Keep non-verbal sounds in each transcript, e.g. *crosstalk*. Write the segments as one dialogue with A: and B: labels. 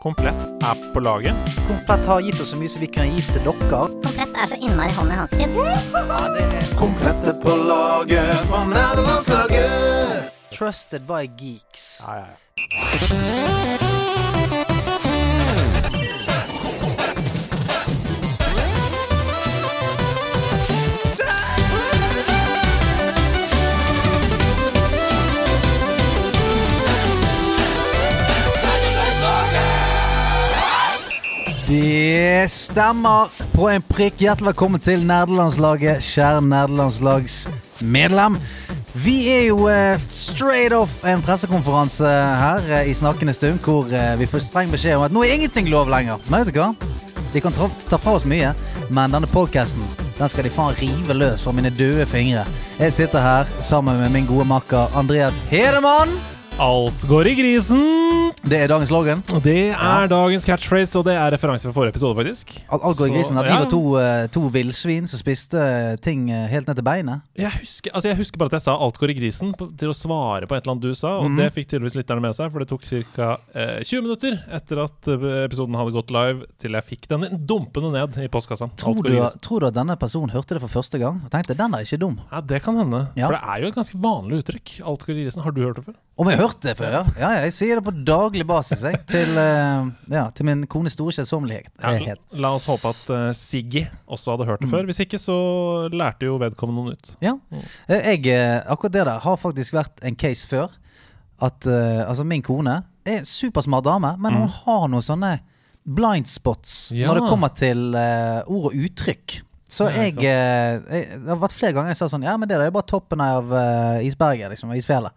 A: Komplett er på laget.
B: Komplett har gitt oss så mye som vi kan gi til dere.
C: Komplett er så innmari hånd i hansken.
D: Komplette på laget fra nederlandslaget.
B: Trusted by geeks.
A: Ja, ja, ja.
B: Det stemmer på en prikk. Hjertelig velkommen til Nerdelandslaget, kjære nerdelandslagsmedlem. Vi er jo eh, straight off en pressekonferanse her eh, i snakkende stund, hvor eh, vi får streng beskjed om at nå er ingenting lov lenger. Men vet du hva? De kan tra ta fra oss mye, men denne podcasten den skal de faen rive løs fra mine døde fingre. Jeg sitter her sammen med min gode makker Andreas Hedemann.
A: Alt går i grisen!
B: Det er dagens slogan.
A: Og det er
B: Ja.
A: dagens catchphrase, og det er referanse fra forrige episode, faktisk.
B: Al- Algor i
A: Så-
B: grisen, at vi
A: ja.
B: var to, eh, to villsvin som spiste eh, ting eh, helt ned til beinet.
A: Jeg husker, altså jeg husker bare at jeg sa 'alt går i grisen' på, til å svare på et eller annet du sa, og
B: Mhm.
A: det fikk tydeligvis lytterne med seg, for det tok ca. Eh, 20 minutter etter at eh, episoden hadde gått live, til jeg fikk den dumpende ned i postkassa.
B: Tror
A: Alt går
B: du,
A: i grisen.
B: tror du at denne personen hørte det for første gang og tenkte den er ikke dum?
A: Ja, Det kan hende.
B: Ja.
A: For det er jo et ganske vanlig uttrykk. Alt går i grisen. Har du hørt det før?
B: Om jeg hørte det før, ja. ja. ja, Jeg sier det på daglig basis jeg, til, eh, ja, til min kones store kjedsommelighet.
A: Ja, la oss håpe at eh, Siggy også hadde hørt det
B: Mm.
A: før. Hvis ikke, så lærte jo vedkommende noe nytt.
B: Ja. Eh, Jeg, eh, akkurat det der har faktisk vært en case før. At eh, altså min kone er en supersmart dame, men hun har noen sånne blind spots
A: Mm. Ja.
B: når det kommer til eh, ord og uttrykk. Så
A: Ja,
B: jeg,
A: ikke sant.
B: eh, jeg Det har vært flere ganger jeg sa sånn Ja, men det der er jo bare toppen av eh, isberget, liksom. av Isfjellet.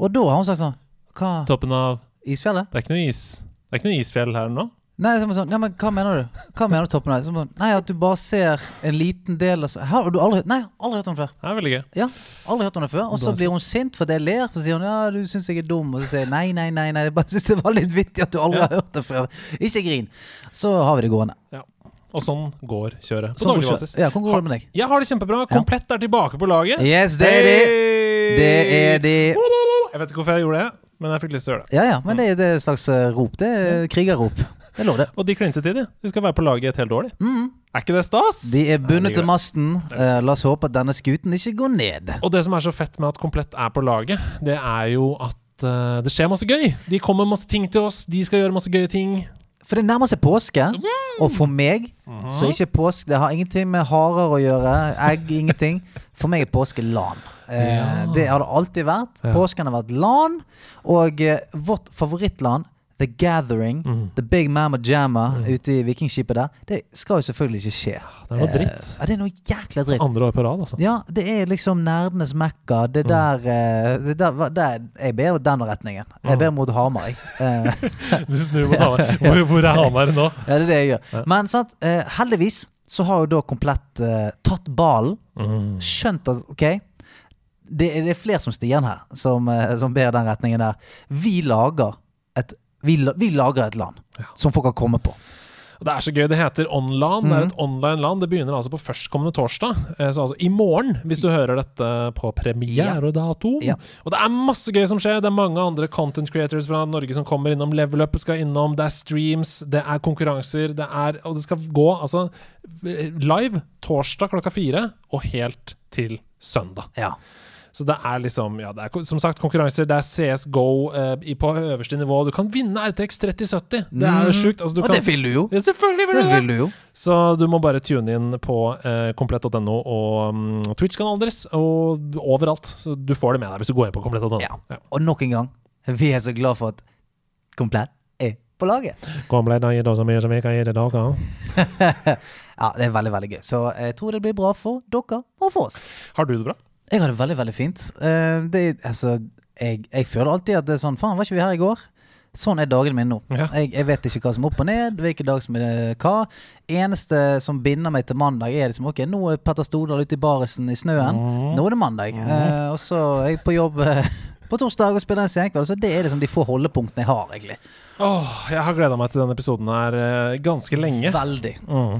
B: Og da har hun sagt sånn Hva?
A: Toppen av
B: Isfjellet?
A: Det er ikke noe is. Det er ikke noe isfjell her nå.
B: Nei, så er man sånn, ja, men hva mener du? Hva mener du toppen av? Så er man Sånn, nei, at du bare ser en liten del av Her Har du aldri hørt Nei, aldri hørt om det før.
A: Det er veldig gøy.
B: Ja, aldri hørt om det før. Og så blir hun sint fordi jeg ler. For så sier hun ja, du syns jeg er dum. Og så sier jeg nei, nei, nei. nei. Jeg bare syns det var litt vittig at du aldri har hørt det før. Ikke grin. Så har vi det gående.
A: Ja. Og sånn går kjøret på
B: Sånn
A: daglig
B: går
A: basis.
B: kjø- Ja, hvordan går det med deg?
A: Jeg har det kjempebra.
B: Ja.
A: Komplett er tilbake på laget.
B: Yes, det er de.
A: Hey!
B: Det er de.
A: Jeg vet ikke hvorfor jeg gjorde det, men jeg fikk lyst til å gjøre det.
B: Ja ja, men det er det er et slags eh, rop. Det er krigerrop. Det er lov, det.
A: Og de klinte til, de. De skal være på laget et helt år, de. Er ikke det stas?
B: Mm. De er bundet
A: Ja,
B: til
A: de gjør det.
B: masten. Eh, la oss håpe at denne skuten ikke går ned.
A: Og det som er så fett med at Komplett er på laget, det er jo at eh, det skjer masse gøy. De kommer med masse ting til oss, de skal gjøre masse gøye ting.
B: For det nærmer seg påske. Og for meg så er ikke påske Det har ingenting med harer å gjøre. Egg, ingenting. For meg er påske LAN. Eh, Det har det alltid vært.
A: Ja.
B: Påsken har vært LAN. Og eh, vårt favorittland, The Gathering,
A: Mm.
B: The Big Mamma Jamma ute i Vikingskipet der, det skal jo selvfølgelig ikke skje.
A: Ah, Det er noe
B: Eh,
A: dritt.
B: Ja, det er noe jækla dritt.
A: Andre år på rad, altså.
B: Ja, det er liksom nerdenes mekka. Det
A: Mm.
B: der, eh, det der, hva- der Jeg ber den retningen.
A: Mm.
B: Jeg ber mot Hamar, jeg. Eh,
A: Du snur mot Hamar. Hvor, hvor er Hamar nå?
B: Ja, det er det jeg gjør. Men sant, eh, heldigvis så har jo da komplett eh, tatt ballen.
A: Mm.
B: Skjønt at OK, det er, det er flere som stiger her, som, eh, som ber den retningen der. Vi lager et, vi, la- vi lager et land som folk kan komme på.
A: Det er så gøy. Det heter Online. Det er
B: Mhm.
A: et online land. Det begynner altså på førstkommende torsdag. Eh, Så altså i morgen, hvis du hører dette på premieredato.
B: Ja.
A: Og det er masse gøy som skjer. Det er mange andre content creators fra Norge som kommer innom. Level Up skal innom. Det er streams, det er konkurranser, det er Og det skal gå altså live torsdag klokka fire og helt til søndag.
B: Ja.
A: Så det er liksom, ja, det er ko- som sagt konkurranser, det er CSGO eh, i- på øverste nivå. Du kan vinne RTX 3070. Det er jo sjukt. Altså, du
B: Mm. Mhm.
A: kan,
B: Og det vil du jo.
A: Ja, selvfølgelig vil
B: Det
A: du
B: vil du jo.
A: Så du må bare tune inn på eh, komplett.no og mm, Twitch-kanalen deres, og overalt. Så du får det med deg hvis du går inn på komplett.no.
B: Ja. Og nok en gang, vi er så glad for at komplett er på laget.
A: Komplett har gitt oss så mye som vi kan gi til dere.
B: Ja, det er veldig, veldig gøy. Så jeg tror det blir bra for dere og for oss.
A: Har du det bra?
B: Jeg har det veldig, veldig fint. Eh, det, altså, jeg, jeg føler alltid at det er sånn Faen, var ikke vi her i går? Sånn er dagene mine nå.
A: Ja.
B: Jeg, jeg vet ikke hva som er opp og ned, hvilken dag som er det hva. Eneste som binder meg til mandag, er liksom Ok, nå er Petter Stordal ute i barisen i snøen.
A: Mhm.
B: Nå er det mandag. Eh, og så er jeg på jobb eh, på torsdag og spiller en senkveld. Så det er liksom de få holdepunktene jeg har, egentlig.
A: Åh, jeg har gleda meg til denne episoden her eh, ganske lenge.
B: Veldig.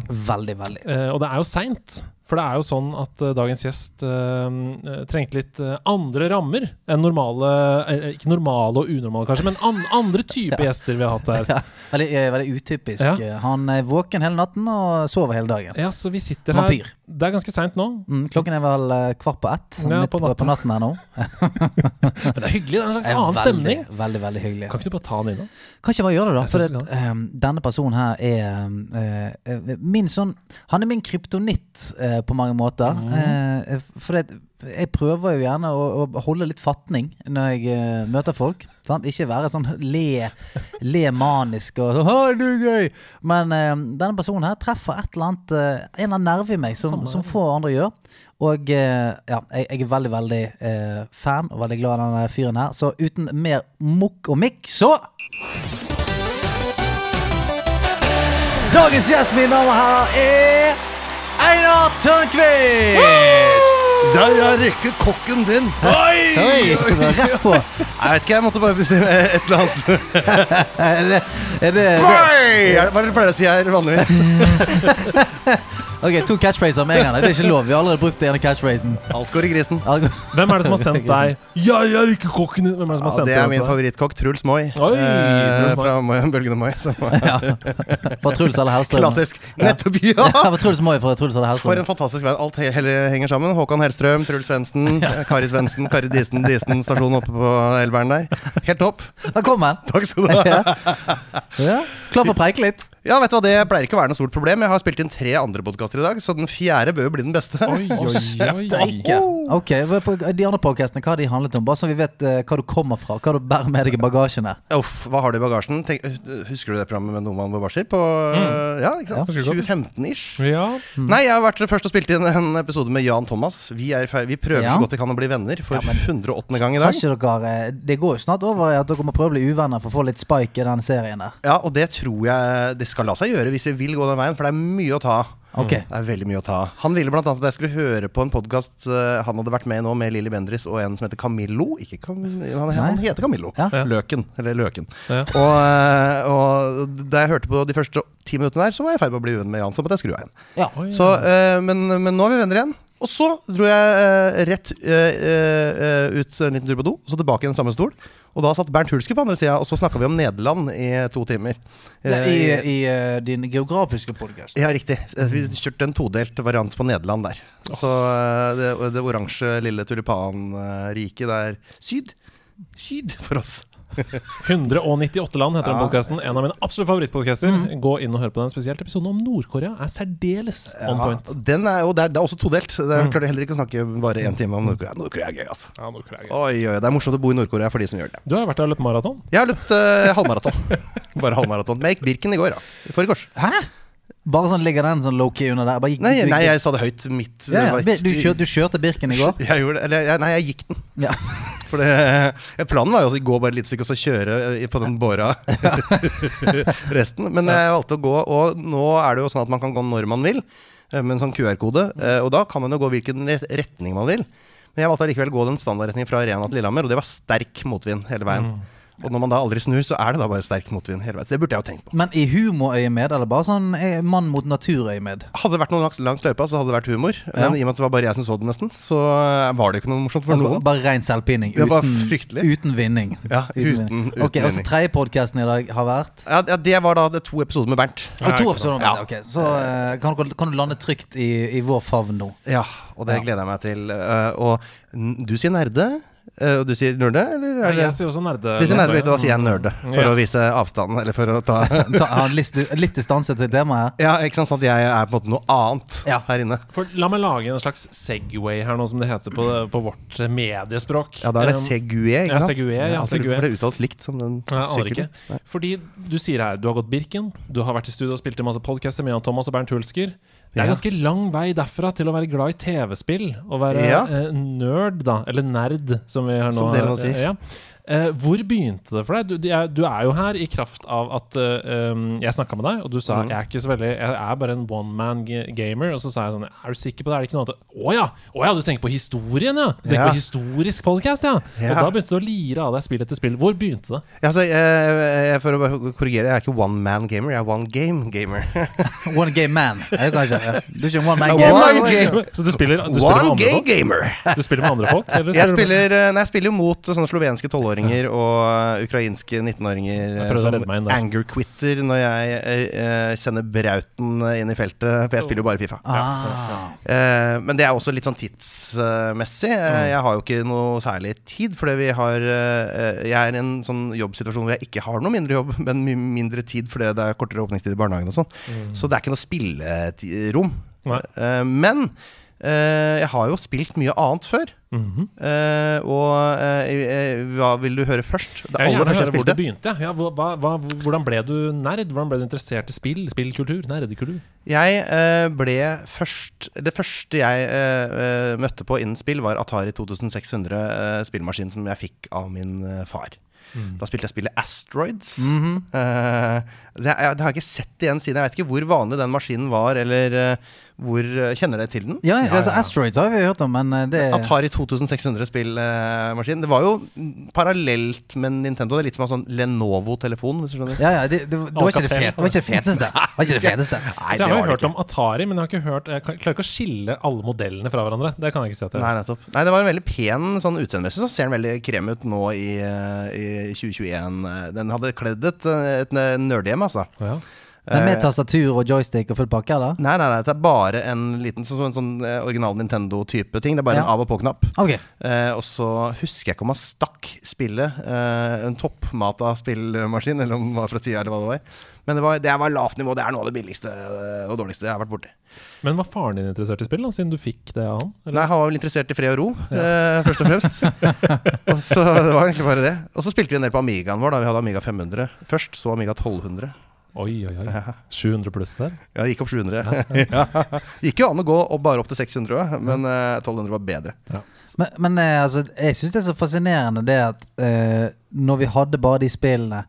B: Veldig, veldig.
A: Eh, og det er jo seint, For det er jo sånn at eh, dagens gjest eh, eh, trengte litt eh, andre rammer enn normale eh, Ikke normale og unormale, kanskje, men an andre *laughs* typer gjester vi har hatt her.
B: Ja, veldig, eh, veldig utypisk.
A: Ja.
B: Eh, Han er våken hele natten og sover hele dagen.
A: Ja, så vi sitter her
B: Vampyr.
A: Det er ganske seint nå,
B: Mm, klokken er vel eh, kvart på ett,
A: Ja,
B: midt
A: på
B: på
A: natten.
B: natten, på natten
A: *laughs*
B: her nå.
A: men det er hyggelig. Det er en slags
B: Er
A: annen stemning.
B: Veldig, veldig, veldig hyggelig.
A: Kan ikke du bare ta den innom?
B: Kan ikke jeg bare gjøre det, da?
A: Jeg
B: For
A: synes
B: det, ehm, denne personen her er ehm, eh, eh, min sånn Han er min kryptonitt eh, på mange måter.
A: Mm.
B: Eh, for det, jeg prøver jo gjerne å, å holde litt fatning når jeg eh, møter folk. Sant? Ikke være sånn le, le manisk og sånn 'Hei, du er gøy!' Men ehm, denne personen her treffer et eller annet eh, en eller annen nerve i meg som,
A: Samme
B: som
A: her.
B: få andre gjør. Og eh, ja, jeg, jeg er veldig, veldig eh, fan og veldig glad i denne fyren her. Så uten mer mukk og mikk, så Dagens gjest, mine damer og herrer, er Einar Tørnquist!
E: Ja, jeg rekker kokken din. Oi!
B: Oi, det var rett på.
E: Jeg vet ikke, jeg måtte bare bestemme et eller annet.
B: Er det, er det, det?
E: Oi! Hva er det du pleier å si her vanligvis?
B: Ok, to catchphraser med en gang. Det er ikke lov. Vi har allerede brukt den ene catchphrasen.
E: Alt går i grisen.
A: Hvem er det som har sendt deg 'Ja, jeg er ikke kokken din'? Hvem er det som
E: Ja,
A: har sendt
E: det er
A: den
E: min
A: til deg?
E: favorittkokk, Truls Moi.
A: Oi,
E: eh,
A: Truls Moi. sånn.
E: fra Moi- Bølgen og Moi. som var
B: Fra Truls eller Hellstrøm.
E: Klassisk. Nettopp,
B: Ja,
E: ja!
B: fra Truls Moi fra Truls eller
E: For
B: Hellstrøm.
E: en fantastisk verden. Alt he- hele henger sammen. Håkan Hellstrøm, Truls Svendsen, eh, Kari Svendsen, Kari Disen, Disen, stasjonen oppe på Elveren der. Helt topp.
B: Velkommen.
E: Takk skal du
A: *laughs*
E: ha.
B: Ja. Ja. Klar for å preike litt?
E: Ja, vet du hva, det pleier ikke å være noe stort problem. Jeg har spilt inn tre andre podkaster i dag, så den fjerde bør jo bli den beste.
A: Oi, oi, oi.
B: Ok, hva- for De andre podcastene, hva har de handlet om? Bare så vi vet eh, hva du kommer fra. Hva du bærer med deg i bagasjen her.
E: Uff, hva har du i bagasjen? Tenk, husker du det programmet med Noman Bobashi? På, eh, Ja, ikke sant?
A: husker godt.
E: 2015-ish?
A: Ja.
E: Nei, jeg har vært først og spilt inn en episode med Jan Thomas. Vi, er, fer- vi prøver
B: Ja.
E: så godt vi kan å bli venner for 108. gang i
B: Har
E: dag.
B: ikke dere, eh, det går jo snart over i at dere må prøve å bli uvenner for å få litt spike i den serien der.
E: Ja, og det tror jeg det skal la seg gjøre hvis vi vil gå den veien, for det er mye å ta av.
B: Ok.
E: Det er veldig mye å ta av. Han ville blant annet at jeg skulle høre på en podkast han hadde vært med i nå, med Lilly Bendriss og en som heter Camillo. Ikke Cam han, han heter Camillo.
B: Ja.
E: Løken. Eller Løken.
A: Ja.
E: Og, eh, og da jeg hørte på de første ti minuttene der, så var jeg i ferd med å bli uvenn med Jan, så måtte jeg skru av igjen.
B: Ja.
A: Oi.
E: Så, eh, men, men nå er vi venner igjen. Og så dro jeg eh, rett eh, eh, ut en liten tur på do, og så tilbake i den samme stol. Og da satt Bernt Hulske på andre sida, og så snakka vi om Nederland i to timer.
B: Ja,
E: Eh,
B: I, i eh, din geografiske podcast.
E: ja, riktig. Eh, Vi kjørte en todelt variant på Nederland der. Så eh, det, det oransje lille tulipanriket der Syd. Syd for oss.
A: 198 land heter den
E: Ja.
A: podkasten. En av mine absolutt favorittpodkaster. Gå inn og hør på den. Spesielt episoden om Nord-Korea er særdeles on
E: Ja,
A: point.
E: den er, jo- det, er, det er også todelt. Det er klart heller ikke å snakke bare én time om Nord-Korea. Nord-Korea er gøy, altså.
A: Ja, Nord-Korea er gøy.
E: Oi, oi, det er morsomt å bo i Nord-Korea for de som gjør det.
A: Du har vært der og løpt maraton.
E: Jeg har løpt eh, halvmaraton. *laughs* Bare halvmaraton. Men jeg gikk Birken i går, da. I forgårs.
B: Hæ? Bare sånn ligger den sånn low-key under der? Bare gikk,
E: Nei,
B: du-
E: nei, jeg sa det høyt. Mitt
B: ja, ja.
E: det var
B: Du,
E: et-
B: kjør, du kjørte Birken i går?
E: *laughs* Jeg gjorde det. Eller jeg, nei, jeg gikk den.
B: Ja.
E: For det, ja, planen var jo også å gå bare litt stykke og så kjøre eh, på den
B: *laughs*
E: båra *laughs* resten. Men jeg valgte å gå, og nå er det jo sånn at man kan gå når man vil, eh, med en sånn QR-kode. eh, Og da kan man jo gå hvilken ret- retning man vil. Men jeg valgte allikevel å gå den standardretningen fra Arena til Lillehammer, og det var sterk motvind hele veien.
B: Mm.
E: Og når man da aldri snur, så er det da bare sterk motvind hele veien. Så det burde jeg jo tenkt på.
B: Men i humorøyemed, eller bare sånn eh, mann mot natur-øyemed?
E: Hadde det vært noe langs, langs løypa, så hadde det vært humor.
B: Ja.
E: Men i og med at det var bare jeg som så det, nesten, så eh, var det jo ikke noe morsomt for
B: Altså, bare-
E: noen.
B: bare ren selvpining.
E: Det var
B: uten-
E: fryktelig.
B: Uten vinning.
E: Ja, uten-
B: vinning.
E: uten
B: Ok, og så
E: vinning.
B: tredje podcasten i dag har vært
E: Ja, ja, det var da det to episoder med Bernt.
B: Og
A: Ja,
B: to
A: ikke
B: episoder om
E: sant.
B: det, ok. Så eh, kan, dere- kan du lande trygt i, i vår favn nå.
E: Ja, og det gleder jeg meg til. Eh, og n- du sier nerde, eh, og du sier nerde, eller? Er det?
A: Jeg sier også nerde. Mm,
E: De sier nerde, da sier jeg nerde, for
A: Ja.
E: å vise avstanden, eller for å ta
A: *laughs*
B: Ta, ha litt, litt distanse til temaet her.
E: Ja, ikke sant, sånn at jeg er på en måte noe annet
B: Ja.
E: her inne.
A: For la meg lage en slags Segway her nå, som det heter på, på vårt mediespråk.
E: Ja, da er det
A: Um,
E: Segway, ikke
A: ja,
E: sant?
A: Segway, ja,
E: Jeg alltid lurer på,
A: Segway.
E: For det uttales likt som den
A: Nei, Jeg aner
E: sykkelen.
A: ikke. Fordi du sier her du har gått Birken, du har vært i studio og spilt i masse podcaster med Jan Thomas og Bernt Hulsker. Det er
E: Ja.
A: ganske lang vei derfra til å være glad i TV-spill og være
E: Ja.
A: eh, nerd, da. Eller nerd, som vi har nå.
E: Som dere nå sier.
A: Eh, ja. Eh, hvor begynte det for deg? Du, de er, du er jo her i kraft av at eh, um, jeg snakka med deg, og du sa
E: Mm.
A: jeg er ikke så veldig Jeg er bare en one man ga- gamer. Og så sa jeg sånn Er du sikker på det? Er det ikke noe annet? Å ja! Å ja, du tenker på historien, ja! Du tenker
E: Ja.
A: på historisk podcast, ja! Og
E: Ja.
A: da begynte du å lire av deg spill etter spill. Hvor begynte det?
E: Ja, altså, eh, eh, for å bare korrigere, jeg er ikke one man gamer, jeg er one game gamer.
B: One game man. Er det kanskje? Ja. Du er ikke en one man
E: One
B: game.
E: man game.
A: Så du spiller, du spiller med
E: *laughs* One
A: andre
E: gay
A: folk?
E: gamer!
A: Du spiller med andre folk? eller
E: Jeg
A: du-
E: spiller, eh, nei, jeg spiller jo mot sånne slovenske tolvåringer og eh, ukrainske 19-åringer eh,
A: prøvde å
E: som
A: redde meg inn der.
E: anger-quitter når jeg eh, eh, sender brauten eh, inn i feltet, for jeg spiller jo bare Fifa.
B: Ah.
E: Eh, men det er også litt sånn tidsmessig. Eh,
A: Mm.
E: Jeg har jo ikke noe særlig tid, fordi vi har eh, Jeg er i en sånn jobbsituasjon hvor jeg ikke har noe mindre jobb, *laughs* men mye mindre tid fordi det er kortere åpningstid i barnehagen og sånn. Så det er ikke noe spillerom.
A: Mm. Nei.
E: Eh, men eh, jeg har jo spilt mye annet før.
A: Mhm.
E: Eh, og eh, eh, hva vil du høre først?
A: Jeg
E: Det
A: vil gjerne
E: aller første jeg
A: høre hvor det
E: spilte.
A: begynte. Ja, hva, hva, hva- hvordan ble du nerd? Hvordan ble du interessert i spill, spillkultur, nerdekultur?
E: Jeg eh, ble først Det første jeg eh, eh, møtte på innen spill, var Atari 2600, eh, spillmaskinen som jeg fikk av min eh, far.
A: Mm.
E: Da spilte jeg spillet Asteroids.
A: Mhm.
E: Eh, det, jeg, det har jeg ikke sett igjen siden. Jeg vet ikke hvor vanlig den maskinen var, eller eh, hvor eh, Kjenner dere til den?
B: Ja, altså Asteroids har vi hørt om, men eh, det
E: Atari 2600-spillmaskin. Det var jo mm, parallelt med Nintendo. Det er litt som en sånn Lenovo-telefon, hvis du skjønner.
B: ja, ja, det, det, det, var ikke det,
A: Alcatel.
B: fet, det var ikke det feteste. Det var ikke det feteste.
E: Nei,
A: Så jeg har jo
E: det
A: hørt om Atari, men jeg, har ikke hørt, jeg kan- klarer ikke å skille alle modellene fra hverandre. Det kan jeg ikke si at jeg
E: Nei, nettopp. Nei, det var en veldig pen sånn utseendemessig. Så ser den veldig krem ut nå i, eh, i 2021. Eh, Den hadde kledd et, eh, et nerdehjem, altså.
A: ja.
B: Men med tastatur og joystick og full pakke, eller?
E: Nei, nei, nei, det er bare en liten sånn, sånn, sånn eh, original Nintendo-type ting. Det er bare
B: Ja.
E: en av- og på-knapp.
B: Ok.
E: Eh, og så husker jeg ikke om han stakk spillet. Eh, en toppmata spillmaskin, eller om den var fra tida, eller hva det var. Men det, var, det var lavt nivå. Det er noe av det billigste eh, og dårligste jeg har vært borti.
A: Men var faren din interessert i spill, da, siden du fikk det av han? Eller?
E: Nei, han var vel interessert i fred og ro, eh, først
A: *laughs*
E: og fremst. og så det var egentlig bare det. Og så spilte vi en del på Amigaen vår. da Vi hadde Amiga 500 først, så Amiga 1200.
A: Oi, oi,
E: *laughs*
A: oi. 700 pluss der.
E: Ja, det gikk opp 700. ja. *laughs* Gikk jo an å gå opp, bare opp til 600, også, men eh, 1200 var bedre.
B: Men, men eh, altså, jeg syns det er så fascinerende det at eh, når vi hadde bare de spillene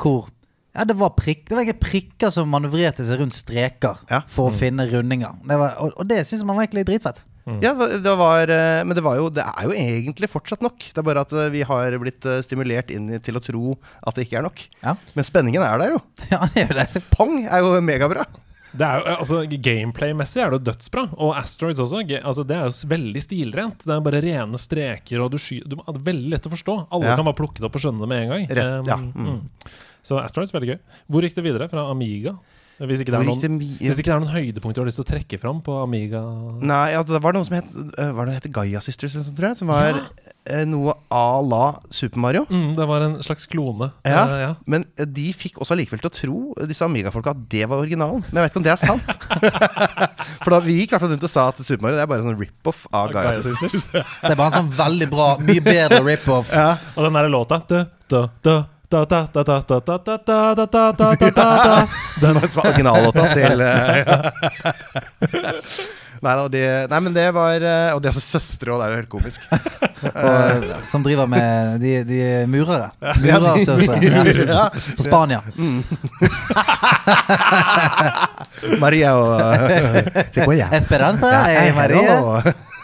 B: hvor ja, det var, prikk, det var egentlig prikker som manøvrerte seg rundt streker
E: Ja.
B: for å finne rundinger. Det var, og, og det syns man var egentlig dritfett.
A: Mm.
E: Ja, det det var, eh, men det, var jo, det er jo egentlig fortsatt nok. Det er bare at eh, vi har blitt eh, stimulert inn i- til å tro at det ikke er nok.
B: Ja. *laughs*
E: Men spenningen er der jo.
B: Ja, det er jo det.
E: Pong er jo megabra.
A: Det er jo, altså, Gameplay-messig er det jo dødsbra. Og Asteroids også. Ge- Altså, det er jo s- veldig stilrent. Det er bare rene streker, og du sky du, det er veldig lett å forstå. Alle
E: Ja.
A: kan bare plukke det opp og skjønne det med en gang.
E: Rett, ja.
A: Um,
E: Mm.
A: mm. Så Asteroids, veldig gøy. Hvor gikk det videre fra Amiga? Hvis ikke det er
E: Hvor gikk det
A: noen,
E: mi-
A: hvis ikke det er noen høydepunkter du har lyst til å trekke fram på Amiga
E: Nei, ja, det var noe som het øh, Var det het Gaia Sisters, eller noe sånt, tror jeg? Som var eh, noe à la Super Mario.
A: Mm, det var en slags klone.
E: Ja,
A: Eh, ja.
E: Men eh, de fikk også allikevel til å tro, eh, disse Amiga-folka, at det var originalen. Men jeg vet ikke om det er sant. *laughs* For da vi gikk i hvert fall rundt og sa at Super Mario det er bare en sånn rip-off av Gaia
A: Gaia
E: Sisters.
A: Sisters.
B: Det er bare en sånn veldig bra, mye bedre rip-off.
A: Og den derre låta du, du, du, da, da, da, da, da, da, da, da, da, da, da, da, da.
E: Den som var originallåta *laughs* til eh, ja. nei, da, de, nei, men det var eh, Og de er altså søstre, og det er jo helt komisk.
B: Og, eh, som driver med de, de murere.
E: Eh. de
B: Murersøstre.
E: murere,
B: Ja.
E: ja.
B: Fra Spania.
E: Maria *laughs* og eh, Sequoia.
B: Esperanza eh, Maria.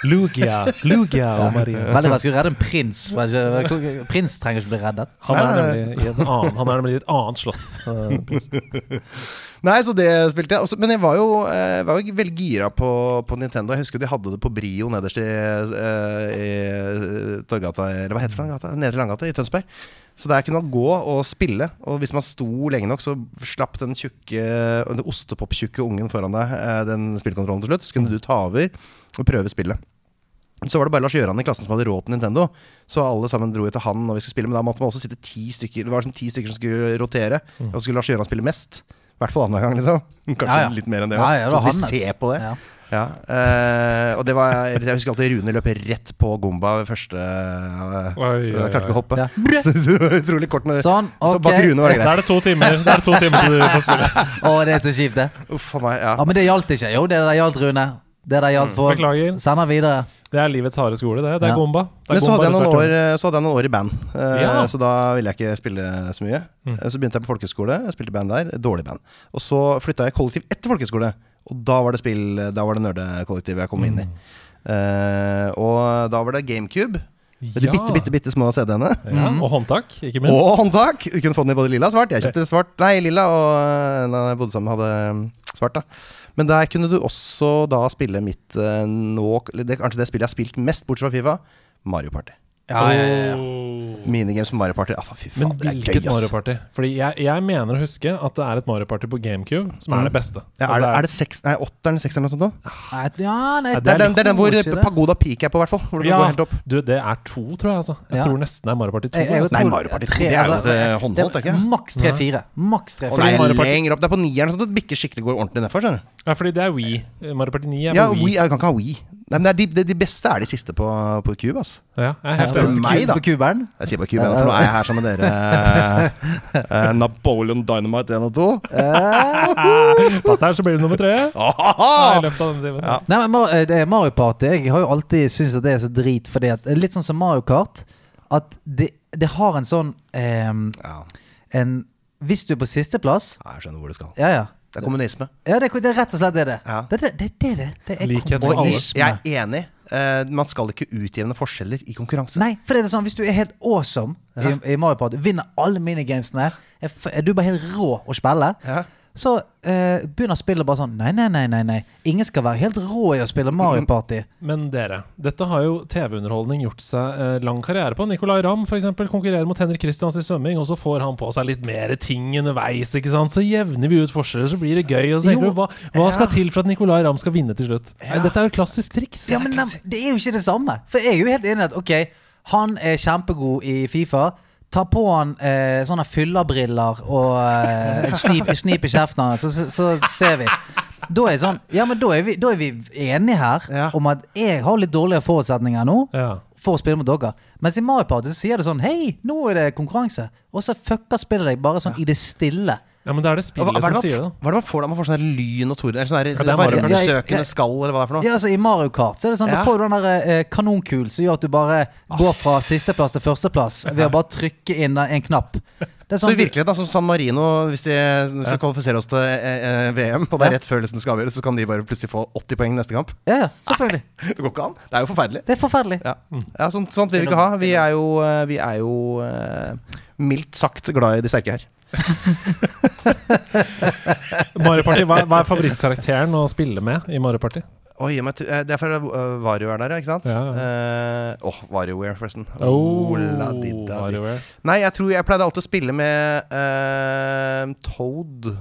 A: Lugia, Lugia og Maria.
B: Veldig rart. Skulle redde en prins. fra- Prins trenger ikke bli reddet.
A: Han er nemlig i, en annen, han er nemlig i et annet slott. eh, prins.
E: Nei, så det spilte jeg. Også, men jeg var jo, eh, var jo veldig gira på, på Nintendo. Jeg husker de hadde det på Brio nederst i, eh, i eh, Torgata Eller hva heter det? for den gata? Nedre Langgata i Tønsberg. Så der kunne man gå og spille. Og hvis man sto lenge nok, så slapp den tjukke den ostepoptjukke ungen foran deg eh, den spillkontrollen til slutt. Så kunne du ta over og prøve spillet. Så var det bare Lars Gjøran i klassen som hadde råd til Nintendo. Så alle sammen dro jo til han når vi skulle spille. Men da måtte man også sitte ti stykker Det var sånn ti stykker som skulle rotere. Og så skulle Lars Gjøran spille mest. I hvert fall annenhver gang, liksom. *laughs* Kanskje
B: Mm. Ja, ja.
E: litt mer enn det.
B: Ja, ja, det
E: så
B: var
E: at vi
B: hans.
E: ser på det.
B: Ja.
E: Ja. eh, og det var Jeg husker alltid Rune løp rett på Gomba ved første eh,
A: Oi, oi,
E: Jeg klarte ikke å hoppe.
B: Ja.
E: *laughs* Så, så var det utrolig kort. Med,
B: Sånn,
E: Så bak
B: ok.
E: Rune var det
A: Da
E: greit.
A: er det to timer Da er det to timer til du får spille.
B: Å, det er så kjipt, det.
E: Uff a meg. Ja. Mm.
B: Ja, Men det gjaldt ikke. Jo, det der gjaldt, Rune. Det der gjaldt for
A: Beklager.
B: Sender videre.
A: Det er livets harde skole, det. Det er
B: Ja.
A: gomba. Det er
E: Men så hadde, jeg
A: gomba
E: noen
A: utover
E: år, så hadde jeg noen år i band, Eh,
A: Ja.
E: så da ville jeg ikke spille så mye.
A: Mm.
E: Eh, Så begynte jeg på folkehøyskole, jeg spilte band der, dårlig band. Og så flytta jeg i kollektiv etter folkehøyskole, og da var det spill, da var det nerdekollektivet jeg kom inn i.
A: Mm.
E: Eh, og da var det GameCube, med de
A: Ja.
E: bitte, bitte, bitte små CD-ene.
A: Ja, og håndtak, ikke minst.
E: Og håndtak! Du kunne få den i både lilla og svart. Jeg kjøpte svart, nei, lilla, og en av jeg bodde sammen med, hadde mm, svart. da Men der kunne du også da spille mitt eh, nå det, er Kanskje det spillet jeg har spilt mest, bortsett fra Fifa, Mario Party.
B: Ja, ja, ja, ja.
A: Åh.
E: Minigames med Mario Party. Altså, fy faen,
A: Men
E: det er gøy,
A: hvilket Mario
E: ass.
A: Party? Fordi jeg, jeg mener å huske at det er et Mario Party på GameCube som Altså, er det beste.
E: Ja, er, det, er det seks, nei, åtteren eller sekseren eller noe sånt? da?
B: Nei, ja, nei,
A: Ja,
E: Det er, den, det er den hvor
B: tror ikke det.
E: Pagoda Peak er på, i hvert fall. Hvor du kan
A: Ja.
E: gå helt opp.
A: Du, det er to, tror jeg. altså Jeg
B: Ja.
A: tror nesten det er Mario Party 2.
B: Jeg- jeg
A: altså.
E: Nei,
B: tror-
E: Mario Party
B: tre,
E: 2, det er jo
B: altså,
E: et, eh, håndholdt,
B: det-
E: er ikke det?
B: Maks tre-fire. Maks
E: Og det
A: Fordi
B: tre-fire.
E: er
A: Mario Party-
E: lenger opp. Det er på nieren, sånn at det bikker skikkelig går ordentlig nedfor. skjønner du?
A: Ja, fordi det er Wii. Mario Party 9 er
E: Ja,
A: på Wii.
E: Wii, jeg kan ikke ha Wii. Nei, men det er de, de- de beste er de siste på, på Cube, ass.
A: Ja, jeg er helt
E: Spør
A: enig.
E: du meg, da?
B: På kuberen.
E: Jeg sier bare Cube, jeg, for nå er jeg her sammen med dere. Eh, *laughs* Napoleon Dynamite 1 og 2.
A: Pass deg, så blir det nummer tre. Nei, i løpet av denne timen.
E: Ja.
B: Nei, men Mar- eh, det er Mario Party Jeg har jo alltid syntes at det er så drit, fordi at eh, Litt sånn som Mario Kart. At det, det har en sånn ehm,
E: Ja,
B: en, Hvis du er på sisteplass
E: jeg skjønner hvor du skal.
B: Ja, ja.
E: Det er kommunisme.
B: Ja, det, er- det er rett og slett det det.
E: Ja.
B: Det, det, det, det, det. det er
A: Likhet
E: Og i-
B: kommunisme.
E: jeg er enig. Eh, man skal ikke utjevne forskjeller i konkurranse.
B: Nei, for det er sånn, hvis du er helt awesome i, i Mario Party, vinner alle minigamesene, er, f- er du bare helt rå å spille,
E: Ja.
B: så eh, begynner spillet bare sånn Nei, nei, nei, nei. nei Ingen skal være helt rå i å spille Mario Party.
A: Men dere, dette har jo TV-underholdning gjort seg eh, lang karriere på. Nicolay Ramm for eksempel, konkurrerer mot Henrik Kristians i svømming, og så får han på seg litt mer ting underveis. ikke sant? Så jevner vi ut forskjeller, så blir det gøy. Og så tenker
B: Jo,
A: du, hva, hva skal
B: ja.
A: til for at Nicolay Ramm skal vinne til slutt? Nei, Dette er jo et klassisk triks.
B: Ja, men nei, Det er jo ikke det samme. For jeg er jo helt enig i at ok, han er kjempegod i Fifa. Ta på han eh, sånne fyllerbriller og eh, en snip, en snip i kjeften hans, så, så, så ser vi. Da er, jeg sånn, ja, men da er, vi, da er vi enige her
E: Ja.
B: om at jeg har litt dårligere forutsetninger nå.
A: Ja.
B: for å spille mot dere. Mens i Mario Party så sier det sånn Hei, nå er det konkurranse. Og så fucker spillet deg bare sånn i det stille.
A: ja, men det er det
E: Hva, hva,
A: spillet
E: er det
A: som
E: man,
A: sier det.
E: f- hva er det man får da? Man får sånn her lyn og torden? Eller sånn
A: det er bare-
E: her
B: Ja, ja, ja.
E: varmesøkende skall, eller hva det er for noe?
B: Ja, altså I Mario Kart så er det sånn
E: Ja.
B: da får du den der eh, kanonkul som gjør at du bare går fra sisteplass til førsteplass ved å bare trykke inn en, en knapp. Det er
E: Så
B: sånn
E: i virkeligheten, da, som San Marino, hvis de, hvis de kvalifiserer oss til eh, eh, VM, og det er rett før liksom det skal avgjøres, så kan de bare plutselig få 80 poeng neste kamp. *laughs*
B: Ja, ja, selvfølgelig.
E: Det går ikke an. Det er jo forferdelig.
B: Det er forferdelig.
E: Ah. Ja, ja sånt, sånt vil vi ikke ha. Vi er jo, eh, vi er jo eh, mildt sagt glad i de sterke her.
A: Mario Party, hva, hva er favorittkarakteren å spille med i Mario Party?
E: Oi, gi meg tu- eh, det er fordi eh, Vario er der, ikke sant?
A: Ja,
E: Eh, Åh, Varioware, forresten.
A: Oh,
E: la di da di.
A: WarioWare.
E: Nei, jeg tror jeg pleide alltid å spille med eh, Toad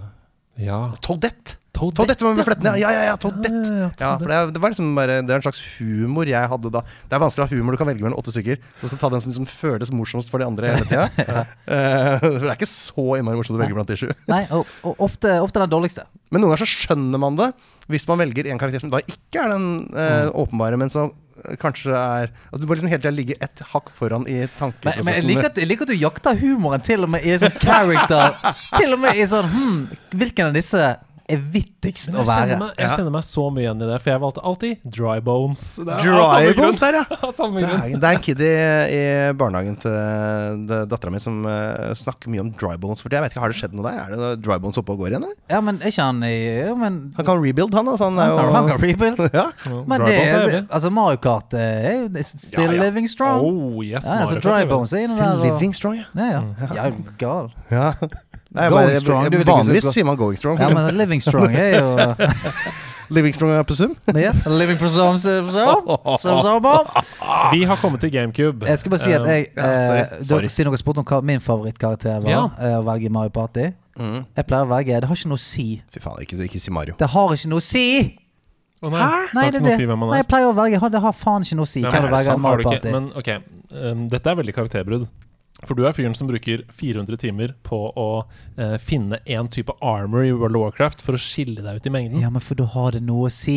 A: Ja.
E: Toadette!
A: Toadette.
E: Toadette var med flettene, ja, ja, ja, ja, Toadette!
A: Ja, ja,
E: Ja, for det, er- det var liksom bare Det er en slags humor jeg hadde da. Det er vanskelig å ha humor du kan velge mellom åtte stykker. Du skal ta den som liksom føles morsomst for de andre hele tida. *laughs* Eh, for det er ikke så innmari morsomt å velge blant de sju.
B: Nei, og, og ofte, ofte den dårligste.
E: Men noen ganger så skjønner man det hvis man velger en karakter som da ikke er den eh, åpenbare, men som eh, kanskje er At du bare liksom hele tida ligger et hakk foran i
B: Men,
E: tankeprosessen.
B: men jeg, liker at, jeg liker at du jakter humoren til og med i sånn character. Til og med i sånn hm, Hvilken av disse er vittigst å
A: Jeg
B: være?
A: kjenner, meg, jeg
E: Ja.
A: kjenner meg så mye igjen i det, for jeg valgte alltid dry bones. *laughs* Det er- av samme
E: Dry
A: grunn.
E: bones der, ja!
A: Av samme
E: Det
A: grunn.
E: er, det er en kid i, i barnehagen til dattera mi som eh, snakker mye om dry bones. For jeg vet ikke, Har det skjedd noe der? Er det noe dry bones oppe og går igjen? Eller?
B: Ja, men er ikke han i ja, men,
E: Han kan rebuild, han. Altså, han
B: han, kan, han
E: er
B: kan rebuild.
E: jo *laughs* ja.
B: Men
A: Dry
B: det
A: bones er evig.
B: er Altså, Mario Kart eh, er jo det er still
A: Ja, ja.
B: living strong.
A: Oh, yes,
B: ja, altså,
A: Mario Kart
B: dry
A: er
B: bones er inne
E: Still
B: der. Og,
E: living strong, ja.
B: ja, ja.
A: Mm.
B: ja, er du gal.
E: ja. *laughs* Nei, jeg
B: Going
E: bare, jeg,
B: strong, du
E: jeg,
B: vet ikke så
E: vanligvis
B: godt.
E: sier man going strong.
B: Ja, men living strong er jo
E: *laughs* Living strong er på sum.
B: ja, Living for some, some, some, some, some.
A: Vi har kommet til GameCube.
B: Jeg skulle bare si at jeg
E: Ja, sorry,
B: eh,
E: sorry.
B: dere- Siden dere spurte om hva min favorittkarakter var
A: Ja.
B: eh, å velge i Mario Party Jeg pleier å velge Det har ikke noe å si.
E: Mm. Fy faen, ikke, ikke si Mario.
B: Det har ikke noe å si!
A: Å, nei.
B: Nei,
A: det har ikke noe
B: det er det.
A: å si hvem han
B: Nei,
A: er.
B: jeg pleier å velge Det har faen ikke noe å si.
A: Nei, men
B: Hvem du
A: er det
B: velger i
A: sant? Har du
B: Mario
A: ikke-
B: Party.
A: Men ok, um, dette er veldig karakterbrudd. For du er fyren som bruker 400 timer på å eh, finne én type armor i World of Warcraft for å skille deg ut i mengden. Ja,
B: Ja, men for da har det noe å si!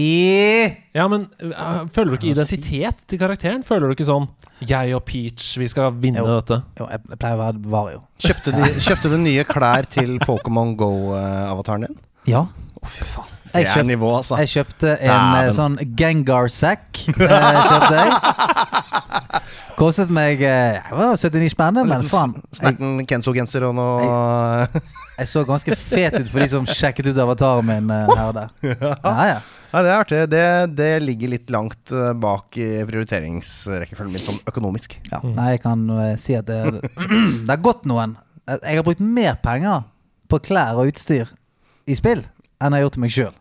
A: men eh, føler du ikke identitet til karakteren? Føler du ikke sånn 'Jeg og Peach, vi skal vinne
B: Jo.
A: dette'?
B: Jo, jeg jeg pleier å være Vario. *laughs*
E: Kjøpte, de, kjøpte du nye klær til Pokémon Go-avataren eh, din?
B: Ja.
E: Å, fy faen. Det
B: Jeg
E: er
B: kjøpte,
E: nivå, altså.
B: jeg kjøpte en
E: Dæven.
B: eh, sånn Gengar-sekk. eh, kjøpte jeg. Kostet meg eh, det var 79 spenn, men faen. Jeg,
E: Snerten Kenzo-genser og noe
B: jeg så ganske fet ut for de som sjekket ut avataren min eh, her og der. Ja, ja.
E: Nei, det er artig. Det, det ligger litt langt eh, bak i prioriteringsrekkefølgen min, sånn økonomisk.
B: ja. Nei, jeg kan eh, si at det, *clears throat* det har gått noen. Jeg jeg har brukt mer penger på klær og utstyr i spill enn jeg har gjort til meg sjøl.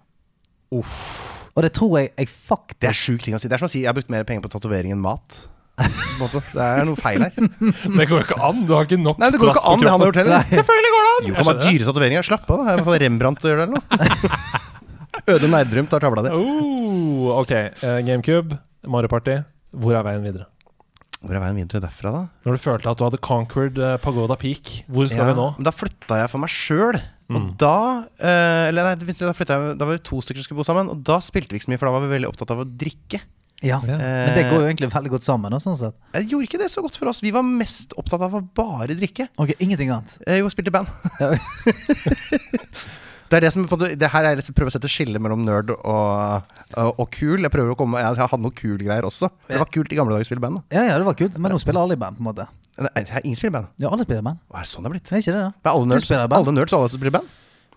B: Og det tror jeg jeg faktisk
E: Det er sjukt ting å si. Det er som å si jeg har brukt mer penger på tatovering enn mat. På en måte. Det er noe feil her. Nei,
A: Det går jo ikke an! Du har ikke nok
E: det går jo ikke an, det han har gjort heller.
A: Selvfølgelig går det an!
E: Jo,
A: Jeg
E: kan være
A: skjønner det.
E: dyre tatoveringer. Slapp av, da. Jeg får Rembrandt til å gjøre det, eller noe. Øde Nerdrum tar tavla di.
A: Oh, ok, Eh, GameCube, Mario Party. Hvor er veien videre?
E: Hvor er veien videre derfra, da?
A: Når du følte at du hadde conquered eh, Pagoda Peak, hvor skal
E: Ja,
A: vi nå? Mm.
E: men Da flytta jeg for meg sjøl. Og da eh, Eller nei, det begynte- da, flyttet jeg, da var vi to stykker som skulle bo sammen, og da spilte vi ikke så mye, for da var vi veldig opptatt av å drikke.
B: Ja,
A: Ja.
B: Men det går jo egentlig veldig godt sammen. da, Sånn sett.
E: Jeg Eh, gjorde ikke det så godt for oss. Vi var mest opptatt av å bare drikke.
B: Ok, Ingenting annet.
E: Jeg jo spilte i band.
B: Ja.
E: *laughs* Det er det som er på en måte- Det her er jeg liksom prøver å sette skille mellom nerd og, eh, og, og kul. Jeg prøver å komme Jeg hadde noe kul greier også. Det var kult i gamle dager å spille i band. da.
B: Ja, ja, det var kult, men nå spiller alle i band, på en måte.
E: Nei, jeg har ingen spiller i band.
B: Ja, alle spiller i band.
E: Hva er det sånn det er blitt?
B: Det er ikke det, da.
E: Men alle
B: Du
E: nerds,
B: spiller i band.
E: alle nerds alle som spiller i band?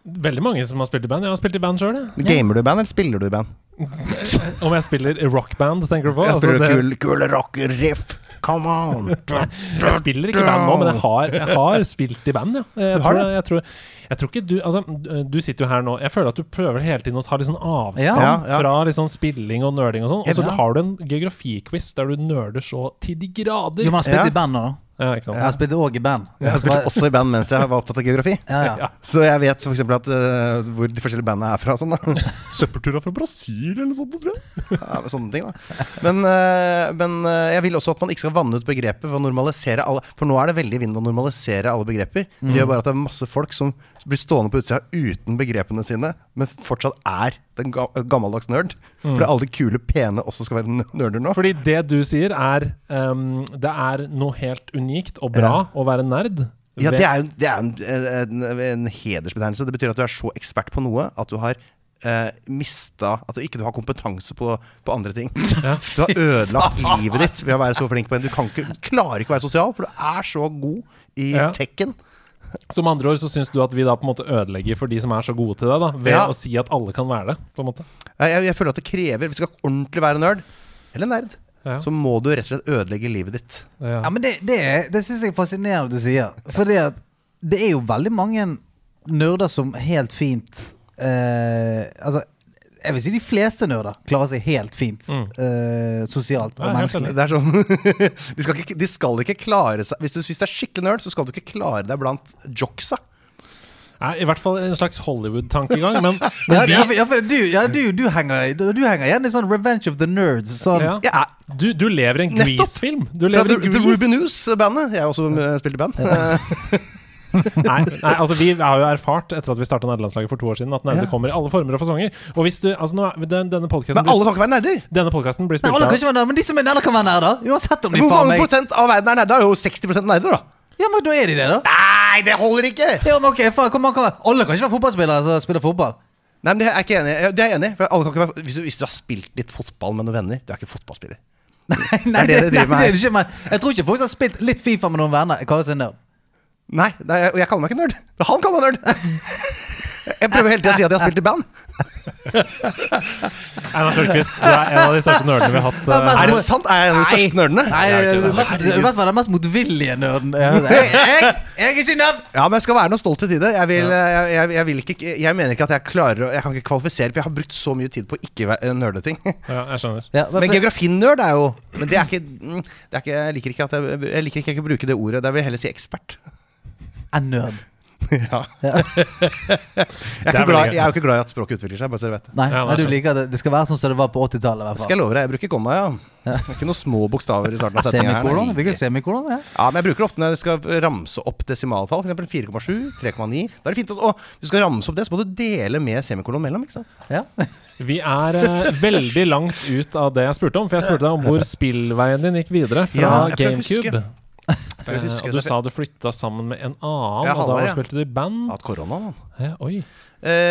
A: Veldig mange som har spilt i band. Jeg har spilt i band sjøl, jeg.
E: Gamer du i band, eller spiller du i band?
A: Om jeg spiller i rockband, tenker du på?
E: Jeg
A: Altså,
E: spiller
A: det-
E: kul, kul rocker riff. Come on!
A: Jeg spiller ikke i band nå, men jeg har, jeg har spilt i band, ja. Eh, Jeg
E: Du har
A: tror, jeg, tror, jeg tror ikke du Altså, du sitter jo her nå Jeg føler at du prøver hele tiden å ta litt sånn avstand
E: Ja, ja.
A: fra litt sånn spilling og nerding og sånn, og så
B: Ja.
A: har du en geografiquiz der du nerder så til de grader.
B: Jo, men han spilte
E: Ja.
B: i band nå, da.
A: ja, ikke
B: Han
A: sant?
B: spilte òg i band.
E: Jeg spilte også i band mens jeg var opptatt av geografi.
B: Ja, ja.
E: Så jeg vet for eksempel at, eh, hvor de forskjellige bandene er fra. og Sånn, da.
A: *laughs* Søppelturer fra Brasil eller noe sånt, tror jeg.
E: Ja, men sånne ting, da. Men, eh, men eh, jeg vil også at man ikke skal vanne ut begrepet for å normalisere alle For nå er det veldig i vinden å normalisere alle begreper.
A: Mm.
E: Det gjør bare at det er masse folk som blir stående på utsida uten begrepene sine, men fortsatt er den ga- gammeldags nerd.
A: Mm.
E: Fordi alle de kule, pene også skal være n- nerder nå.
A: Fordi det du sier, er ehm, Det er noe helt unikt og bra å være nerd.
E: Ja,
A: Ved-
E: det er jo det er en, en, en hedersbetegnelse. Det betyr at du er så ekspert på noe at du har eh, mista At du ikke du har kompetanse på, på andre ting. *laughs* Du har ødelagt livet ditt ved å være så flink på en. Du, kan ikke, du klarer ikke å være sosial, for du er så god i
A: Ja.
E: tekken.
A: Som andre ord så syns du at vi da på en måte ødelegger for de som er så gode til deg, da, ved
E: Ja.
A: å si at alle kan være det, på en måte.
E: Jeg, jeg, jeg føler at det krever Hvis du skal ordentlig være nerd, eller nerd,
A: Ja.
E: så må du rett og slett ødelegge livet ditt.
A: Ja.
B: Ja, men Det, det, er- det syns jeg er fascinerende at du sier. Fordi at det er jo veldig mange nerder som helt fint eh, Altså, jeg vil si de fleste nerder klarer seg helt fint eh, sosialt og
A: Mm. Ja, helt
B: menneskelig.
A: enig.
E: Det er sånn *laughs* de, skal ikke, de skal ikke klare seg Hvis du syns det er skikkelig nerd, så skal du ikke klare deg blant jocksa.
A: Nei, I hvert fall en slags Hollywood-tankegang.
E: *laughs*
A: Men, men
B: Ja,
A: vi,
B: ja, for- ja, for du, ja du, du, henger, du, du henger igjen i sånn Revenge of the Nerds. Sånn,
A: Ja.
E: Jeg er
A: du, du lever i en
E: Nettopp!
A: Grease-film! Du
E: Fra
A: lever
E: The,
A: i
E: The
A: Grease.
E: Ruby News-bandet. Jeg har også eh, spilt i band. *laughs* Eh,
A: Nei,
E: *laughs*
A: nei, altså vi har jo erfart etter at vi starta Nederlandslaget for to år siden, at nerder kommer i alle former og fasonger. Og hvis du, altså nå, er- den, denne podkasten
E: Men alle kan ikke være nerder!
A: denne podcasten blir
B: Nei,
A: spilt
B: alle
A: av
B: kan ikke være nær, men de som er nær, kan være nær, da. Uansett om de
E: Hvor
B: faen
E: mange
B: meg
E: prosent av verden er nerder? Det er jo 60 nerder, da!
B: Ja, men da er de det, da.
E: Nei, det holder ikke!
B: Ja, men ok, faen, hvor mange kan være Alle kan ikke være fotballspillere som spiller fotball.
E: Nei, men Det er jeg ikke enig i. Det er jeg enig i. for alle kan ikke være- Hvis, du- hvis du har spilt litt fotball med noen venner, du er ikke fotballspiller.
B: Nei,
E: det de driver med
B: nei,
E: her.
B: det er ikke, men jeg tror ikke folk som har spilt litt Fifa med noen venner, kaller seg nerd.
E: Nei, det er, og jeg kaller meg ikke nerd. Han kaller *laughs* meg nerd! Jeg prøver hele tiden å si at jeg har spilt i band.
A: Einar Tørkvist. Du er en av de største nerdene vi har hatt.
B: Ja, men-
A: eh,
E: Er altså, det sant? Er jeg den største nerdene?
B: Nei,
A: det er ikke det.
B: det er mest- I hvert fall den mest motvillige nerden. Jeg, jeg, jeg er ikke nerd!
E: Ja, men jeg skal være noe stolt i tide. Jeg, vil, eh, jeg, jeg, jeg, vil ikke, jeg mener ikke at jeg klarer å Jeg kan ikke kvalifisere, for jeg har brukt så mye tid på å ikke være- nerde ting.
A: ja, jeg skjønner.
B: Ja, men
E: Men
B: for-
E: geografinerd er jo Men det er ikke, mm, det er ikke, jeg, liker ikke at jeg, jeg liker ikke å bruke det ordet. Der vil jeg heller si ekspert. *laughs*
B: er nerd.
E: Ja. jeg, er
A: veldig
E: ikke
A: gøy.
E: glad, jeg er jo ikke glad i at språket utvikler seg, bare så du vet det.
B: Nei,
A: Ja,
B: nei,
A: det er
B: du liker det. Det skal være sånn som det var på 80-tallet. i hvert
E: Det
B: fall.
E: skal jeg love deg. Jeg bruker komma, ja. Det er ikke noen små bokstaver i starten av setninga her.
B: Semikolon?
E: nei.
B: Bruker du semikolon? Ja.
E: Ja, men jeg bruker det ofte når jeg skal ramse opp desimaltall. F.eks. 4,7, 3,9. Da er det fint å å, hvis du skal ramse opp det, så må du dele med semikolon mellom. ikke
A: Eh,
E: sant?
B: Ja.
A: Vi er eh, veldig langt ut av det jeg spurte om, for jeg spurte deg om hvor spillveien din gikk videre fra
E: Ja, jeg prøver å
A: GameCube.
E: Jeg
A: Eh,
E: husker
A: og du
E: det-
A: sa du flytta sammen med en annen,
E: Ja,
A: og da
E: Halvard, ja.
A: spilte du i band.
E: Hatt korona, mann.
A: Ja, oi.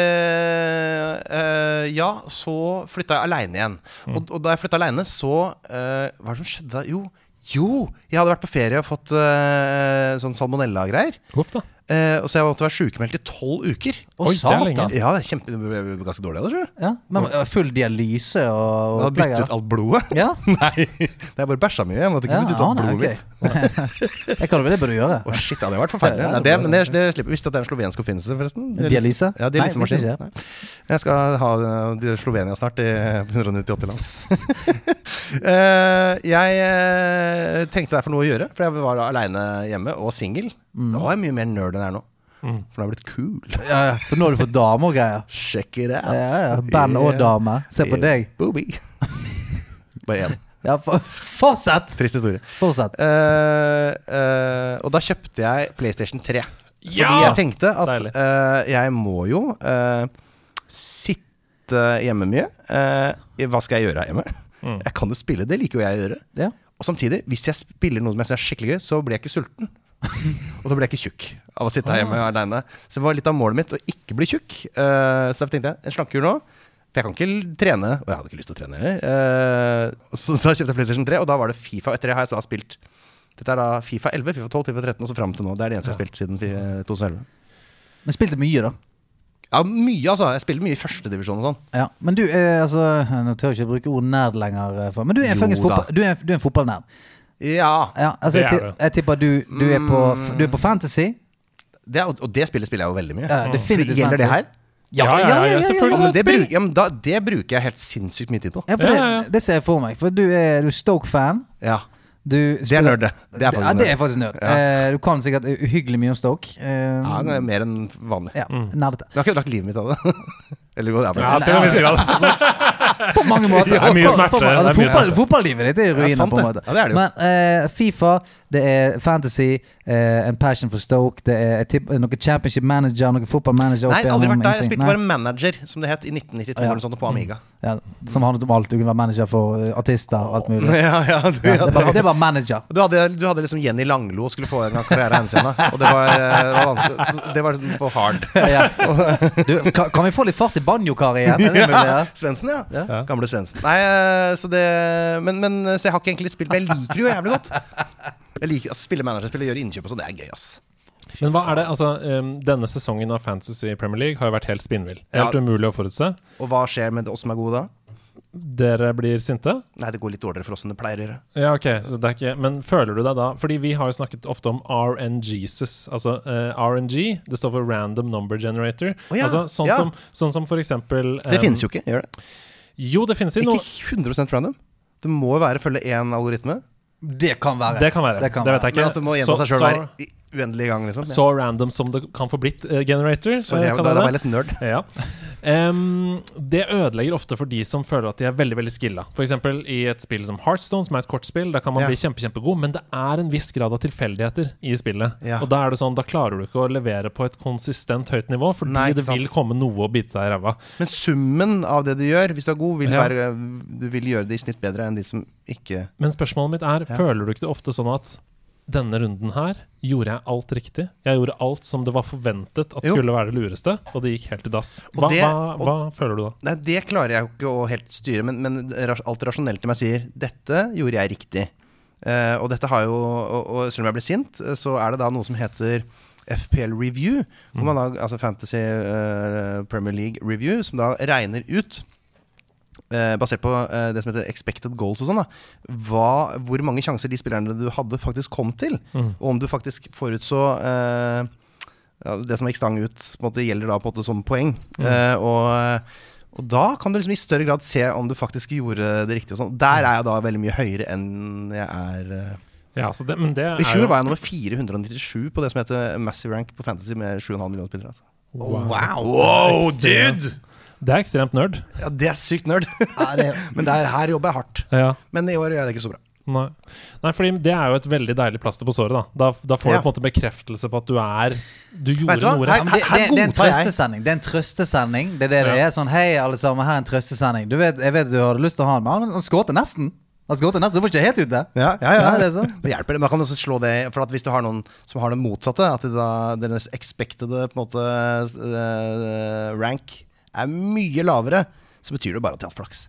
E: Eh, eh, ja, så flytta jeg aleine igjen.
B: Mm.
E: Og, og da jeg flytta aleine, så eh, Hva er det som skjedde da? Jo, jo! Jeg hadde vært på ferie og fått eh, sånn salmonella-greier.
A: Huff, da.
E: Eh, og så jeg måtte være sjukmeldt i tolv uker.
B: Å,
A: Oi, det er lenge.
B: satan!
E: Ja, det er kjempe, det ble ganske dårlig av det, tror jeg.
B: Ja, men eh, full dialyse og
E: Jeg
B: og
E: hadde byttet
B: opplegg,
E: ut alt blodet. *laughs*
B: Ja.
E: Nei, det er bare bæsja mye. Jeg måtte ikke
B: Ja,
E: bytte ut alt
B: ja,
E: blodet
B: ok.
E: mitt.
B: *laughs* Jeg kan jo vel det burde du gjøre.
E: Å shit, ja, det hadde vært forferdelig. Nei, det, men det, det slipper. Visste du at det er en slovensk oppfinnelse, forresten?
B: Dialyse?
E: Ja, dialysemaskin.
B: Nei, visste
E: Nei. Jeg skal ha eh, di- Slovenia snart, i 198 land. *laughs* Eh, jeg eh, trengte derfor noe å gjøre, for jeg var aleine hjemme og singel.
B: Mm.
E: Da var jeg mye mer nerd enn jeg er nå. For nå har jeg blitt cool.
B: Ja, ja. For nå har du fått dame og greier.
E: Check it out.
B: Ja, ja. Band og dame. Se på deg.
E: Booby. *laughs* Bare én.
B: Ja, for, fortsett!
E: Trist historie.
B: Fortsett.
E: Eh, eh, og da kjøpte jeg PlayStation 3.
A: Ja!
E: Fordi jeg tenkte at
A: Deilig.
E: eh, jeg må jo eh, sitte hjemme mye. Eh, hva skal jeg gjøre her hjemme?
A: Mm.
E: Jeg kan jo spille, det liker jo jeg å gjøre.
B: Ja.
E: Og samtidig, hvis jeg spiller noe som jeg syns er skikkelig gøy, så blir jeg ikke sulten. og så blir jeg ikke tjukk av å sitte her hjemme aleine. Så det var litt av målet mitt å ikke bli tjukk. Eh, så derfor tenkte jeg en slankekur nå. For jeg kan ikke trene, og jeg hadde ikke lyst til å trene heller. Eh, så *laughs* da kjøpte jeg PlayStation 3, og da var det Fifa. Etter det har jeg så spilt Dette er da Fifa 11, Fifa 12, Fifa 13 og så fram til nå. Det er det eneste jeg har spilt siden eh, 2011.
B: Men spilte mye, da.
E: Ja, mye, altså. Jeg spiller mye i førstedivisjon og sånn.
B: Ja, Men du er altså Nå tør jeg ikke bruke ordet nerd lenger. eh, for- Men du er en
E: Jo
B: faktisk
E: da.
B: fotball, du er, du er en fotballnerd.
E: Ja.
B: Ja, altså,
A: Det
B: jeg,
A: er
B: ti-
A: du.
B: jeg tipper du, du, er på, du er på fantasy.
E: Det er, og det spillet spiller jeg jo veldig mye.
B: Ja, definitivt
E: Gjelder det
B: fantasy.
E: her?
A: Ja, ja, ja,
E: Ja,
A: selvfølgelig.
E: men det,
A: Et spill.
E: bruk, ja, men da, det bruker jeg helt sinnssykt mye tid på.
B: Ja, for
A: Ja,
B: det,
A: ja, ja.
B: det ser jeg for meg. For du er, du er Stoke-fan.
E: Ja.
B: Det
E: Det er nerd, det. Det
B: ja,
E: er faktisk
B: det er
E: nerd.
B: faktisk nerd. Eh, du kan sikkert uhyggelig mye om Stoke. Eh,
E: Ja, det er mer enn vanlig.
B: ja,
A: Mm.
B: nerdete.
E: Jeg har ikke lagt livet mitt av det. *laughs* Eller jo, det er bare
A: Ja, til en viss grad.
B: På mange
A: *laughs*
B: måter.
A: Det er mye
B: På- på-
A: smerte,
B: på-
A: det er
B: altså,
A: mye
B: fotball,
A: smerte.
B: Fotballivet ditt er i
E: Ja,
B: ruiner,
E: sant
B: på en
E: det.
B: måte.
E: Ja, det er det jo.
B: Men eh, Fifa, det er fantasy, eh, en passion for Stoke, det er et tipp- noe championship manager, noe fotballmanager
E: Nei,
B: opp igjennom,
E: aldri vært der. Jeg
B: ingenting.
E: spilte
B: Nei.
E: bare manager, som det het, i 1992
B: Ja. Mm.
E: eller noe sånt, på Amiga.
B: ja, Som handlet om alt. Du kunne være manager for eh, artister og alt mulig.
E: *laughs* Ja, ja,
B: Ja,
E: du, ja,
B: det,
E: du,
B: var, det
E: hadde,
B: var manager.
E: du, hadde, du hadde liksom Jenny Langlo og skulle få en gang karriere hennes igjen. da. Og det var, eh, det var, vanskelig. Så det var sånn på hard.
B: Ja. Du, kan, kan vi få litt fart i banjokaret igjen? Er det mulig? *laughs* Ja.
E: Svendsen, ja.
A: Ja.
E: Gamle Svendsen. Nei, eh, så det men, men eh, så jeg har ikke egentlig spilt, men jeg liker det jo jævlig godt. Jeg liker, altså, Spille managerspill og gjøre innkjøp og sånn, det er gøy, ass.
A: *laughs* Men hva er det, altså, um, denne sesongen av Fantasy Premier League har jo vært helt spinnvill. Helt
E: Ja.
A: umulig å forutse.
E: Og hva skjer med oss som er gode da?
A: Dere blir sinte.
E: Nei, det går litt dårligere for oss enn det pleier å gjøre.
A: Ja, ok, så det er ikke Men føler du deg da Fordi vi har jo snakket ofte om RNGesus. Altså eh, RNG, det står for Random Number Generator.
E: Å ja,
A: Altså sånn,
E: ja.
A: som, sånn som for eksempel
E: Det finnes jo ikke, gjør det?
A: Jo, det finnes i
E: Ikke
A: noe
E: 100 random. Det må jo være følge én algoritme.
B: Det kan være.
A: Det kan være. Det, vet jeg ikke.
E: Men at det må gjenta
A: Så-
E: seg sjøl
A: så-
E: hver i- uendelige gang, liksom.
A: Så random som det kan få blitt eh, generator. eh,
E: Sorry, jeg,
A: kan
E: da,
A: det
E: da
A: det?
E: var jeg litt nerd.
A: Ja. Em, det ødelegger ofte for de som føler at de er veldig veldig skilla. F.eks. i et spill som Heartstone, som er et kortspill. Der kan man
E: Ja.
A: bli kjempe, kjempegod, men det er en viss grad av tilfeldigheter i spillet.
E: Ja.
A: Og Da er det sånn, da klarer du ikke å levere på et konsistent høyt nivå, fordi
E: Nei, ikke
A: det vil
E: sant.
A: komme noe å bite deg i ræva.
E: Men summen av det du gjør, hvis du er god, vil
A: Ja.
E: være, du vil gjøre det i snitt bedre enn de som ikke
A: Men spørsmålet mitt er, føler du ikke det ofte sånn at denne runden her gjorde jeg alt riktig? Jeg gjorde alt som det var forventet at
E: Jo.
A: skulle være det lureste, og det gikk helt i dass.
E: Og
A: Hva,
E: det-
A: hva,
E: og-
A: hva føler du da?
E: Nei, det klarer jeg jo ikke å helt styre, men, men ras- alt rasjonelt i meg sier dette gjorde jeg riktig. Eh, og dette har jo og, og selv om jeg ble sint, eh, så er det da noe som heter FPL Review. Hvor man da, altså Fantasy eh, Premier League Review, som da regner ut eh, Basert på eh, det som heter expected goals og sånn, da. Hva, hvor mange sjanser de spillerne du hadde, faktisk kom til. Og om du faktisk forutså eh, ja, det som gikk stang ut, på en måte, gjelder da på en måte som poeng. Eh, og, og da kan du liksom i større grad se om du faktisk gjorde det riktig. Og sånn. Der er jeg da veldig mye høyere enn jeg er eh.
A: Ja, så det, men det
E: I
A: er
E: fjor
A: jo
E: var jeg nummer 497 på det som heter Massive Rank på Fantasy med 7,5 millioner spillere. Altså.
A: Wow, dude! Det er ekstremt nerd.
E: Ja, det er sykt *laughs* nerd. Men der, her jobber jeg hardt.
A: Ja.
E: Men i år gjør jeg det ikke så bra.
A: Nei. Nei, fordi det er jo et veldig deilig plaster på såret. Da Da, da får
E: Ja.
A: du på en måte bekreftelse på at du er Du
E: Vet du
A: gjorde
E: hva?
A: noe
E: Her-
A: rett.
B: Men det,
E: her
B: det, det er en
E: godtar jeg.
B: trøstesending. Det er en trøstesending. Det er det det
A: Ja.
B: er. Sånn hei, alle sammen, her er en trøstesending. Du vet, jeg vet du hadde lyst til å ha den, men han skårte nesten. Altså, gå til neste, du var ikke helt ute.
E: Ja, ja, ja.
B: Ja, det er sånn.
E: Det hjelper. det. Man kan også slå det For at hvis du har noen som har det motsatte, at det da, deres expected på en måte, eh, rank er mye lavere, så betyr det bare at de har hatt flaks.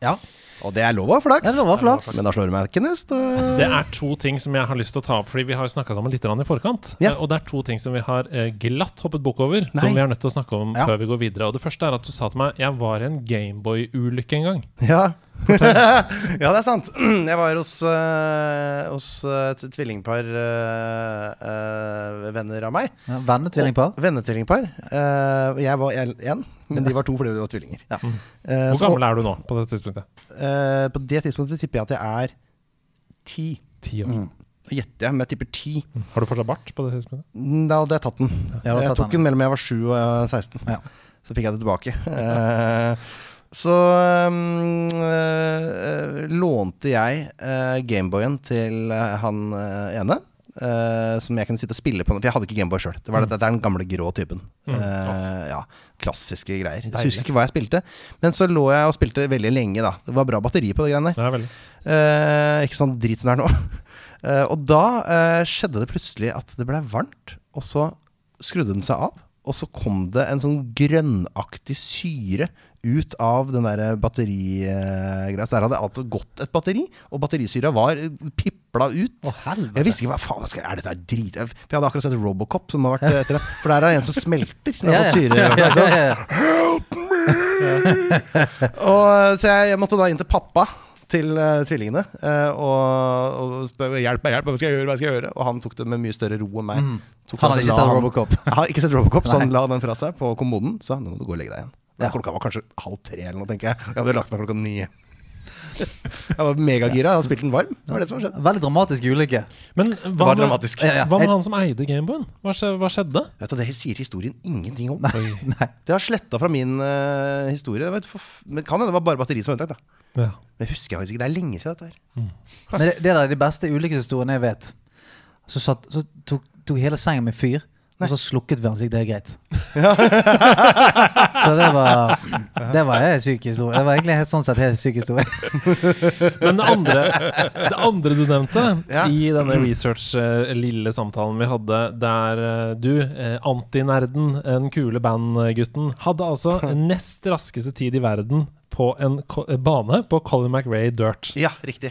B: Ja.
E: Og det er lov å ha flaks.
B: Det er lov å ha flaks.
E: Men da slår du meg ikke neste.
A: Det er to ting som jeg har lyst til å ta opp, fordi vi har snakka sammen litt grann i forkant.
E: Ja.
A: Eh, Og det er to ting som vi har eh, glatt hoppet bukk over, som vi er nødt til å snakke om
B: Ja.
A: før vi går videre. Og det første er at du sa til meg jeg var i en Gameboy-ulykke en gang.
E: Ja. *laughs* ja, det er sant. Jeg var hos, eh, hos eh, et tvillingpar eh, eh, venner av meg.
B: Ja, Vennetvillingpar.
E: Og- Vennetvillingpar. Eh, jeg var én, men de var to fordi de var tvillinger.
B: Ja.
E: Eh,
A: Hvor
E: så-
A: gammel er du nå på dette tidspunktet?
E: Eh, på det tidspunktet tipper jeg at jeg er ti.
A: Ti år. Mm.
E: Da gjetter jeg, men jeg tipper ti.
A: Har du fortsatt bart på det tidspunktet?
E: Mm, Da hadde jeg tatt den.
B: Ja, du har
E: jeg
B: tatt
E: tok
B: den.
E: den mellom jeg var 7 og jeg var 16.
B: Ja.
E: Så fikk jeg det tilbake. Eh, så mm, eh, lånte jeg eh, Gameboyen til eh, han eh, ene. eh, som jeg kunne sitte og spille på. For jeg hadde ikke Gameboy sjøl. Det var
B: Mm.
E: det, dette er den gamle grå typen. Eh, ja, Klassiske greier. Jeg husker ikke hva jeg spilte. Men så lå jeg og spilte veldig lenge, da. Det var bra batteri på det greiene der.
A: Ja, veldig.
E: Eh, ikke sånn drit som det er nå. *laughs* Eh, og da eh, skjedde det plutselig at det ble varmt, og så skrudde den seg av. Og så kom det en sånn grønnaktig syre ut av den der batterigreia. Så der hadde alt gått et batteri, og batterisyra var eh, pipla ut.
B: Å, helvete.
E: jeg visste ikke hva faen skal, er dette her drit... For jeg hadde akkurat sett Robocop, som har vært eh, etter det. For der er det en som smelter. Når ja, Syre,
B: *laughs* ja,
E: sånn.
B: ja, ja, ja.
E: og, eh, så jeg, jeg måtte da inn til pappa til eh, tvillingene eh, og, og spørre hjelp meg, hjelp meg, hva skal jeg gjøre? hva skal jeg gjøre? Og han tok det med mye større ro enn meg. Tok
B: Mm. Han hadde
E: så
B: ikke
E: la
B: sett Robocop.
E: Jeg har ikke sett Robocop, så han
B: Nei.
E: la den fra seg på kommoden. Så nå må du gå og legge deg igjen.
B: Ja.
E: Klokka var kanskje halv tre eller noe, tenker jeg. Jeg hadde lagt meg klokka ni. Jeg var megagira. Jeg hadde spilt den varm. Det var det som hadde skjedd.
B: Veldig dramatisk ulykke.
A: Men
E: Det
A: hva
E: var
A: med,
E: dramatisk.
B: Ja, ja.
A: hva med han som eide Gameboyen? Hva, skje, hva skjedde?
E: Vet du, Det sier historien ingenting om.
B: Nei. Nei.
E: Det har sletta fra min eh, historie. Det var et forf- Men kan hende det var bare batteriet som var unntatt. da.
A: Ja.
E: Det husker jeg faktisk ikke. Det er lenge siden dette her.
B: Men det, det der er de beste ulykkeshistoriene jeg vet. Så, satt, så tok, tok hele sengen min fyr, og så slukket vi den, så gikk det greit. *laughs* så det var
E: *laughs*
B: Det var en syk historie. Det var egentlig helt, sånn sett helt syk historie.
A: Men det andre, det andre du
B: *laughs*
A: nevnte
E: Ja.
A: i denne research-lille samtalen vi hadde, der eh, du, eh, antinerden, den kule bandgutten, hadde altså
B: *laughs*
A: nest raskeste tid i verden på en ko eh, bane på Colin McRae Dirt. *laughs*
E: Ja, riktig.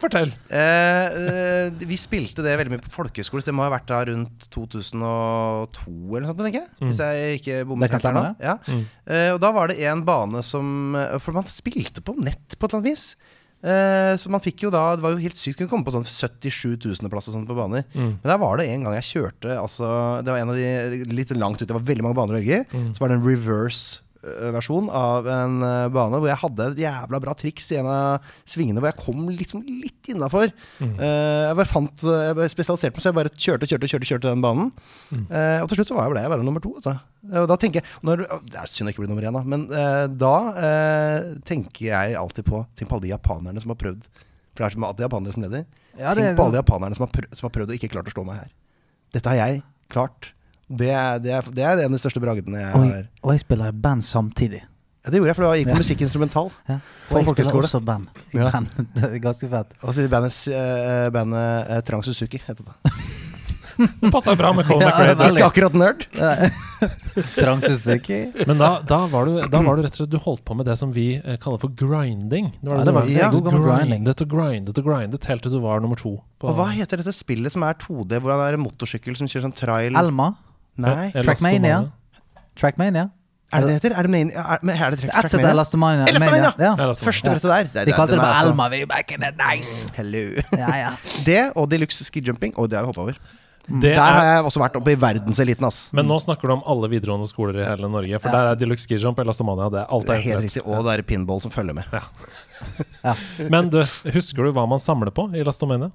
A: Fortell!
E: Eh, eh, vi spilte det veldig mye på folkehøyskole. så Det må ha vært da rundt 2002 eller noe sånt, tenker jeg. Hvis jeg ikke bommer
B: Mm. Det Mm. kan
E: helt her nå.
B: stemme,
E: Ja. Eh, og da var det en bane som eh, For man spilte på nett på et eller annet vis. Eh, så man fikk jo da Det var jo helt sykt. Kunne komme på sånn 77 000-plass og sånt på baner.
B: Mm.
E: Men der var det en gang jeg kjørte altså, Det var en av de litt langt ute. Det var veldig mange baner å velge i.
A: Mm.
E: Så var det en reverse eh, versjon av en eh, bane hvor jeg hadde et jævla bra triks i en av svingene hvor jeg kom liksom litt innafor. jeg bare fant eh, Jeg bare spesialiserte meg, så jeg bare kjørte kjørte, kjørte, kjørte den banen. Eh, og til slutt så var jeg, ble jeg bare nummer to. Altså. Og da tenker jeg når, Det er synd jeg ikke blir nummer én, da. Men eh, da eh, tenker jeg alltid på Tenk på alle de japanerne som har prøvd. For det er som alltid japanere som leder.
B: Ja, det-
E: tenk på alle de japanerne som har, prøvd, som har prøvd og ikke klart å slå meg her. Dette har jeg klart. Det er, det er, det er en av de største bragdene jeg
B: Og,
E: har.
B: jeg- og jeg spiller i band samtidig.
E: Ja, det gjorde jeg, for det var, jeg gikk på musikkinstrumental.
B: Ja. Og
E: På
B: jeg spiller
E: folkehøyskole.
B: også band. I
E: Ja.
B: band. *laughs* Det er ganske fett.
E: Og så bandet, eh, bandet eh, Trang Suzuki heter det.
A: Det passa bra med Colin
B: *laughs* Ja,
E: *laughs*
A: McRae.
B: det er
A: Dirt.
E: Ikke akkurat nerd.
B: *laughs* Trangsuzuki.
E: Mm.
A: Men da, da, var du, da var du rett og slett Du holdt på med det som vi eh, kaller for grinding. Det
B: Ja,
A: var det
B: det var-
A: du
E: ja,
A: Du
B: god gammel grinding.
A: grindet og grindet og grindet helt til du var nummer to. på-
E: Og hva heter dette spillet som er 2D, hvor han er en motorsykkel som kjører sånn trail
B: Elma.
E: Nei,
A: Elastomania.
B: Trackmania. Trackmania.
E: er det det heter? Er det main, er, men er det track,
B: Ett sett er Elastomania.
E: Elastomania!
B: Ja.
A: Elastomania.
E: Første brettet der. Det,
B: De kalte det
E: den er
B: bare
E: altså-
B: Elma. Vi er back in the days.
E: Hello. *laughs*
B: Ja, ja.
E: Det og deluxe skijumping. Og det har vi hoppa over.
A: Det
E: Der har
A: er,
E: jeg også vært oppe i verdenseliten, ass.
A: men nå snakker du om alle videregående skoler i hele Norge, for der er Deluxe Skijump, Elastomania, det er alt er
E: Det er helt
A: instruert.
E: riktig. Og det er pinball som følger med.
A: Men du, husker du hva man samler på i Elastomania?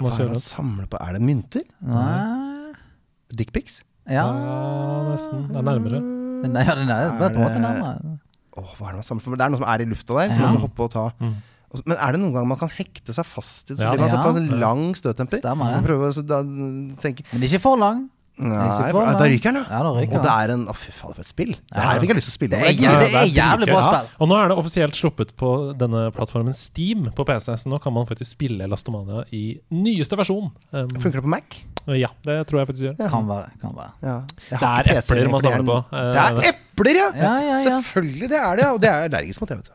A: Må
E: Hva
A: jeg
E: er
A: si
E: det han
A: det?
E: samler på? Er det mynter?
B: Nei.
E: Dickpics?
B: Ja,
A: Ja, nesten. Det er nærmere.
B: nei, ja, det er bare på en måte nærmere.
E: Åh, hva er det man samler for? Det er noe som er i lufta der,
B: Ja.
E: som
B: Mm.
E: man skal hoppe og ta. Og så- Men er det noen gang man kan hekte seg fast i det? Så
A: Ja.
E: blir man
B: Ja.
E: tatt av en lang støttemper.
B: Stemmer det.
E: Og prøve å så da, mm, tenke
B: Men det er ikke for lang.
E: Nei,
B: Ikke for meg.
E: da ryker den,
B: Ja, da ryker
E: Og det er en Å, fy faen, for et spill. Det her fikk jeg lyst til å spille.
B: Det er,
E: Ja,
B: jævlig- det er
E: dritgøy.
B: jævlig bra
E: Ja.
B: spill.
A: Og nå er det offisielt sluppet på denne plattformen Steam på PC, så nå kan man faktisk spille Lastomania i nyeste versjon. Um,
E: Funker det på Mac?
A: ja, det tror jeg faktisk gjør.
B: Kan være. kan være
E: Ja. Jeg
A: Det
E: har
A: er
E: ikke PC
A: epler man
E: lenger,
A: samler på.
E: for det er en- Det er epler, ja!
B: Eh. Ja, ja, ja.
E: Selvfølgelig, det er det. Og det er jeg allergisk mot, det, vet du.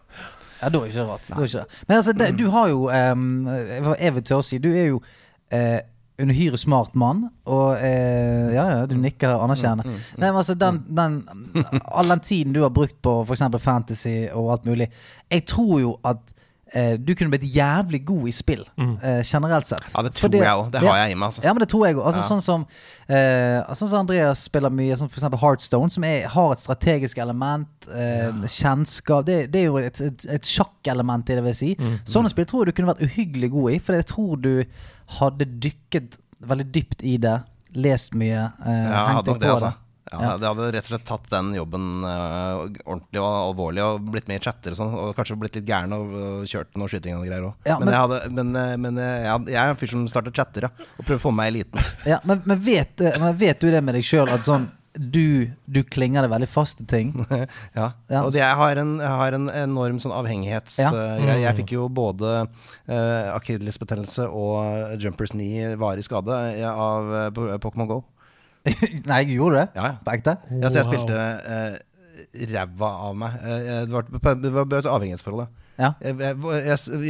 B: Ja, da er ikke det rart. Da er ikke det. Men altså,
E: Mm.
B: det, du har jo ehm, hva Jeg vil tørre å si, du er jo eh, uhyre smart mann. Og eh, ja, ja,
E: Mm.
B: du nikker og anerkjenner. Nei, men altså, den, den All den tiden du har brukt på f.eks. fantasy og alt mulig, jeg tror jo at eh, du kunne blitt jævlig god i spill, eh, generelt sett.
E: Mm. Ja, det tror
B: Fordi-
E: jeg også. Det har jeg i meg, altså.
B: Ja, men det tror jeg òg. Altså,
E: Ja.
B: sånn, som, eh, altså, sånn som Andreas spiller mye, som for eksempel Heartstone, som er, har et strategisk element, eh, kjennskap det, det er jo et, et, et sjakkelement i det, vil jeg si.
E: Mm.
B: Sånne spill tror jeg du kunne vært uhyggelig god i, for jeg tror du hadde dykket veldig dypt i det, lest mye, eh,
E: Ja,
B: hengt
E: jeg hadde
B: deg
E: nok
B: på
E: det,
B: det.
E: altså. Ja,
B: Ja.
E: Det hadde rett og slett tatt den jobben eh, ordentlig og alvorlig og blitt med i chatter og sånn. Og kanskje blitt litt gæren og, og kjørt noe skyting og greier òg.
B: Ja,
E: men,
B: men-
E: jeg, hadde, men, eh, men eh, jeg, hadde, jeg er en fyr som starter chatter, ja. Og prøver å få med meg i eliten. *laughs*
B: Ja, men, men, vet, eh, men vet du det med deg sjøl, at sånn du, du klinger deg veldig fast til
E: *laughs*
B: ting?
E: ja.
B: Ja.
E: Og det, jeg, har en, jeg har en enorm sånn
B: Ja. Mm.
E: avhengighetsgreie. Jeg fikk jo både uh, akillesbetennelse og jumpers knee varig skade eh, av eh, Po- Pokémon GO.
B: Nei, jeg gjorde det?
E: Ja, ja.
B: På ekte?
E: Ja, så jeg
A: Wow.
E: spilte eh, ræva av meg. Eh, det var, det var bare så avhengighetsforholdet.
B: Ja.
E: Jeg, jeg, jeg,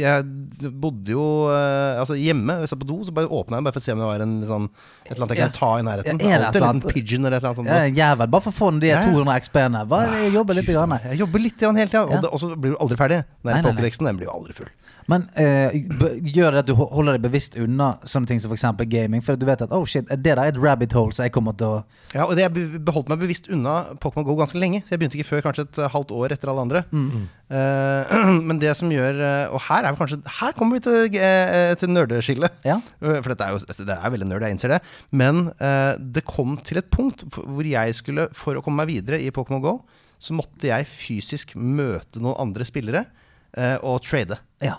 E: jeg bodde jo eh, altså hjemme, jeg satt på do, så bare åpna jeg bare for å se om det var en, sånn, et eller annet jeg
B: Ja.
E: kunne ta i nærheten.
B: Ja, er det et
E: Alltid en
B: eller annet?
E: liten pigeon eller et eller annet sånt.
B: Ja, en jævel. Bare for å få ned de
E: Ja, ja.
B: 200 XP-ene. Bare jobbe litt.
E: Gud,
B: Grann.
E: Jeg jobber litt grann hele tida,
B: Ja.
E: og, det- og så blir du aldri ferdig. Den
B: Nei,
E: der
B: nei, nei.
E: Pokédexen den blir jo aldri full.
B: Men eh, b- gjør det at du ho- holder deg bevisst unna sånne ting som f.eks. gaming? For du vet at oh shit, det der er et rabbit hole, så jeg kommer til å
E: Ja, og det, Jeg be- beholdt meg bevisst unna Pokémon GO ganske lenge. Så Jeg begynte ikke før kanskje et eh, halvt år etter alle andre.
B: Mm.
E: Eh, *clears throat* men det som gjør eh, Og her er vi kanskje Her kommer vi til, uh, til nerdeskillet.
B: Ja.
E: Eh, For dette er jo altså, det er veldig nerd, jeg innser det. Men eh, det kom til et punkt f- hvor jeg skulle For å komme meg videre i Pokémon GO, så måtte jeg fysisk møte noen andre spillere eh, og trade.
B: Ja.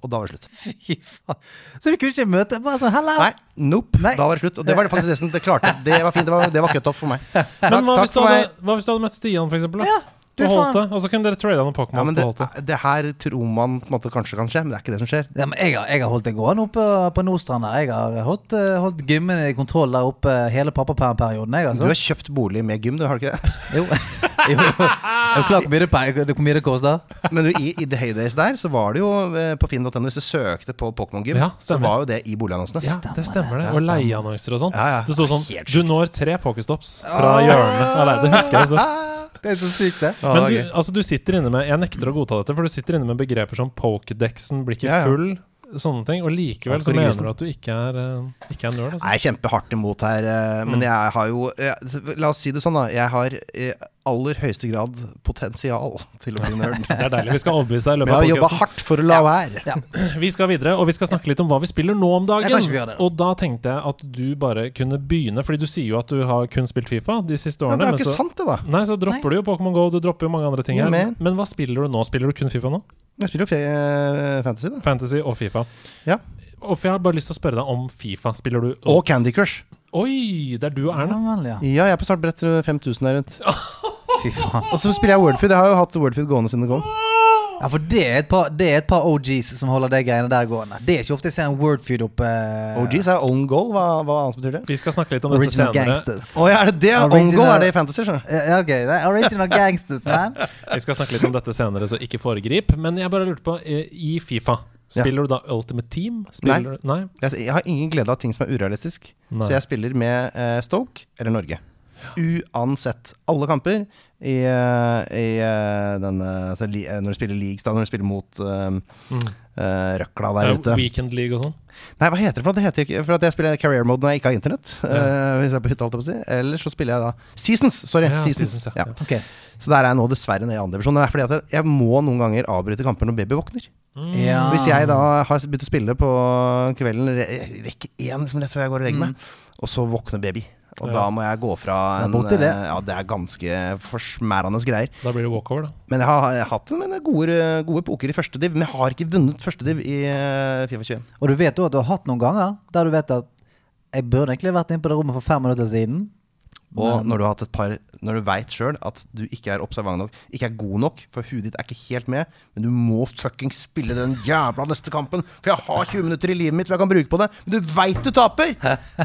E: Og da var det slutt.
B: *laughs* Fy faen. Så du kunne ikke møte bare sånn Hello!
E: Nei, nope.
B: Nei.
E: Da var det slutt. Og det var det faktisk nesten. Det klarte jeg. Det var fint. Det var, det var cut off for meg.
A: Men hva
E: Takk-
A: hvis,
E: takk
A: du
E: for meg.
A: hadde, hva hvis du hadde møtt Stian, for eksempel? Da?
B: Ja, du
A: og holdt det,
B: faen.
A: og så kunne dere trada noen Pokémon
E: Ja, men
A: på
E: det,
A: holdt det.
E: det her tror man på en måte kanskje kan skje, men det er ikke det som skjer.
B: Ja, men jeg, har, jeg har holdt det gående oppe på Nordstrand. der. Jeg har holdt, eh, holdt gymmen i kontroll der oppe hele pappapermperioden. Jeg,
E: Du
B: altså.
E: har kjøpt bolig med gym, du har ikke det?
B: Jo. *laughs* jo. jo. Er du klar over hvor mye det pe- hvor mye det koster?
E: *laughs* Men du, i, i The Heydays der, så var det jo eh, på finn.no, hvis du søkte på Pokémon Gym,
A: Ja,
E: så
A: stemmer.
E: var jo det i boligannonsene.
A: Ja, det stemmer, det. Og leieannonser og sånn.
E: Ja, ja.
A: Det sto sånn
E: Helt
A: 'Du når tre pokerstops fra hjørnet'. Ja, nei, det husker
E: *laughs*
A: jeg. Så.
B: Det er så sykt, det.
E: Ja, det
A: Men
E: var
A: du,
E: gøy.
A: altså, du sitter inne med Jeg nekter å godta dette, for du sitter inne med begreper som pokedexen, blir ikke
E: Ja, ja.
A: full, sånne ting. Og likevel så
E: Alkoholisen.
A: mener du at du ikke er, eh, ikke er nerd. Altså.
E: Jeg er kjempehardt imot her, eh, men jeg har jo eh, La oss si det sånn, da. Jeg har i aller høyeste grad potensial *laughs* til å bli nerd.
A: Det er deilig. Vi skal overbevise deg i
E: Men jeg har
A: løpet av
E: jobba
A: podcasten.
E: hardt for å la være.
A: Vi skal videre, og vi skal snakke litt om hva vi spiller nå om dagen.
B: Ja, kanskje vi gjør det.
A: Og da tenkte jeg at du bare kunne begynne, fordi du sier jo at du har kun spilt Fifa de siste årene.
E: Men det
A: men
E: er jo
A: så,
E: ikke sant, det, da.
A: Nei, så dropper du jo Pokémon GO, du dropper jo mange andre ting
E: Ja,
A: her.
E: men-
A: Men hva spiller du nå? Spiller du kun Fifa nå?
E: Jeg spiller jo fe- eh, Fantasy, da.
A: Fantasy og Fifa.
E: Ja.
A: Og for jeg har bare lyst til å spørre deg om Fifa. Spiller du
E: Og Candy Crush.
A: Oi! Det er du og
B: Ja,
A: Erna.
B: vel, ja.
E: Ja, jeg er på startbrett 5000 der rundt.
B: Fy faen.
E: Og så spiller jeg Wordfeed. Jeg har jo hatt Wordfeed gående siden det kom.
B: Ja, for det er, et par, det er et par OGs som holder de greiene der gående. Det er ikke ofte jeg ser en wordfeed oppe eh,
E: OGs er own goal. Hva, hva annet betyr det?
A: Vi skal snakke litt om dette
B: Original
A: senere.
B: Gangsters.
E: Å ja, er det det? Own
B: Original-
E: goal er det i fantasy, skjønner du.
B: Ja, ja, ok. Det er original gangsters, man.
A: Vi skal snakke litt om dette senere, så ikke foregrip. Men jeg bare lurte på, eh, i Fifa, spiller du da Ultimate Team? Spiller du Nei?
E: Jeg, jeg har ingen glede av ting som er urealistisk.
A: Nei.
E: Så jeg spiller med eh, Stoke eller Norge. Uansett. Alle kamper i, eh, i eh, den eh, altså, li, eh, Når du spiller leagues, da. Når du spiller mot eh, eh, røkla der
A: Eh,
E: ute.
A: Weekend League og sånn?
E: Nei, hva heter det for noe? Det heter ikke For at jeg spiller career mode når jeg ikke har internett. eh, hvis jeg er på hytta, holdt jeg på å si. Eller så spiller jeg da Seasons. Sorry.
A: Ja,
E: seasons.
A: Seasons,
E: ja.
A: ja.
B: Ok.
E: Så der er jeg nå dessverre nede i andre divisjon. Det er fordi at jeg, jeg må noen ganger avbryte kamper når baby våkner.
A: Mm,
B: Ja.
E: Hvis jeg da har begynt å spille på kvelden, re- rekker én liksom rett før jeg går og legger meg, og så våkner baby. Og
A: Ja.
E: da må jeg gå fra
B: Mm. Det er
E: en,
B: borti det.
E: eh, Ja, det er ganske forsmærende greier.
A: Da blir det walkover, da.
E: Men jeg har, jeg har hatt en gode, gode poker i første div, men jeg har ikke vunnet første div i eh, Fifa 21.
B: Og du vet òg at du har hatt noen ganger der du vet at jeg burde egentlig vært inne på det rommet for fem minutter siden.
E: Og når du har hatt et par Når du veit sjøl at du ikke er observant nok, ikke er god nok, for huet ditt er ikke helt med, men du må fuckings spille den jævla neste kampen, for jeg har 20 minutter i livet mitt som jeg kan bruke på det, men du veit du taper!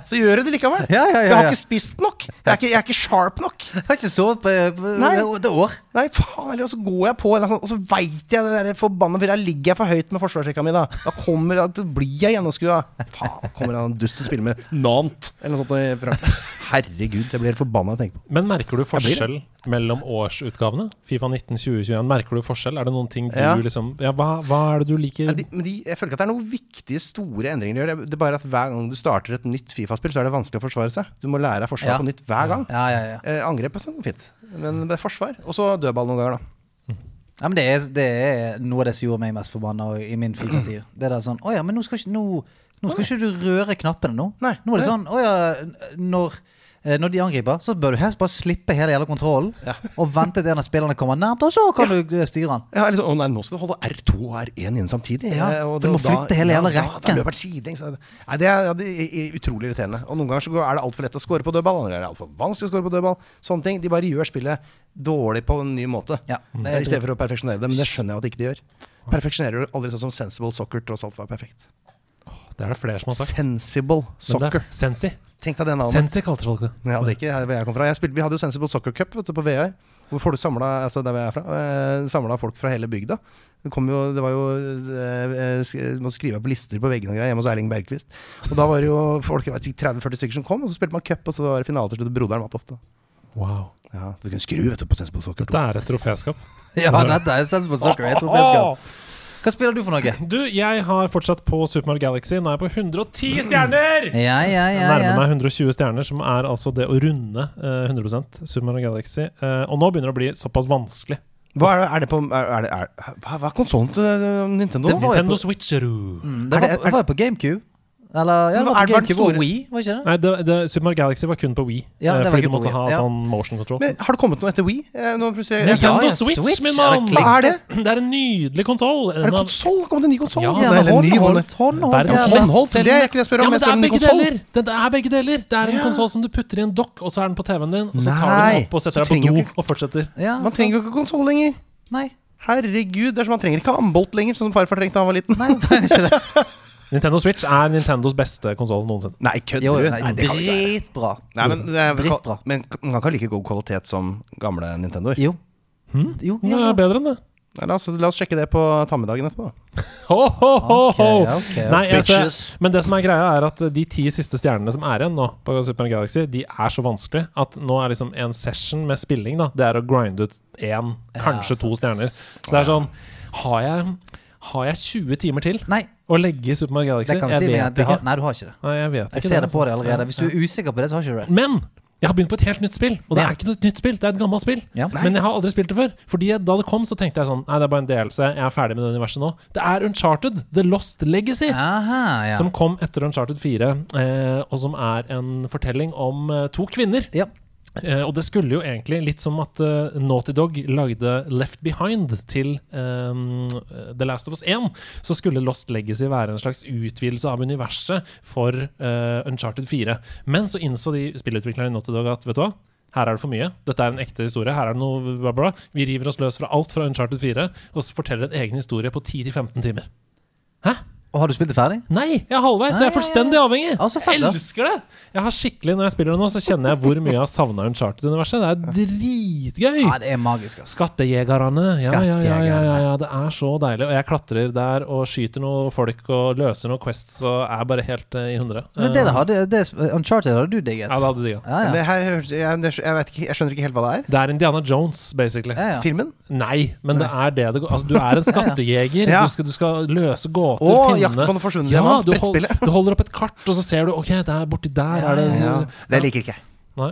E: Så gjør du det likevel.
B: Ja, ja, ja,
E: Jeg har
B: ja.
E: ikke spist nok. Jeg er ikke, jeg er ikke sharp nok.
B: Jeg har ikke sovet på, på
E: Nei.
B: et år.
E: Nei, faen heller, og så går jeg på, eller noe sånt, og så veit jeg det der forbanna For jeg ligger jeg for høyt med forsvarsrekka mi, da. Da kommer jeg, da blir jeg gjennomskua. Faen, kommer han dust og spiller med Nant eller noe sånt. i Frankrike. Herregud, jeg blir helt forbanna av å tenke på.
A: Men merker du
E: blir det.
A: forskjell mellom årsutgavene? Fifa 19, 2021, merker du forskjell? Er det noen ting du
E: Ja.
A: liksom ja, hva, hva er det du liker?
E: Ja, de, men de, jeg føler ikke at det er noen viktige, store endringer de gjør. Det er bare at hver gang du starter et nytt Fifa-spill, så er det vanskelig å forsvare seg. Du må lære deg forsvar
B: Ja.
E: på nytt hver gang.
B: Ja, ja, ja.
E: Eh, angrep og sånn, fint. Men det er forsvar. Og så dødball noen ganger, da.
B: Ja, men det er, det er noe av det som gjorde meg mest forbanna og- i min Fifa-tid. Det der sånn Å ja, men nå skal ikke, nå, nå skal ikke du røre knappene nå.
E: Nei,
B: nå er det
E: nei.
B: sånn Å ja, når, eh, når de angriper, så bør du helst bare slippe hele jævla kontrollen og vente til en av spillerne kommer nærmt, og så kan du eh, styre han.
E: Ja, eller så, å nei, nå skal du holde R2 og R1 inne samtidig.
B: Ja,
E: Eh, og
B: du må
E: og da-
B: flytte hele jævla
E: ja, Da,
B: rekken.
E: da løper den sidelengs. Nei, det er, ja, det er utrolig irriterende. Og noen ganger så går- er det altfor lett å score på dødball, andre ganger er det altfor vanskelig å score på dødball. Sånne ting. De bare gjør spillet dårlig på en ny måte.
B: Ja, det er
E: Eh, I stedet for å perfeksjonere det. Men det skjønner jeg at ikke de gjør. Perfeksjonerer du aldri sånn som Sensible Soccer tross alt var perfekt.
A: Det er det flere som har sagt. Men
E: Sensible
A: det er-
E: Soccer.
A: Sensi.
E: Tenk deg det navnet.
A: Sensi kalte folk det.
E: Ja, det er ikke her hvor jeg kom fra. Jeg spilte, vi hadde jo Sensible Soccer Cup vet du, på VØ. Hvor folk samla altså der hvor jeg er fra, eh, samlet folk fra hele bygda. Det, kom jo, det var jo eh, eh, sk- Måtte skrive opp lister på veggene og greier hjemme hos Erling Bergqvist. Og da var det jo folk jeg vet ikke, 30-40 stykker som kom, og så spilte man cup, og så var det finale til slutt. og Broderen vant ofte.
A: Wow.
E: Ja, du kunne skru vet du, på Sensible Soccer 2.
A: Dette er et troféskap.
B: Ja, dette er sens på soccer. Jeg tror jeg skal Hva spiller du for noe?
A: Du, jeg har fortsatt på Super Mario Galaxy. Nå er jeg på 110 stjerner!
E: Mm.
B: Ja, ja,
A: Jeg
B: ja.
A: nærmer
B: ja.
A: meg 120 stjerner, som er altså det å runde eh, 100 Super Mario Galaxy. Eh, og nå begynner det å bli såpass vanskelig.
E: Hva er det, er det på er, er det, er, Hva hva er konsollen til eh, Nintendo?
B: Det var- jo
A: Nintendo Switcheroo.
B: Mm, Det var,
E: Er det- er-
B: var jo på GameCube. Eller ja, det var
E: Men er
B: på
E: det bare den
B: GameCube og
E: store-
B: Wii, var ikke det?
A: Nei, det, det, Super Mario Galaxy var kun på Wii.
B: Ja,
A: eh,
B: det var
A: fordi
B: kun
A: du
B: på
A: måtte
B: Wii,
A: ha
B: ja.
A: sånn motion control.
E: Men har det kommet noe etter Wii? Eh, Nå plutselig
B: Nei,
E: jeg,
B: ja,
A: Nintendo
B: ja,
A: Switch,
B: Switch,
A: min
B: er det
A: mann!
E: Hva
B: klink-
E: er det?
A: Det er en nydelig konsoll!
E: Er det konsoll? Kommet en ny konsoll?
A: Ja,
B: Ja,
E: det er en ny hånd.
B: håndholdt. Håndholdt.
A: Verdens
B: ja.
E: beste. håndholdt, det er ikke det jeg spør om,
A: Ja, men
E: jeg
A: det er
E: spør om
A: begge
E: konsoll.
A: deler! Det, det er begge deler Det er en konsoll som du putter i en dokk, og så er den på TV-en din, og så tar du
E: Nei,
A: den opp og
E: så
A: setter deg
E: trenger
A: på
E: du
A: do
E: ikke-
A: og fortsetter.
B: Ja,
E: Man trenger jo
B: sant.
E: ikke konsoll lenger.
B: Nei.
E: Herregud, det er som man trenger ikke ambolt lenger, sånn som farfar trengte da han var liten.
B: Nei, det er ikke det.
A: Nintendo Switch er Nintendos beste konsoll noensinne.
E: Nei, kødder
B: Jo,
E: du?
B: nei,
E: det kan det ikke være.
B: dritbra.
E: Nei, men, det er,
B: Dritbra.
E: men den kan ikke ha like god kvalitet som gamle Nintendoer.
B: Jo. Jo,
A: Det
B: ja.
A: er bedra. bedre enn det.
E: Nei, La, oss- la oss sjekke det på tammedagen etterpå. da.
A: Ho, ho, ho, ho!
B: Ok, ok, ok.
A: Nei, altså,
E: Bitches.
A: men det som er greia, er at de ti siste stjernene som er igjen nå, på Super Mario Galaxy, de er så vanskelig at nå er liksom en session med spilling da, det er å grinde ut én, kanskje to
B: sant.
A: stjerner. Så det er sånn Har jeg, har jeg 20 timer til
B: Nei,
A: å legge i Super Mario Galaxy?
B: det kan vi
A: Jeg
B: si, men
A: vet
B: jeg- det
A: ikke.
B: har, nei, du har ikke det.
A: Nei, jeg vet ikke.
B: Jeg ser det på
A: altså.
B: deg allerede. Hvis du
A: Ja.
B: er usikker på det, så har ikke du
A: *laughs*
B: det.
A: Men jeg har begynt på et helt nytt spill, og det
B: Ja.
A: er ikke noe nytt spill, det er et gammelt spill.
B: Ja.
A: Men jeg har aldri spilt det før. Fordi jeg, da det kom, så tenkte jeg sånn Nei, det er bare en delelse, jeg er ferdig med det universet nå. Det er Uncharted, The Lost Legacy.
B: Aha, ja.
A: Som kom etter Uncharted 4, eh, og som er en fortelling om eh, to kvinner.
B: ja.
A: Eh, og det skulle jo egentlig litt som at eh, Naughty Dog lagde Left Behind til eh, The Last of Us 1. Så skulle Lost Legacy være en slags utvidelse av universet for eh, Uncharted 4. Men så innså de spillutviklerne i Naughty Dog at vet du hva? Her er det for mye. Dette er en ekte historie. Her er det noe bla, bla. bla. Vi river oss løs fra alt fra Uncharted 4 og s- forteller en egen historie på 10-15 timer. Hæ?
B: Og har du spilt det ferdig?
A: Nei, jeg er halvveis, så jeg er
B: Nei,
A: fullstendig avhengig.
B: Ja, så fett,
A: jeg
B: da.
A: elsker det! Jeg har skikkelig, Når jeg spiller det nå, så kjenner jeg hvor mye jeg har savna Uncharted-universet. Det er dritgøy!
B: Ja, det er magisk, altså.
A: *laughs*
B: ass.
A: Skattejegerne. Ja, ja, ja, ja, ja,
B: Skattejegerne.
A: ja, det er så deilig. Og jeg klatrer der og skyter noen folk og løser noen quests og er bare helt eh, i hundre.
B: Så det, det, hadde, det Uncharted hadde du digget.
A: Ja, det hadde digga.
B: Ja,
E: Men
B: ja.
E: det her, høres- jeg, det- jeg, vet ikke, jeg skjønner ikke helt hva det er.
A: Det er Indiana Jones, basically.
B: Ja, ja.
E: Filmen?
A: Nei, men det er det det går Altså, du er en skattejeger.
E: Ja.
A: du, skal, du skal løse gåter,
E: Å,
A: finne
E: Jakt på den forsvunne
A: ja,
E: diamant,
A: du, hold,
E: brettspillet.
A: du holder opp et kart, og så ser du OK, der borti der er det
E: Ja, det liker ikke jeg.
A: Nei.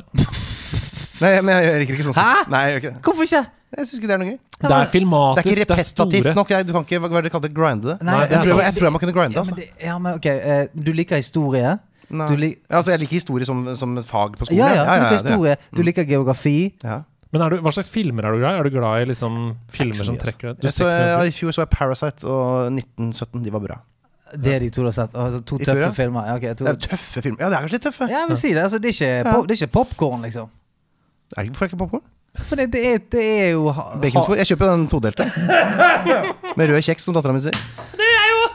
E: Nei, men jeg, jeg liker ikke sånn spill.
B: Hæ?
E: Nei, jeg gjør ikke det.
B: Hvorfor ikke?
E: Jeg syns ikke det er noe gøy.
A: Det er
E: Det
A: filmatisk,
E: er ikke
A: det er
E: repetitivt
A: store
E: nok. Jeg, du kan ikke hva er det de kaller det, grinde det.
B: Nei,
E: jeg,
A: det er
E: tror,
B: sant.
E: jeg tror jeg må kunne grinde,
B: Ja, men,
E: altså.
B: det, ja, men ok, eh, du liker historie.
E: Nei.
B: Du lik-
E: altså. Jeg liker historie som, som et fag på skolen.
B: Ja, ja, du liker
E: det gjør jeg.
B: historie. Du liker geografi.
E: Ja.
A: Men er du, hva slags filmer er du glad i? Er du glad i liksom filmer
E: så
A: som
E: mye, altså.
A: trekker deg? Du
E: Jeg så,
A: ser ikke så mye.
E: I fjor så jeg Parasite og 1917. De var bra.
B: Det er de to du har sett. Altså, to
E: Historie?
B: tøffe filmer. Ja, ok, to,
E: Det er tøffe filmer. Ja, det er kanskje litt tøffe.
B: Ja, jeg vil si det. Altså, det er ikke, pop, det er ikke popcorn, liksom.
E: Er det, hvorfor er det ikke popkorn?
B: For det, det, er, det er jo ha-
E: Baconsfor. Jeg kjøper den *laughs* todelte. Med rød kjeks, som dattera mi sier.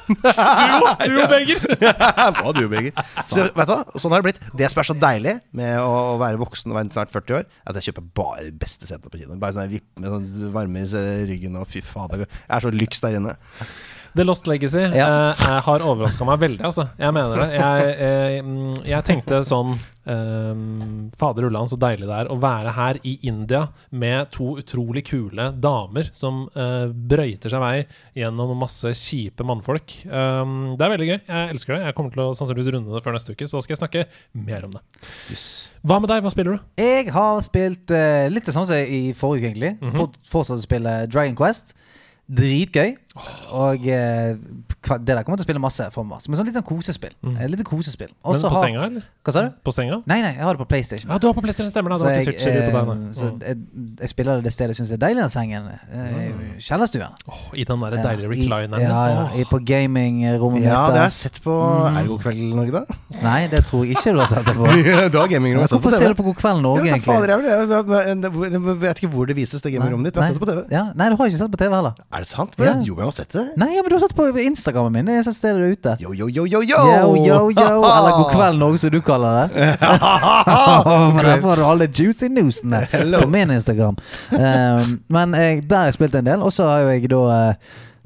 A: Duo, Berger!
E: *laughs* Hva du, Birger? Så, vet du hva? Sånn har det blitt. Det som er så deilig med å å være voksen og være snart 40 år, er at jeg kjøper bare de beste setene på kinoen. Bare sånn vipp med sånn varme i eh, ryggen og fy fader. Jeg er så lyks der inne.
A: *laughs* The Lost Legacy
B: Ja.
A: eh, jeg har overraska meg veldig, altså. Jeg mener det. Jeg, eh, mm, jeg tenkte sånn eh, Fader ullan, så deilig det er å være her i India med to utrolig kule damer som eh, brøyter seg vei gjennom masse kjipe mannfolk. Eh, det er veldig gøy. Jeg elsker det. Jeg kommer til å sannsynligvis runde det før neste uke, så skal jeg snakke mer om det. Hva med deg? Hva spiller du?
B: Jeg har spilt eh, litt det samme som i forrige uke, egentlig.
A: Mhm.
B: Fort, fortsatt å spille Dragon Quest. Dritgøy. Og eh, kva- det der kommer jeg til å spille masse framover. Som et sånt litt sånn kosespill. Et lite kosespill.
A: Mhm. Men
B: Også
A: på
B: har-
A: senga, eller?
B: Hva sa du?
A: På senga?
B: Nei, nei, jeg har det på PlayStation.
A: Ja, du har på PlayStation, stemmer det. Det var
B: jeg,
A: ikke searcher ute på deg,
B: eh,
A: nei.
B: så
A: Mm.
B: jeg, jeg spiller det stedet jeg syns er deilig, den sengen. eh,
A: Mm.
B: i Kjellerstuen.
A: Åh, I den der deilige reclineren.
B: Ja, ja,
A: Åh.
B: i- på gamingrommet
E: Ja,
B: mitt.
E: det har
B: der.
E: jeg sett på Er det God kveld, *laughs* Norge, da?
B: Nei, det tror jeg ikke du har sett det
A: *laughs*
B: på.
E: Du har gamingrommet.
B: Hvorfor ser du på God kveld Norge,
E: Jeg vet, da fader,
B: egentlig?
E: jeg, vel, jeg, jeg, jeg, jeg vet ikke hvor det vises, det gamingrommet ditt. men Jeg har sett det på TV.
B: Ja, nei, du har ikke sett på TV heller.
E: Er det sant? Hvor er
B: Ja.
E: det- Jo, men jeg har sett det.
B: Nei, ja, men du har sett på Instagrammen min. Det er sånn stedet ute.
E: Yo, yo, yo, yo, yo!
B: Yo, yo,
E: *laughs*
B: yo. Eller God kveld Norge, som du kaller det. *laughs* Men der får du alle juicy newsene
E: Hello.
B: på min Instagram. Um, men jeg, der har jeg spilt en del, og så har jo jeg da eh,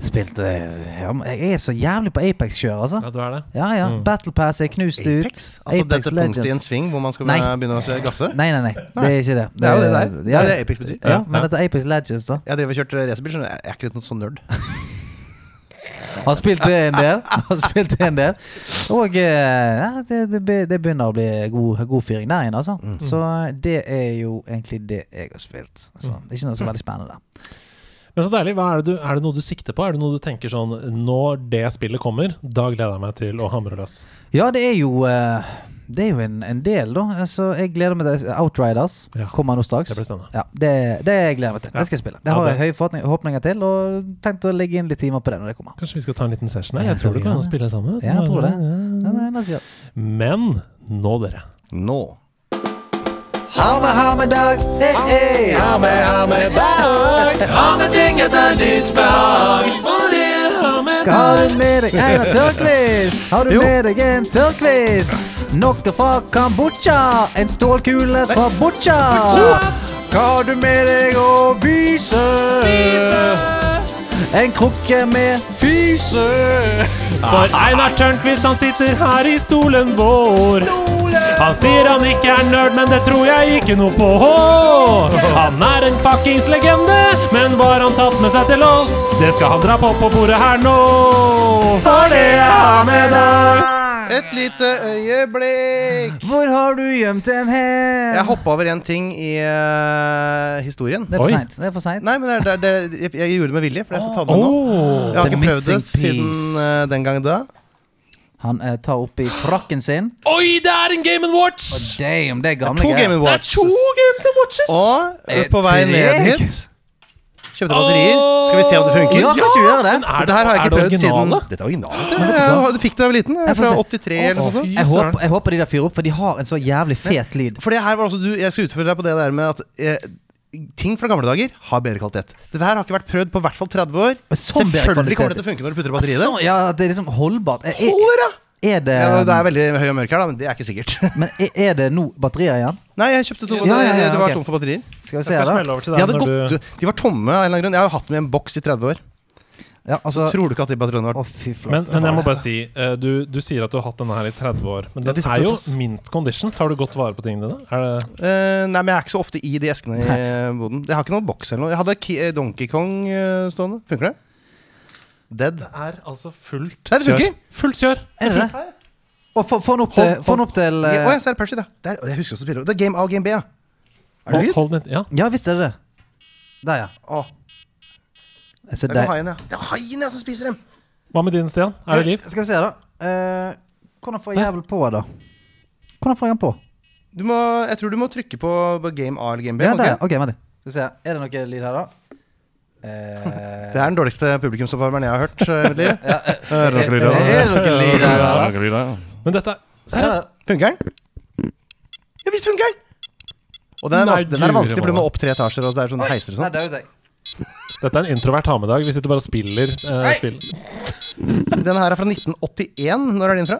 B: spilt eh, ja, men Jeg er så jævlig på Apex-kjør, altså.
A: Ja, Mm. du er det.
B: Ja, ja. Battle Pass er knust ut.
E: Apex? Altså dette punktet i en sving hvor man skal
B: Nei.
E: begynne å gasse?
B: Nei, nei, nei. Det er ikke det.
E: Det er jo det der. Det
B: Ja,
E: er det Apex betyr.
B: ja,
A: Ja.
B: men dette er Apex Legends, da.
E: Jeg driver og kjørte racerbil, skjønner du. Jeg er ikke noen
B: *laughs*
E: sånn nerd.
B: Har spilt det en del. Har spilt det en del. Og eh, ja, det, det, be- det begynner å bli god, god fyring der inne, altså.
A: Mm.
B: Så det er jo egentlig det jeg har spilt. Så
A: Mm.
B: det er ikke noe så veldig spennende der.
A: Men så deilig. Hva er, det du, er det noe du sikter på? Er det noe du tenker sånn Når det spillet kommer, da gleder jeg meg til å hamre løs.
B: Ja, det er jo eh, Det er jo en, en del, da. Altså, jeg gleder meg til Outriders.
A: Ja.
B: Kommer nå straks.
A: Det blir spennende.
B: Ja, det, det gleder jeg meg til.
A: Ja.
B: Det skal jeg spille.
A: Ja,
B: Det har
A: det-
B: jeg høye forhåpning- forhåpninger til, og tenkt å legge inn litt timer på det når det kommer.
A: Kanskje vi skal ta en liten session her?
B: Ja,
A: Jeg tror
B: vi
A: det går
B: gjør
A: an å
B: det.
A: spille sammen.
B: Ja, jeg tror det. Ja, det er noe å si, ja.
A: Men nå, dere.
E: Nå.
B: Ha med, ha med dag. Hey, hey.
D: Ha med, ha med dag. Ha med ting etter ditt behag. For det har med
B: Har du med deg en tørrkvist? Har du
E: Jo.
B: med deg en tørrkvist? Noe fra Kambodsja, en stålkule fra Botsja. Hva har du med deg å vise? En krukke med fyse.
A: For Einar Tørnquist, han sitter her i stolen vår. Han sier han ikke er nerd, men det tror jeg ikke noe på. Han er en fuckings legende, men hva har han tatt med seg til oss? Det skal han dra på på bordet her nå. For det jeg har med deg.
E: Et lite øyeblikk!
B: Hvor har du gjemt en hen?
E: Jeg hoppa over en ting i eh, historien.
B: Det er
A: Oi.
B: for seint. Det er for seint.
E: Nei, men det, er- det, er- det, er- jeg, jeg gjorde det med vilje, for jeg skal ta det med nå.
A: Oh.
E: Jeg har
B: The
E: ikke prøvd det
B: missing
E: siden
B: piece.
E: eh, den gang da.
B: Han eh, tar oppi frakken sin.
A: Oi, det er en Game Watch!
B: Damn, det er gamle
E: To Game
A: Det er
E: Watches.
A: to Games Watches!
E: Og eh,
B: Eh,
E: på vei
B: tre.
E: ned hit kjøpte batterier. Skal vi se om det funker?
B: Ja, kan ikke vi gjøre det?
A: Er
E: Dette her har jeg
A: er
E: ikke prøvd siden
A: originale?
E: Dette er originalt. Jeg, jeg fikk det da jeg var liten. Jeg,
B: Jeg
E: er
B: får
E: fra
B: se.
E: 83 eller noe sånt.
A: Fy
B: Jeg
A: søren.
B: håper, jeg håper de der fyrer opp, for de har en så jævlig fet lyd.
E: For det her var også du, jeg skal utfordre deg på det der med at eh, ting fra gamle dager har bedre kvalitet. Dette her har ikke vært prøvd på i hvert fall 30 år.
B: Men sånn bedre
E: Selvfølgelig
B: kvalitet.
E: kommer det til å funke når du putter batteri i det.
B: Sånn, ja, at det er liksom holdbart. Er, er,
E: Holder, da!
B: er det
E: Ja, det er veldig høy og mørk her, da, men det er ikke sikkert. *laughs*
B: Men er- er det nå batterier igjen?
E: Nei, jeg kjøpte to
B: Ja, ja, ja,
E: Det var
B: ok.
E: tomt for batterier.
B: Skal vi se
A: Jeg skal
B: her, da.
A: smelle over til
E: De,
A: deg
E: hadde
A: når
E: gått,
A: du
E: de var tomme av en eller annen grunn. Jeg har jo hatt dem i en boks i 30 år.
B: Ja, altså,
E: Tror du ikke at de batteriene var
B: å, fy flate.
A: men, men jeg må bare si, eh, du, du sier at du har hatt denne her i 30 år. Men
E: Ja,
A: den
E: de tok
A: er jo
E: plass.
A: mint condition. Tar du godt vare på tingene dine? Er det
E: Eh, Nei, men jeg er ikke så ofte i de eskene i eh, boden. Jeg har ikke noen boks eller noe. Jeg hadde Ki eh, Donkey Kong eh, stående. Funker det? Dead.
A: Det er altså fullt
E: Nei, det funker!
A: kjør. Fullt kjør!
B: Er det det? Og få få den opp til,
A: Hold-
B: få den opp til
E: Ja, Å,
B: eh,
E: jeg ser Pershit, ja. Der, jeg husker også å spille. Det er Game A og Game B, ja. Er det
A: Hold,
E: lyd?
A: hold den inn. Ja.
B: Ja visst er det det. Der, ja.
E: Å,
B: Så
E: det er
B: der.
E: haien, ja. Det er haien ja, som spiser dem!
A: Hva med din, Stian? Er det liv?
B: Skal vi se, da. Eh, hvordan får jeg jævel på, da? Hvordan får jeg den på?
E: Du må, jeg tror du må trykke på på Game A eller Game B.
B: Ja,
E: må du
B: der. ja.
E: ikke?
B: Ok, vent litt. Skal vi se. Er det noe lyd her, da? Eh,
E: *laughs* Det er den dårligste publikumsoppvarmeren jeg har hørt. eh, i mitt *laughs* liv.
B: er, er det noe lyd her, da?
A: Men dette er
B: Ja,
A: Seriøst?
E: Funker den? Ja visst funker den! Og den er,
A: Nei,
E: vans- den er
A: guri
E: vanskelig, for du
A: malla.
E: må opp tre etasjer, og så er det sånn heiser og
B: Nei,
E: sånn.
B: døde jeg.
A: Dette er en introvert ha med dag. Vi sitter bare og spiller eh,
B: Hei!
A: spill.
E: Den her er fra 1981. Når er din fra?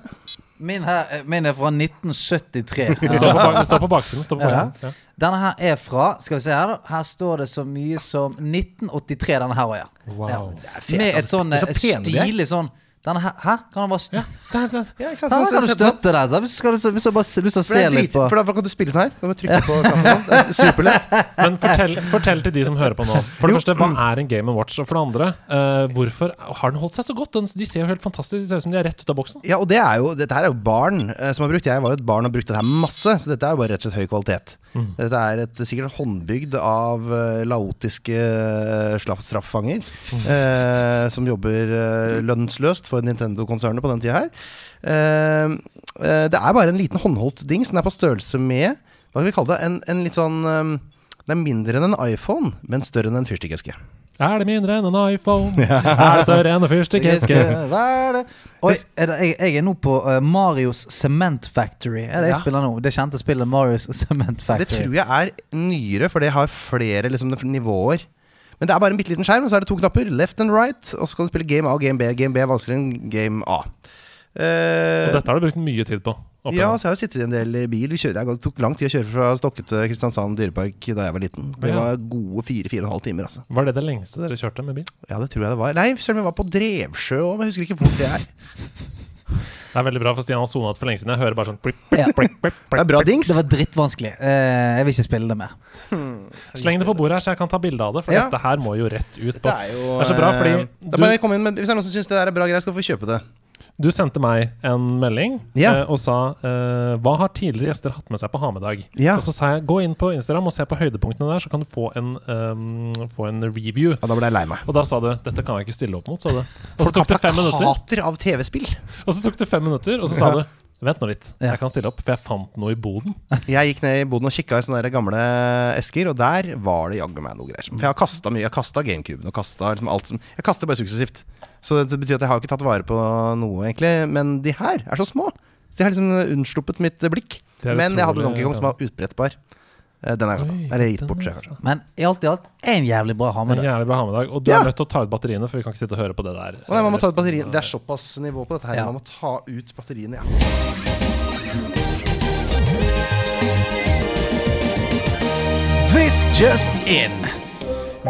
B: Min, her, eh, min er fra
E: *laughs*
B: 1973.
A: Det står på, bak, det står på baksiden. det Står på baksiden. Ja.
B: Denne her er fra Skal vi se her, da. Her står det så mye som 1983, denne her òg, ja.
A: Wow.
B: ja.
E: fet,
B: Med et
E: altså.
B: sånn
E: Det er
B: eh,
E: så pene de er.
B: stilig sånn Denne her, hæ? Kan han bare st-
A: Det er- det er-
E: Ja, ikke sant?
B: Denne
E: Så-
B: kan du
E: så- så-
B: støtte der. så Hvis du skal- hvis du bare s- lyst til å
E: For, det
B: se
E: er
B: litt
E: drit,
B: på
E: for da kan du spille den her. Kan du
B: *laughs*
E: trykke på knappen. Det er Superlett.
A: Men fortell, fortell til de som hører på nå. For det
E: Jo.
A: første, hva er en Game Watch? Og for det andre, eh, hvorfor har den holdt seg så godt? Den, de ser jo helt fantastisk De ser ut som de er rett ut av boksen.
E: Ja, og det er jo, dette her er jo barn eh, som har brukt. Jeg var jo et barn og brukte dette her masse, så dette er jo bare rett og slett høy kvalitet. Dette er et, sikkert håndbygd av eh, laotiske eh, slaff- straffanger eh, som jobber eh, lønnsløst for Nintendo-konsernet på den tida her. Eh, eh, det er bare en liten håndholdt dings. Den er på størrelse med Hva skal vi kalle det? En, en litt sånn eh, Den er mindre enn en iPhone, men større enn en fyrstikkeske.
A: Er det mindre enn en
E: *laughs*
A: iPhone? Er det større enn en fyrstikkeske?
B: Hva er det? Oi, er det, jeg, jeg er nå på eh, Marios Cement Factory. Er det jeg
E: Ja.
B: spiller nå? Det kjente spillet Marios *laughs* Cement
E: Det
B: Factory.
E: tror jeg er nyere, for det har flere liksom, nivåer. Men det er bare en bitte liten skjerm, og så er det to knapper. Left and right. Og så kan du spille game A og game B. Game B er vanskeligere enn game A.
A: Og
E: Eh,
A: dette har du brukt mye tid på. opp
E: ja,
A: igjennom.
E: så jeg har jo sittet i en del i bil. Vi kjører, jeg- det tok lang tid å kjøre fra Stokke til Kristiansand dyrepark da jeg var liten. Det
A: Ja.
E: var gode fire-fire og en halv timer, altså.
A: Var det det lengste dere kjørte med bil?
E: Ja, det tror jeg det var. Nei, søren, vi var på Drevsjø òg, men jeg husker ikke hvor det
A: *laughs*
E: er.
A: Det er veldig bra, for Stian har sona ut for lenge siden. Jeg hører bare sånn plip,
B: Ja.
A: plip, plip, plip,
E: Det er
A: plip.
E: bra dings.
B: Det var drittvanskelig. Eh, jeg vil ikke spille det mer.
A: Sleng det på bordet her, så jeg kan ta bilde av det, for
E: Ja.
A: dette her må jo rett ut på
E: Det er jo
A: Det er så bra, fordi
E: eh, det
A: du-
E: er bare å komme inn, men Hvis det er noen som syns det der er bra greier, skal du få kjøpe det.
A: Du sendte meg en melding
E: Ja.
A: eh, og sa eh, Hva har tidligere gjester hatt med seg på hamedag?
E: Ja.
A: Og så sa jeg gå inn på Instagram og se på høydepunktene der, så kan du få en, eh, få en review.
E: Ja, da ble jeg lei meg.
A: Og da sa du 'dette kan jeg ikke stille opp mot', sa du. Og så tok det fem minutter,
E: Hater av TV-spill.
A: og så tok det fem minutter, og så sa du 'vent nå litt,
B: Ja.
A: jeg kan stille opp', for jeg fant noe i boden.
E: Jeg gikk ned i boden og kikka i sånne der gamle esker, og der var det jaggu meg noe greier. som- For jeg har kasta mye. Jeg kasta GameCuben og kasta liksom alt som Jeg kaster bare suksessivt. Så det betyr at jeg har ikke tatt vare på noe, egentlig. Men de her er så små. Så de har liksom unnsluppet mitt eh, blikk.
A: Det er
E: Men jeg hadde
A: utrolig,
E: Donkey Kong som
A: ja.
E: var utbrettbar. Eh, Den har jeg
A: Oi,
E: kasta. Eller gitt
A: den
E: bort,
A: er
E: seg,
A: kasta.
E: kanskje.
B: Men i alt i alt en jævlig bra ha
A: En
B: med det.
A: jævlig bra hamedag. Og du
E: Ja.
A: er nødt til å ta ut batteriene, for vi kan ikke sitte og høre på det der. eh,
E: Å nei, man må ta ut
A: resten av-
E: batteriene. Det er såpass nivå på dette her.
B: Ja.
E: Man må ta ut batteriene, ja.
B: This just in.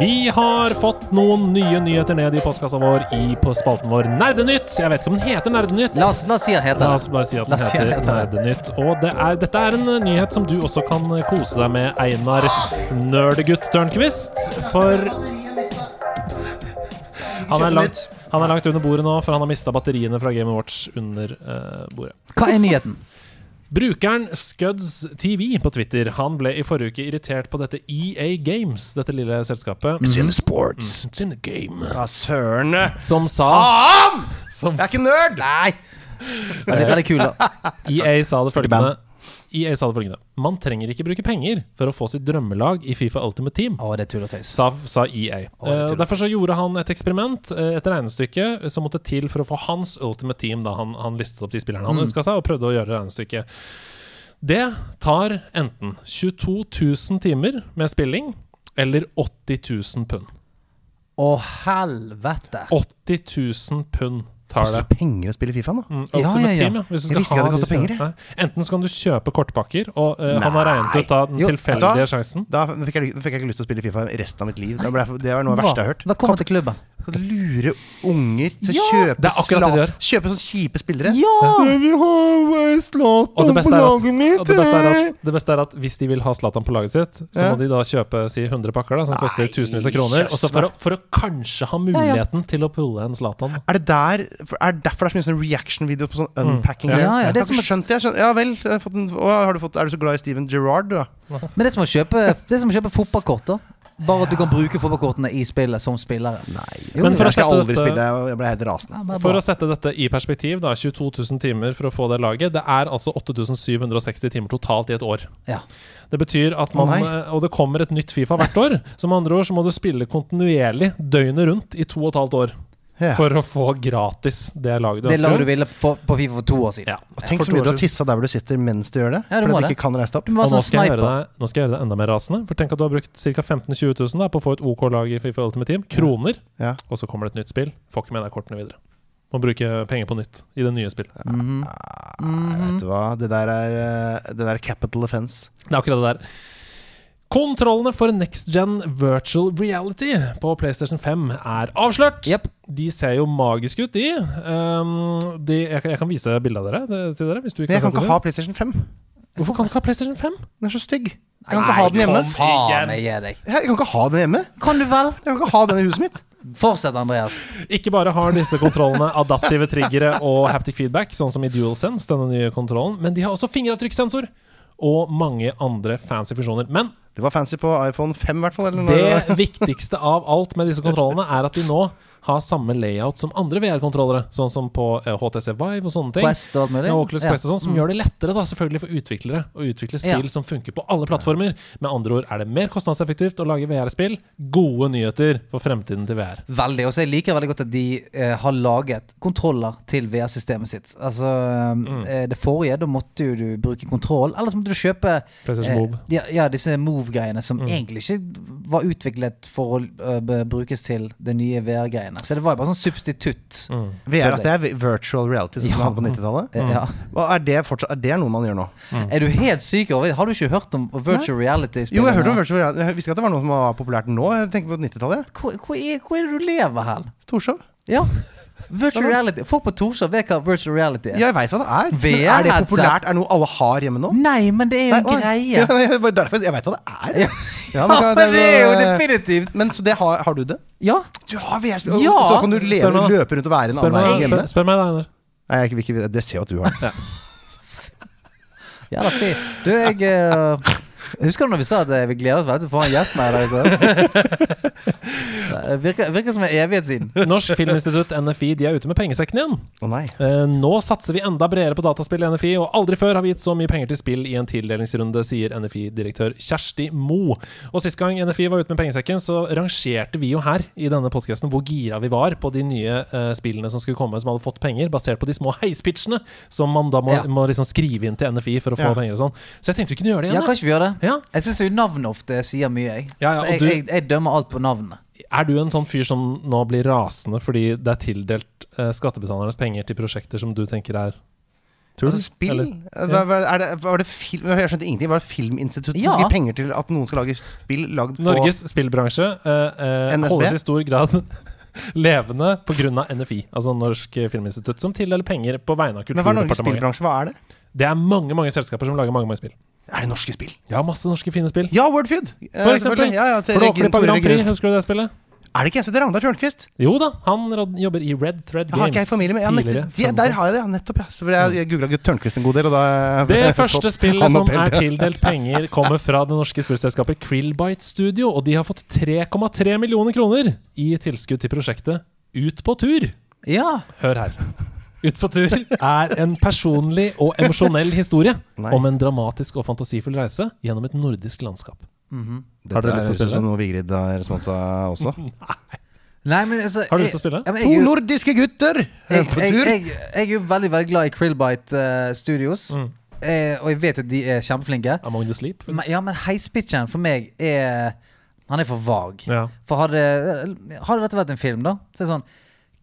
A: Vi har fått noen nye nyheter ned i postkassa vår i, på spalten vår Nerdenytt. Jeg vet ikke om den heter Nerdenytt.
B: La oss, la oss si han heter
A: La oss
B: det.
A: bare si at
B: La
A: den
B: oss si at
A: heter
B: den heter
A: Nerdenytt. Og det er, dette er en eh, nyhet som du også kan eh, kose deg med, Einar Nerdegutt Tørnquist. For han er, langt, han er langt under bordet nå, for han har mista batteriene fra Game Watch under eh, bordet.
B: Hva
A: *laughs*
B: er nyheten?
A: Brukeren ScudsTV på Twitter Han ble i forrige uke irritert på dette EA Games, dette lille selskapet.
B: Mm.
E: Sin sports.
A: It's in the game.
E: Ja, søren.
A: Som
B: Ah,
A: sa
E: Faen!
A: som
E: Jeg er ikke nerd! Nei.
B: Veldig, veldig kul, da.
A: EA sa det følgende
E: band.
A: EA sa det følgende Man trenger ikke bruke penger for å få sitt drømmelag i Fifa Ultimate Team.
B: Å, det er tull og tøys.
A: Sa, sa EA.
B: Å, det er
A: Eh,
B: tull.
A: derfor så gjorde han et eksperiment, eh, et regnestykke, som måtte til for å få hans Ultimate Team, da han, han listet opp de spillerne
B: Mm.
A: han ønska seg, og prøvde å gjøre regnestykket. Det tar enten 22 000 timer med spilling eller 80 000 pund.
B: Å, helvete.
A: 80 000 pund tar det.
E: Koster penger å spille Fifa, da?
A: Mm,
B: Ja,
A: Ultimate
B: ja, ja.
A: Team, hvis du
E: Jeg
A: skal
E: visste
A: ha
E: ikke at det
A: de
E: kostet penger,
A: spillerne. Nei. Enten så kan du kjøpe kortpakker, og eh, han har regnet ut da den
B: Jo,
E: vet du
A: tilfeldige
E: hva?
A: sjansen.
E: Da fikk jeg, fikk jeg ikke lyst til å spille Fifa resten av mitt liv. Det, ble, jeg- det var noe av det verste jeg har hørt.
B: Velkommen til klubben.
E: Skal du lure unger til å
B: Ja!
E: kjøpe,
A: Det er akkurat det de gjør.
E: kjøpe sånne kjipe spillere?
B: Ja!
E: Jeg vil ha
A: Og det
E: Zlatan
A: beste, er at, og det, beste er
E: eh.
A: at, det beste er at hvis de vil ha Zlatan på laget sitt, så
E: Ja.
A: må de da kjøpe si 100 pakker da, som koster
E: Nei,
A: tusenvis av kroner. Og så for å,
E: kjøss,
A: for å kanskje ha muligheten til å pulle en Zlatan.
E: Er det der, for- er det derfor det er så mye sånn reaction-video på sånn
A: Mm.
E: unpacking?
B: Ja, ja,
E: Jeg
B: det er
E: har ikke skjønt det. Jeg skjønner- Ja vel. Jeg har fått en, å, har du fått, er du så glad i Steven Gerrard, du, da?
B: Men det er som å kjøpe, det er som å kjøpe fotballkort, da. Bare at du kan bruke fotballkortene i spillet som spillere.
E: Nei.
B: Jo,
A: Men for å
E: jeg skal
A: sette eh,
E: aldri
A: dette-
E: spille. Jeg- Jeg ble helt rasende.
B: Ja, det er
A: For
B: bra.
A: å sette dette i perspektiv, da, 22 000 timer for å få det laget. Det er altså 8760 timer totalt i et år.
B: Ja.
A: Det betyr at
E: Å
A: man,
E: nei.
A: eh, Og det kommer et nytt Fifa hvert år. Så med andre ord så må du spille kontinuerlig døgnet rundt i to og et halvt år.
E: Ja.
A: for å få gratis det laget du
B: Det laget du
A: ønsker.
B: ville på, på Fifa for to år siden.
A: Ja.
E: Og Tenk
A: For
E: så
A: to
E: mye
A: år
E: du har
A: siden.
E: tissa der hvor du sitter mens du gjør det.
B: Ja, du
E: fordi
B: må
E: du
B: det.
E: ikke kan reise deg opp.
B: Du var
A: Og nå
B: sånn
A: skal, jeg gjøre
B: sniper.
A: deg, nå skal jeg gjøre deg enda mer rasende. For tenk at du har brukt ca. 15 000-20 000 da, på å få et OK lag i Fifa Ultimate Team. Kroner.
E: Ja.
A: Og så kommer det et nytt spill. Får ikke med deg kortene videre. Må bruke penger på nytt i det nye spillet.
B: Mhm.
A: Ah.
E: Vet du hva, det der er, eh, det der er capital offense.
A: Det er akkurat det der. Kontrollene for next gen virtual reality på PlayStation 5 er avslørt.
B: Jepp.
A: De ser jo magiske ut, de. Um, de jeg, kan- jeg kan vise bilde av dere, det, til dere. Hvis du ikke
E: Men jeg
A: har sett
E: kan
A: det
E: ikke
A: før.
E: ha PlayStation 5.
A: Hvorfor kan du ikke ha PlayStation 5?
E: Den er så stygg. Jeg kan ikke ha den hjemme.
B: Nei, Faen, jeg gir deg.
E: Jeg kan ikke ha den hjemme.
B: Kan du vel?
E: Jeg kan ikke ha den i huset mitt.
B: Fortsett, Andreas.
A: Ikke bare har disse kontrollene adaptive triggere og haptic feedback, sånn som i DualSense, denne nye kontrollen, men de har også fingeravtrykkssensor. Og mange andre fancy funksjoner. Men
E: *laughs* Det var fancy på iPhone 5 i hvert fall. Eller noe.
A: det viktigste av alt med disse kontrollene er at de nå har samme layout som andre VR-kontrollere, sånn som på eh, HTC Vive og sånne ting.
B: Quest og alt mulig.
A: Ja, Oculus
B: Ja. Mm.
A: Quest og sånn, som gjør det lettere da, selvfølgelig for utviklere å utvikle spill
B: Ja.
A: som funker på alle plattformer. Med andre ord er det mer kostnadseffektivt å lage VR-spill. Gode nyheter for fremtiden til VR.
B: Veldig. Og så jeg liker veldig godt at de eh, har laget kontroller til VR-systemet sitt. Altså, eh,
A: Mm.
B: eh, det forrige, da måtte jo du bruke kontroll, eller så måtte du kjøpe eh,
A: PlayStation Move. Mm.
B: Ja, ja, disse Move-greiene som egentlig ikke var utviklet for å eh, b- brukes til det nye VR-greiene. Så det var jo bare sånn substitutt.
A: Mm.
E: VR at *laughs* det er vi- virtual reality, som
B: Ja.
E: man hadde på 90-tallet.
B: Eh, Ja.
E: Hva Er, det fortsatt- er det noe man gjør nå?
A: Mm.
B: Er du helt syk over Har du ikke hørt om virtual reality?
E: Jo, jeg hørte om virtual reality. Jeg visste ikke at det var noe som var populært nå. Jeg tenker på 90-tallet.
B: Hvor, hvor, er, hvor er det du lever hen?
E: Torshov.
B: Ja. Virtual reality. Folk på Torshov vet hva virtual reality er.
E: Ja, jeg veit hva det er. Men
B: VR
E: er det
B: headset.
E: populært? Er det noe alle har hjemme nå?
B: Nei, men det er jo
E: Nei,
B: en
E: oi.
B: greie.
E: *laughs* Ja, nei, jeg bare- derfor- jeg veit hva det er. Ja, men *laughs* hva-
B: men det er jo
E: eh,
B: definitivt
E: Men så det har, har du det?
B: Ja.
E: Du har VR-spill!
B: Ja.
E: Og så kan du leve,
A: Spør meg da.
E: løpe rundt og være en
A: Spør
E: annen
A: meg,
E: vei hjemme.
A: spør, spør meg da, Einar.
E: Nei, jeg, vil ikke- det ser jo at du har det.
B: Jævla fint. Du, jeg eh, Husker du når vi sa at eh, vi gleder oss veldig til å få han gjesten her i
A: *laughs*
B: dag? så? Det Eh, Virker, virker som en evighet siden.
A: Norsk Filminstitutt, NFI, de er ute med pengesekken igjen.
E: Å nei.
A: Eh, nå satser vi enda bredere på dataspill i NFI, og aldri før har vi gitt så mye penger til spill i en tildelingsrunde, sier NFI-direktør Kjersti Mo. Og sist gang NFI var ute med pengesekken, så rangerte vi jo her i denne podcasten hvor gira vi var på de nye eh, spillene som skulle komme, som hadde fått penger, basert på de små heispitchene som man da må,
B: Ja.
A: må liksom skrive inn til NFI for å få
E: Ja.
A: penger og sånn. Så jeg tenkte vi kunne gjøre det
B: Ja,
A: igjen.
B: kan ikke vi gjøre det?
A: Ja.
B: Jeg syns jo navnet ofte sier mye, jeg.
A: Ja, ja,
B: så
A: og
B: jeg,
A: du-
B: jeg, jeg dømmer alt på navnet.
A: da. Er du en sånn fyr som nå blir rasende fordi det er tildelt eh, skattebetalernes penger til prosjekter som du tenker er
E: Er
B: Altså,
E: det Altså, spill?
A: Eller-
E: Hva- hva- Er det, var det film? Jeg skjønte ingenting. Var det Filminstituttet
B: Ja.
E: som skulle gi penger til at noen skal lage spill lagd på
A: Norges spillbransje eh, eh,
E: NSB?
A: holdes i stor grad *laughs* levende pga. NFI, altså Norsk Filminstitutt, som tildeler penger på vegne av
E: Men hva er Norges
A: Kulturdepartementet.
E: spillbransje? Hva er det?
A: Det er mange mange selskaper som lager mange mange spill.
E: Er det norske spill?
A: Ja, masse norske fine spill.
E: Ja, Wordfeud! Eh,
A: For
E: selvfølgelig.
A: eksempel.
E: Ja, ja, til
A: Flåklypa
E: Regin Tore
A: Grand Prix,
E: Reginus.
A: husker du det spillet?
E: Er det ikke en som heter Ragnar Tjørnquist?
A: Jo da, han rod- jobber i Red Thread
E: Jeg har ikke jeg
A: Games.
E: i familie med. Ja, nettopp,
A: tidligere Mm.
E: de, der har jeg det, ja, nettopp. Ja. Så jeg jeg googla Tørnquist en god del, og da
A: *laughs* Det
E: *laughs*
A: første spillet
E: Han
A: som
E: opphelt,
A: er
E: ja.
A: tildelt penger, kommer fra det norske spillselskapet Krillbite Studio, og de har fått 3,3 millioner kroner i tilskudd til prosjektet Ut på tur.
B: Ja.
A: Hør her. Ut på tur er en personlig og emosjonell historie
E: Nei.
A: om en dramatisk og fantasifull reise gjennom et nordisk landskap. Har dere lyst til å
E: Dette høres ut
A: spille?
E: som noe Vigrid har responsa også.
B: Nei, men altså
A: Har du
B: jeg-
A: lyst til å spille?
B: Ja, men
E: To
B: jeg er jo-
E: nordiske gutter eh,
B: jeg,
E: på
B: jeg,
E: tur!
B: jeg, jeg er jo veldig veldig glad i Krillbite eh, Studios,
A: Mm.
B: eh, og jeg vet at de er kjempeflinke.
A: Among the Sleep?
B: Men, ja, men heispitchen for meg er Han er for vag.
A: Ja.
B: For hadde, hadde dette vært en film, da Så er det sånn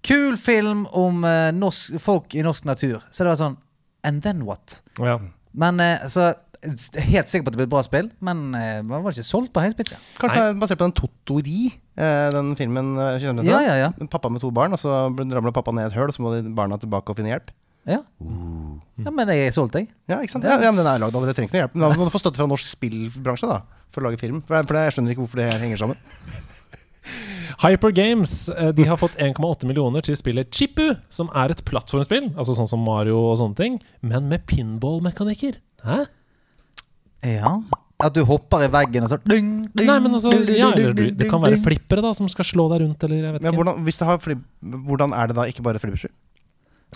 B: Kul film om eh, norsk, folk i norsk natur. Så det var sånn And then what?
A: ja.
B: Men eh, så Helt sikker på at det blir et bra spill, men eh, man var ikke solgt på heispitchen.
E: Kanskje det er basert på den Totori, eh, den filmen. eh, kjenner du
B: Ja,
E: til?
B: ja, ja.
E: Pappa med to barn, og så ramler pappa ned i et høl, og så må de barna tilbake og finne hjelp.
B: Ja,
A: Uh.
B: ja men jeg er solgt, jeg.
E: Ja, ikke sant? Ja, ja, men den er lagd allerede, trenger ikke noe hjelp. Men da må du få støtte fra norsk spillbransje da, for å lage film. For, det- for det, jeg skjønner ikke hvorfor det her henger sammen.
A: Hyper Games eh, de har fått 1,8 millioner til spillet Chippu, som er et plattformspill, altså sånn som Mario og sånne ting, men med pinballmekanikker. Hæ?
B: Ja. At du hopper i veggen og sånn ding, ding,
A: Nei, men altså,
B: ding, ding,
A: ja,
B: ding,
A: eller, du-
B: ding,
A: Det kan
B: ding,
A: være
B: ding.
A: flippere da, som skal slå deg rundt, eller jeg vet
E: Men
A: ikke.
E: hvordan, hvis det har flipp, hvordan er det da ikke bare flipperspill?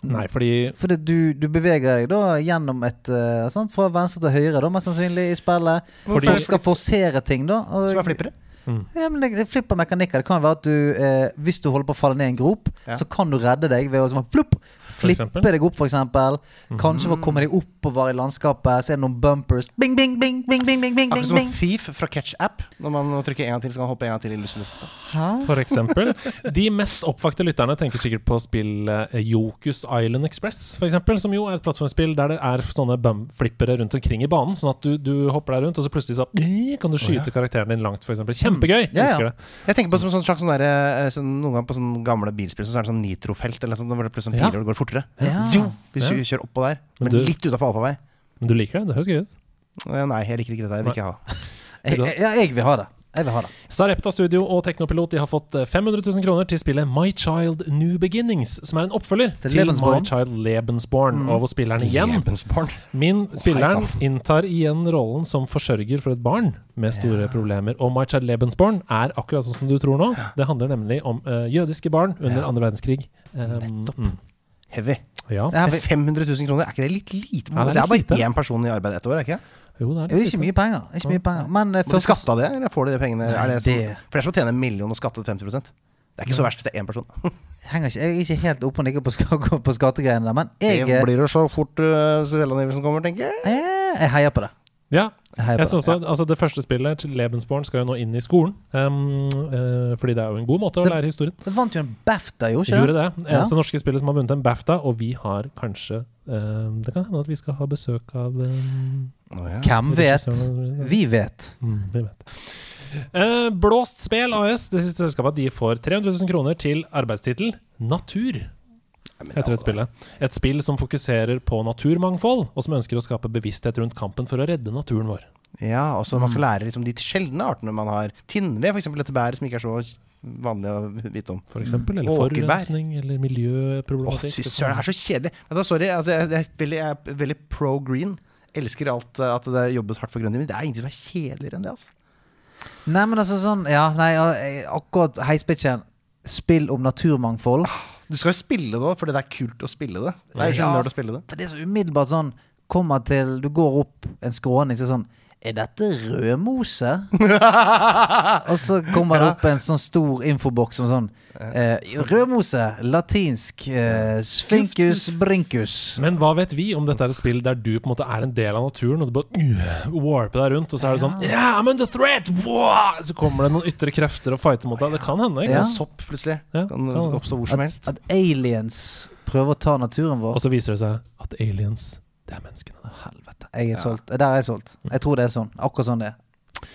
A: Nei, fordi
B: Fordi du, du beveger deg da gjennom et eh, sant, Fra venstre til høyre, da, mest sannsynlig, i spillet.
A: Fordi-
B: Folk skal forsere ting, da. og-
E: Som er flippere?
B: Ja, men det, det flipper mekanikker. Det kan jo være at du eh, Hvis du holder på å falle ned i en grop,
E: Ja.
B: så kan du redde deg ved å sånn, flupp, flippe
A: eksempel.
B: deg opp, f.eks. Kanskje
E: Mm.
B: for å komme deg oppover i landskapet, så er det noen bumpers Bing, bing, bing, bing, bing, bing, bing,
E: Akkurat
B: bing,
E: Altså, som
B: bing.
E: Thief fra Catch-app. Når man trykker en gang til, så kan man hoppe en gang til i lystløshet.
B: Hæ?
A: For eksempel. De mest oppvakte lytterne tenker sikkert på spill eh, Yokus Island Express, for eksempel, som jo er et plattformspill der det er sånne bumflippere rundt omkring i banen, sånn at du, du hopper deg rundt, og så plutselig så kan du skyte karakteren din langt, for eksempel. Kjempegøy!
B: Ja, ja.
A: Elsker det.
E: Jeg tenker på som sånn slags sånn der, eh, sånn, Noen ganger på sånn gamle bilspill så er det sånn nitrofelt eller sånn, hvor det plutselig
A: Ja.
E: piler og det går fortere.
B: Ja.
E: Zoom! Vi
A: Ja.
E: kjø- kjører oppå der,
A: Men
E: men
A: du-
E: litt utafor allfarvei.
A: Men du liker det? Det høres gøy ut.
E: Eh, Nei, jeg liker ikke det der. Jeg vil ikke ha.
B: Jeg, jeg, ja, jeg vil ha det. Jeg vil ha det.
A: Sarepta Studio og Teknopilot de har fått eh, 500 000 kroner til spillet My Child New Beginnings, som er en oppfølger
B: Til
A: til,
B: Lebensborn. Mm.
A: My Child Lebensborn, og hvor spilleren igjen
E: Lebensbarn.
A: Min spilleren
E: sann.
A: inntar igjen rollen som forsørger for et barn med store problemer. Og My Child Lebensborn er akkurat sånn som du tror nå. Det handler nemlig om eh, jødiske barn under andre verdenskrig. Um, mm,
E: Heavy.
A: ja.
B: Det her
E: Det er 500 000 kroner, er ikke det litt lite?
A: Ja,
E: det,
A: det
E: er
A: er
E: bare
A: litt lite.
E: én person i arbeid ett år, er ikke det?
A: Jo, det
B: det
A: er
B: er
A: litt
B: ikke
A: lite.
B: mye penger. det er Ikke mye penger. Men, eh,
E: Må de
B: første-
E: skatte av det, eller får de de pengene? Er Sånn det
B: Nei,
E: som,
B: det-
E: for det er som å tjene en million og skattet 50 Det er ikke så verst hvis det er én person.
B: henger ikke, jeg er ikke helt oppe og nikker på, sk *laughs* på skattegreiene der, men jeg,
E: det
B: eh,
E: blir jo så fort uh, selvangivelsen kommer, tenker jeg.
B: eh, jeg heier på det.
A: Ja.
B: Jeg heier
A: Jeg
B: på det.
A: synes også, altså Det første spillet til Lebensborn skal jo nå inn i skolen. Um, eh, fordi det er jo en god måte å
B: Det-
A: lære historien.
B: Det vant jo en BAFTA, gjorde ikke
A: Gjorde
B: det?
A: det.
B: Ja.
A: Eneste norske spillet som har vunnet en BAFTA, og vi har kanskje eh, Det kan hende at vi skal ha besøk av um,
E: Å, ja.
B: Hvem vet?
A: regissøren-
B: Vi vet.
A: Mm, vi vet. Eh, Blåst Spel AS, det siste selskapet, de får 300 000 kroner til arbeidstittel Natur. Heter et, spillet. et spill som fokuserer på naturmangfold, og som ønsker å skape bevissthet rundt kampen for å redde naturen vår.
E: Ja, og så man
A: Mm.
E: skal lære liksom, de sjeldne artene man har. Tinnved, f.eks. dette bæret som ikke er så vanlig å vite om.
A: For eksempel, eller
E: Åkerbær.
A: forurensning, eller
E: Å,
A: miljøproblematikk.
E: fy søren, det er så kjedelig! Vet du hva, sorry, altså, jeg, jeg, er veldig, jeg er veldig pro green. Elsker alt eh, at det jobbes hardt for grønn men det er ingenting som er kjedeligere enn det. Altså.
B: Nei, men altså sånn Ja, nei, ja, jeg- akkurat heispitchen. Spill om naturmangfold.
E: Du skal jo spille det òg, fordi det er kult å spille Ah, det. Det er
B: Ja.
E: jo ikke nerd å
A: *laughs*
E: spille det.
B: For det er så umiddelbart sånn Kommer til Du går opp en skråning, så er det sånn Er dette rødmose? Og så kommer det opp en sånn stor infoboks som sånn eh, Rødmose, latinsk eh, Sfinkus brincus.
A: Men hva vet vi om dette er et spill der du på en måte er en del av naturen, og du bare øh, warper deg rundt, og så er det sånn Yeah, I'm under threat! Wow! Så kommer det noen ytre krefter og fighter mot deg. Det kan hende, ikke
B: Ja.
A: sant?
E: Sånn sopp plutselig
A: Ja,
E: kan
A: kan det.
E: oppstå hvor som
B: At,
E: helst.
B: at aliens prøver å ta naturen vår.
A: Og så viser det seg at aliens, det er menneskene. der.
B: Helvete. Jeg er solgt. Eh, Der er jeg solgt. Jeg tror det er sånn. Akkurat sånn det er.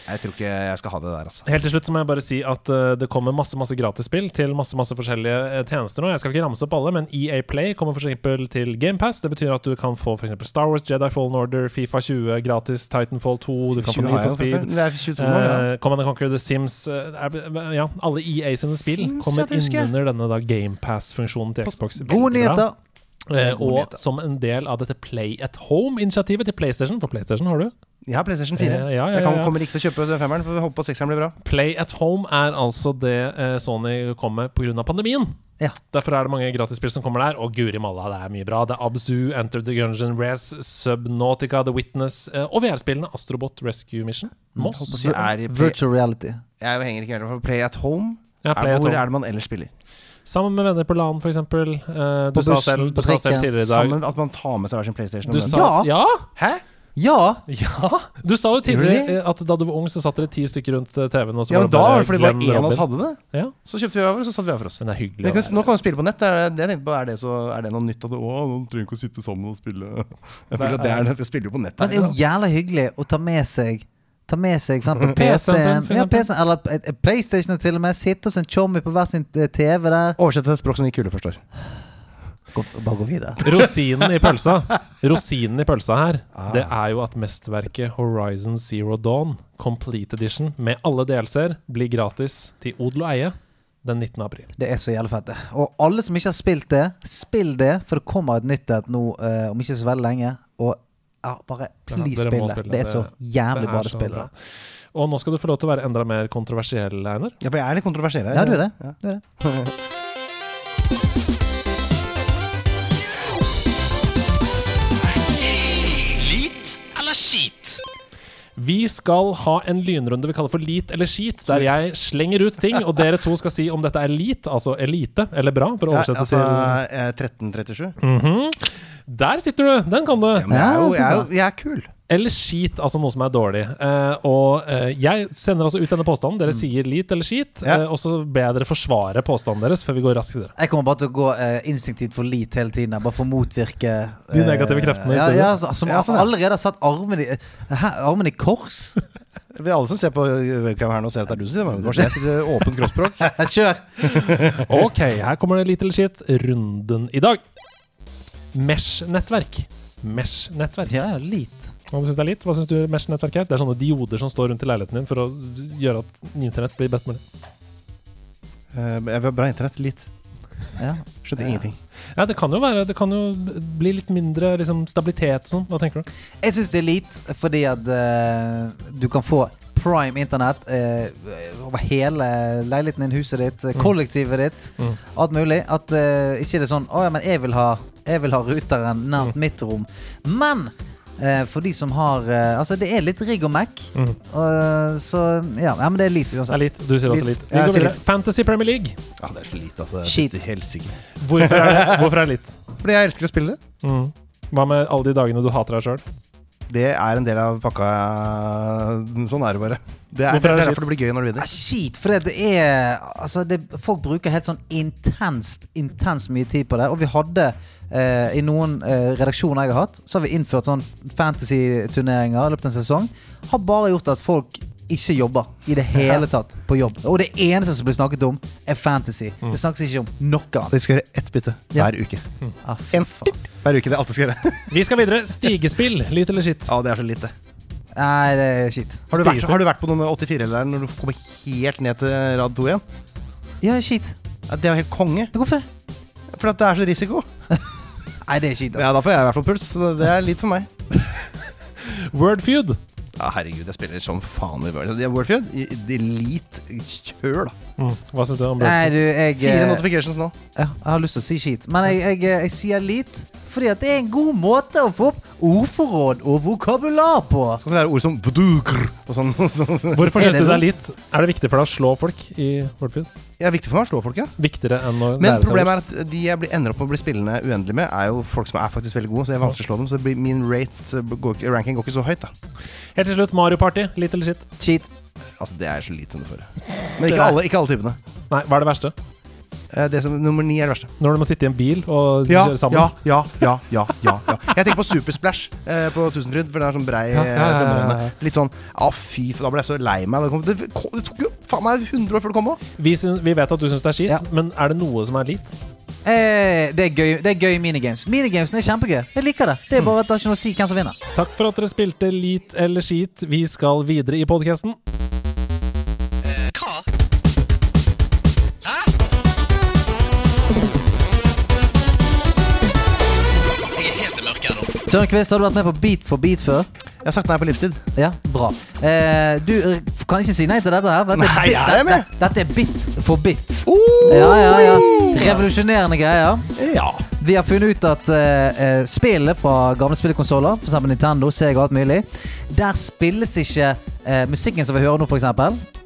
E: Jeg tror ikke jeg skal ha det der, altså.
A: Helt til slutt så må jeg bare si at eh, det kommer masse masse gratisspill til masse masse forskjellige eh, tjenester nå. Jeg skal ikke ramse opp alle, men EA Play kommer for eksempel til GamePass. Det betyr at du kan få for eksempel Star Wars, Jedi Fallen Order, Fifa 20 gratis, Titanfall 2, du kan få
E: 20
A: Need
E: har jeg
A: for
E: jo fra før.
A: Speed.
E: Det er 22 nå, ja.
A: Uh, Command and Conquer, The Sims eh, er, Ja, alle EA sine spill
E: Sims, ja,
A: kommer
E: det husker jeg.
A: innunder denne da GamePass-funksjonen til Xbox.
B: Gode
A: Veldig bra.
B: nyheter.
A: Eh,
E: gode
A: og
E: nyheter.
A: som en del av dette Play at Home-initiativet til PlayStation, for PlayStation har du,
E: Jeg har PlayStation 4.
A: Eh, ja, ja,
E: Jeg kan,
A: ja, ja.
E: kommer ikke til å kjøpe den femmeren, for vi håper på sekseren blir bra.
A: Play at home er altså det eh, Sony kom med pga. pandemien.
B: Ja.
A: Derfor er det mange gratisspill som kommer der. Og guri malla, det er mye bra. Det er Abzu, Enter the Gungeon, Race, Subnautica, The Witness eh, og VR-spillene Astrobot Rescue Mission. Moss.
E: Håper jeg, er i play,
B: Virtual reality.
E: jeg henger ikke helt med, for Play at Home
A: Ja, Play at
E: er, Hvor
A: Home.
E: er det man ellers spiller?
A: Sammen med venner på LAN, for eksempel. Eh, du
B: På
A: sa
B: bussen,
A: selv, du
B: på
A: sa selv
B: trikken.
A: tidligere i dag
E: Sammen At man tar med seg hver sin PlayStation.
A: du
E: og
A: sa,
B: Ja.
A: ja.
E: Hæ?
B: Ja!
A: ja! Du sa jo tidligere
E: Really?
A: eh, at da du var ung, så satt dere ti stykker rundt eh, TV-en. og så
E: Ja, men
A: det
E: da
A: bare
E: var det fordi bare
A: Glenn
E: én av oss
A: Robin.
E: hadde det.
A: Ja,
E: Så kjøpte vi hver vår, og så satte vi hver for oss.
A: men det er hyggelig.
E: Jeg
A: å
E: kan,
A: være.
E: nå kan du spille på nett. Det er det jeg tenkte på. Er det, så, er det noe nytt? At du, å, nå trenger ikke å sitte sammen og spille. Jeg føler at det er, jeg spiller jo på nett.
B: Men det er
E: Her,
B: jo jævla hyggelig å ta med seg Ta med seg
A: *laughs*
B: for eksempel
A: PC-en sin,
B: PC-en,
A: for
B: ja,
A: eksempel.
B: PC eller et- et PlayStation til og med. Sitte hos en chommy på hver sin eh, TV der.
E: Oversett til et språk som de kule forstår.
B: Gå, bare gå videre.
A: Rosinen i pølsa Rosinen i pølsa her
B: Ah.
A: Det er jo at mestverket Horizon Zero Dawn Complete Edition Med alle delser blir gratis til odel og eie Den 19. april
B: Det er så jævla fett, det. Og alle som ikke har spilt det, spill det, for det kommer et nytt et nå eh, om ikke så veldig lenge. Og ja, bare please
A: Dere
B: spill
A: må
B: det. Det er så
A: det
B: jævlig
A: er
B: bra det
A: så
B: spillet.
A: bra. Og nå skal du få lov til å være enda mer kontroversiell, Einar
E: Ja, for jeg er litt kontroversiell. her.
B: Ja, du er det. Du er det.
D: Lit eller skit?
A: Vi skal ha en lynrunde vi kaller for Lit eller skit, der jeg slenger ut ting, og dere to skal si om dette er lit, altså elite, eller bra, for å
E: Ja,
A: oversette
E: altså, eh, 1337.
A: til Der sitter du! Den kan du!
E: Ja, men jeg er jo,
B: Ja,
E: jeg er, jo, jeg er kul.
A: Eller skit, altså noe som er dårlig. Eh, og eh, jeg sender altså ut denne påstanden. Dere sier lit eller skit,
E: Ja.
A: eh, og så ber jeg dere forsvare påstanden deres før vi går raskt videre.
B: Jeg kommer bare til å gå eh, instinktivt for lit hele tiden. Bare for å motvirke eh,
A: De negative kreftene i
B: ja,
A: studio.
B: ja, altså, Som
E: Ja, sånn, ja.
B: allerede har satt armen i, eh, hæ, armen i kors.
E: Vi alle som ser på eh, webcam her nå, ser at det er du som sier det. Kanskje jeg sitter åpent *laughs* kroppsspråk.
B: Kjør!
A: Ok, her kommer det lit eller skit. Runden i dag. Mesh-nettverk. Mesh-nettverk.
B: Ja, ja, lit.
A: Hva syns du er lit? Hva synes du mesh-nettverk er? Det er sånne dioder som står rundt i leiligheten din for å gjøre at internett blir best mulig.
E: Eh, Jeg vil ha bra internett. Litt.
B: Ja.
E: Skjønte
B: Ja.
E: ingenting.
A: Ja, det kan jo være Det kan jo bli litt mindre liksom, stabilitet og sånn. Hva tenker du?
B: Jeg syns det er lit fordi at eh, du kan få prime internett eh, over hele leiligheten din, huset ditt, eh, kollektivet ditt,
A: Mm.
B: alt mulig. At eh, ikke det er sånn Å ja, men jeg vil ha, jeg vil ha ruteren nært mitt rom. Men eh, for de som har eh, Altså, det er litt rigg og mac.
A: Mm.
B: og, så ja, ja, men det er lit
A: Det er
B: uansett.
A: lit. Du sier også
B: Lit.
A: lit. Vi
E: Jeg
A: går
E: sier
A: videre. Fantasy Premier League.
E: Ja, det er så lite at det
B: Skit.
E: det er helt sikkert.
A: Hvorfor er det, *laughs* hvorfor er det lit?
E: Fordi jeg elsker å spille det.
A: Mm. Hva med alle de dagene du hater deg sjøl?
E: Det er en del av pakka. Sånn er det bare. Det er,
A: Hvorfor
E: det
A: er
E: er
A: det
E: derfor det blir gøy når du
B: Det
E: vinner.
B: er kjipt, for det er Altså, det, folk bruker helt sånn intenst, intenst mye tid på det. Og vi hadde eh, I noen eh, redaksjoner jeg har hatt, så har vi innført sånn fantasy-turneringer i løpet av en sesong. Har bare gjort at folk ikke jobber i det hele tatt på jobb. Og det eneste som blir snakket om, er fantasy.
E: Mm.
B: Det snakkes ikke om noe annet.
E: Vi skal gjøre ett bytte
B: Ja.
E: hver uke.
B: Ah, fy
E: En
B: faen.
E: hver uke, Det er alt vi skal gjøre.
A: Vi skal videre. Stigespill. Lit eller shit?
E: *laughs* Ja, det er så lite.
B: Nei, det er skitt.
E: Har du, vært,
A: Stigespill.
E: har du vært på nummer 84-lederen når du kommer helt ned til rad 2 igjen?
B: Ja, skitt.
E: Ja, det er jo helt konge.
B: Hvorfor?
E: For at det er så risiko.
B: Nei, det er skitt. Altså.
E: Ja, Da får jeg i hvert fall puls. så Det er litt for meg.
A: Wordfeud.
E: Ja, herregud, jeg spiller som faen i Wordfeud. Wordfeud, i- i- elite kjør, da.
A: Mm. Hva syns du om
B: Nei,
A: Wordfeud?
B: du, jeg
E: Fire
B: eh,
E: notifications nå.
B: Ja, jeg har lyst til å si skit, men jeg, jeg, jeg sier litt. Fordi at det er en god måte å få opp ordforråd og vokabular på.
E: Så kan det være Sånn ord som vdukr og sånn. *laughs* sånn.
A: Hvorfor
B: Er
A: syns
B: det
A: du det
B: noe?
A: er lit? Er det viktig for deg å slå folk i Wordfeud?
E: Det er viktig for meg å slå folk, ja.
A: Viktigere enn å
E: Men
A: lære seg
E: problemet er at de jeg blir, ender opp med å bli spillende uendelig med, er jo folk som er faktisk veldig gode, så det er vanskelig å slå dem. Så det blir, min rate eh, går, ikke- ranking går ikke så høyt, da.
A: ord? Helt til slutt, Mario Party. Lit eller shit?
B: Cheat.
E: Altså, det er så lite som det får. Men ikke alle, ikke alle typene.
A: Nei, hva er det verste?
E: Eh, Det som, nummer ni er det verste.
A: Når du må sitte i en bil og
E: Ja,
A: kjøre sammen?
E: ja, ja, ja, ja, ja, ja. Jeg tenker på Supersplash eh, på Tusenfryd, for det er sånn brei eh,
A: Ja, ja, ja, ja, ja.
E: dømmerhånde. Litt sånn Å, fy, for da ble jeg så lei meg. da kom- Det, kom- det tok jo faen meg 100 år før det kom òg.
A: Vi, syns- vi vet at du syns det er skit,
B: Ja.
A: men er det noe som er lit?
B: Eh, det, er gøy, det er gøy minigames. Minigamesene er kjempegøy. Jeg liker det. Det er bare at det har ikke noe å si hvem som vinner.
A: Takk for at dere spilte Lit eller skit. Vi skal videre i podkasten.
B: Tørnquist, har du vært med på Beat for beat før?
E: Jeg har sagt nei på livstid.
B: Ja, bra. Eh, du eh, kan ikke si nei til dette her. for Dette
E: Nei,
B: bit-
E: jeg er med.
B: dette, dette er bit for bit. Oh! Ja, ja, ja. Revolusjonerende greier.
E: Ja.
B: Vi har funnet ut at eh, eh, spillet fra gamle spillkonsoller, f.eks. Nintendo, Sega og alt mulig, der spilles ikke eh, musikken som vi hører nå, f.eks.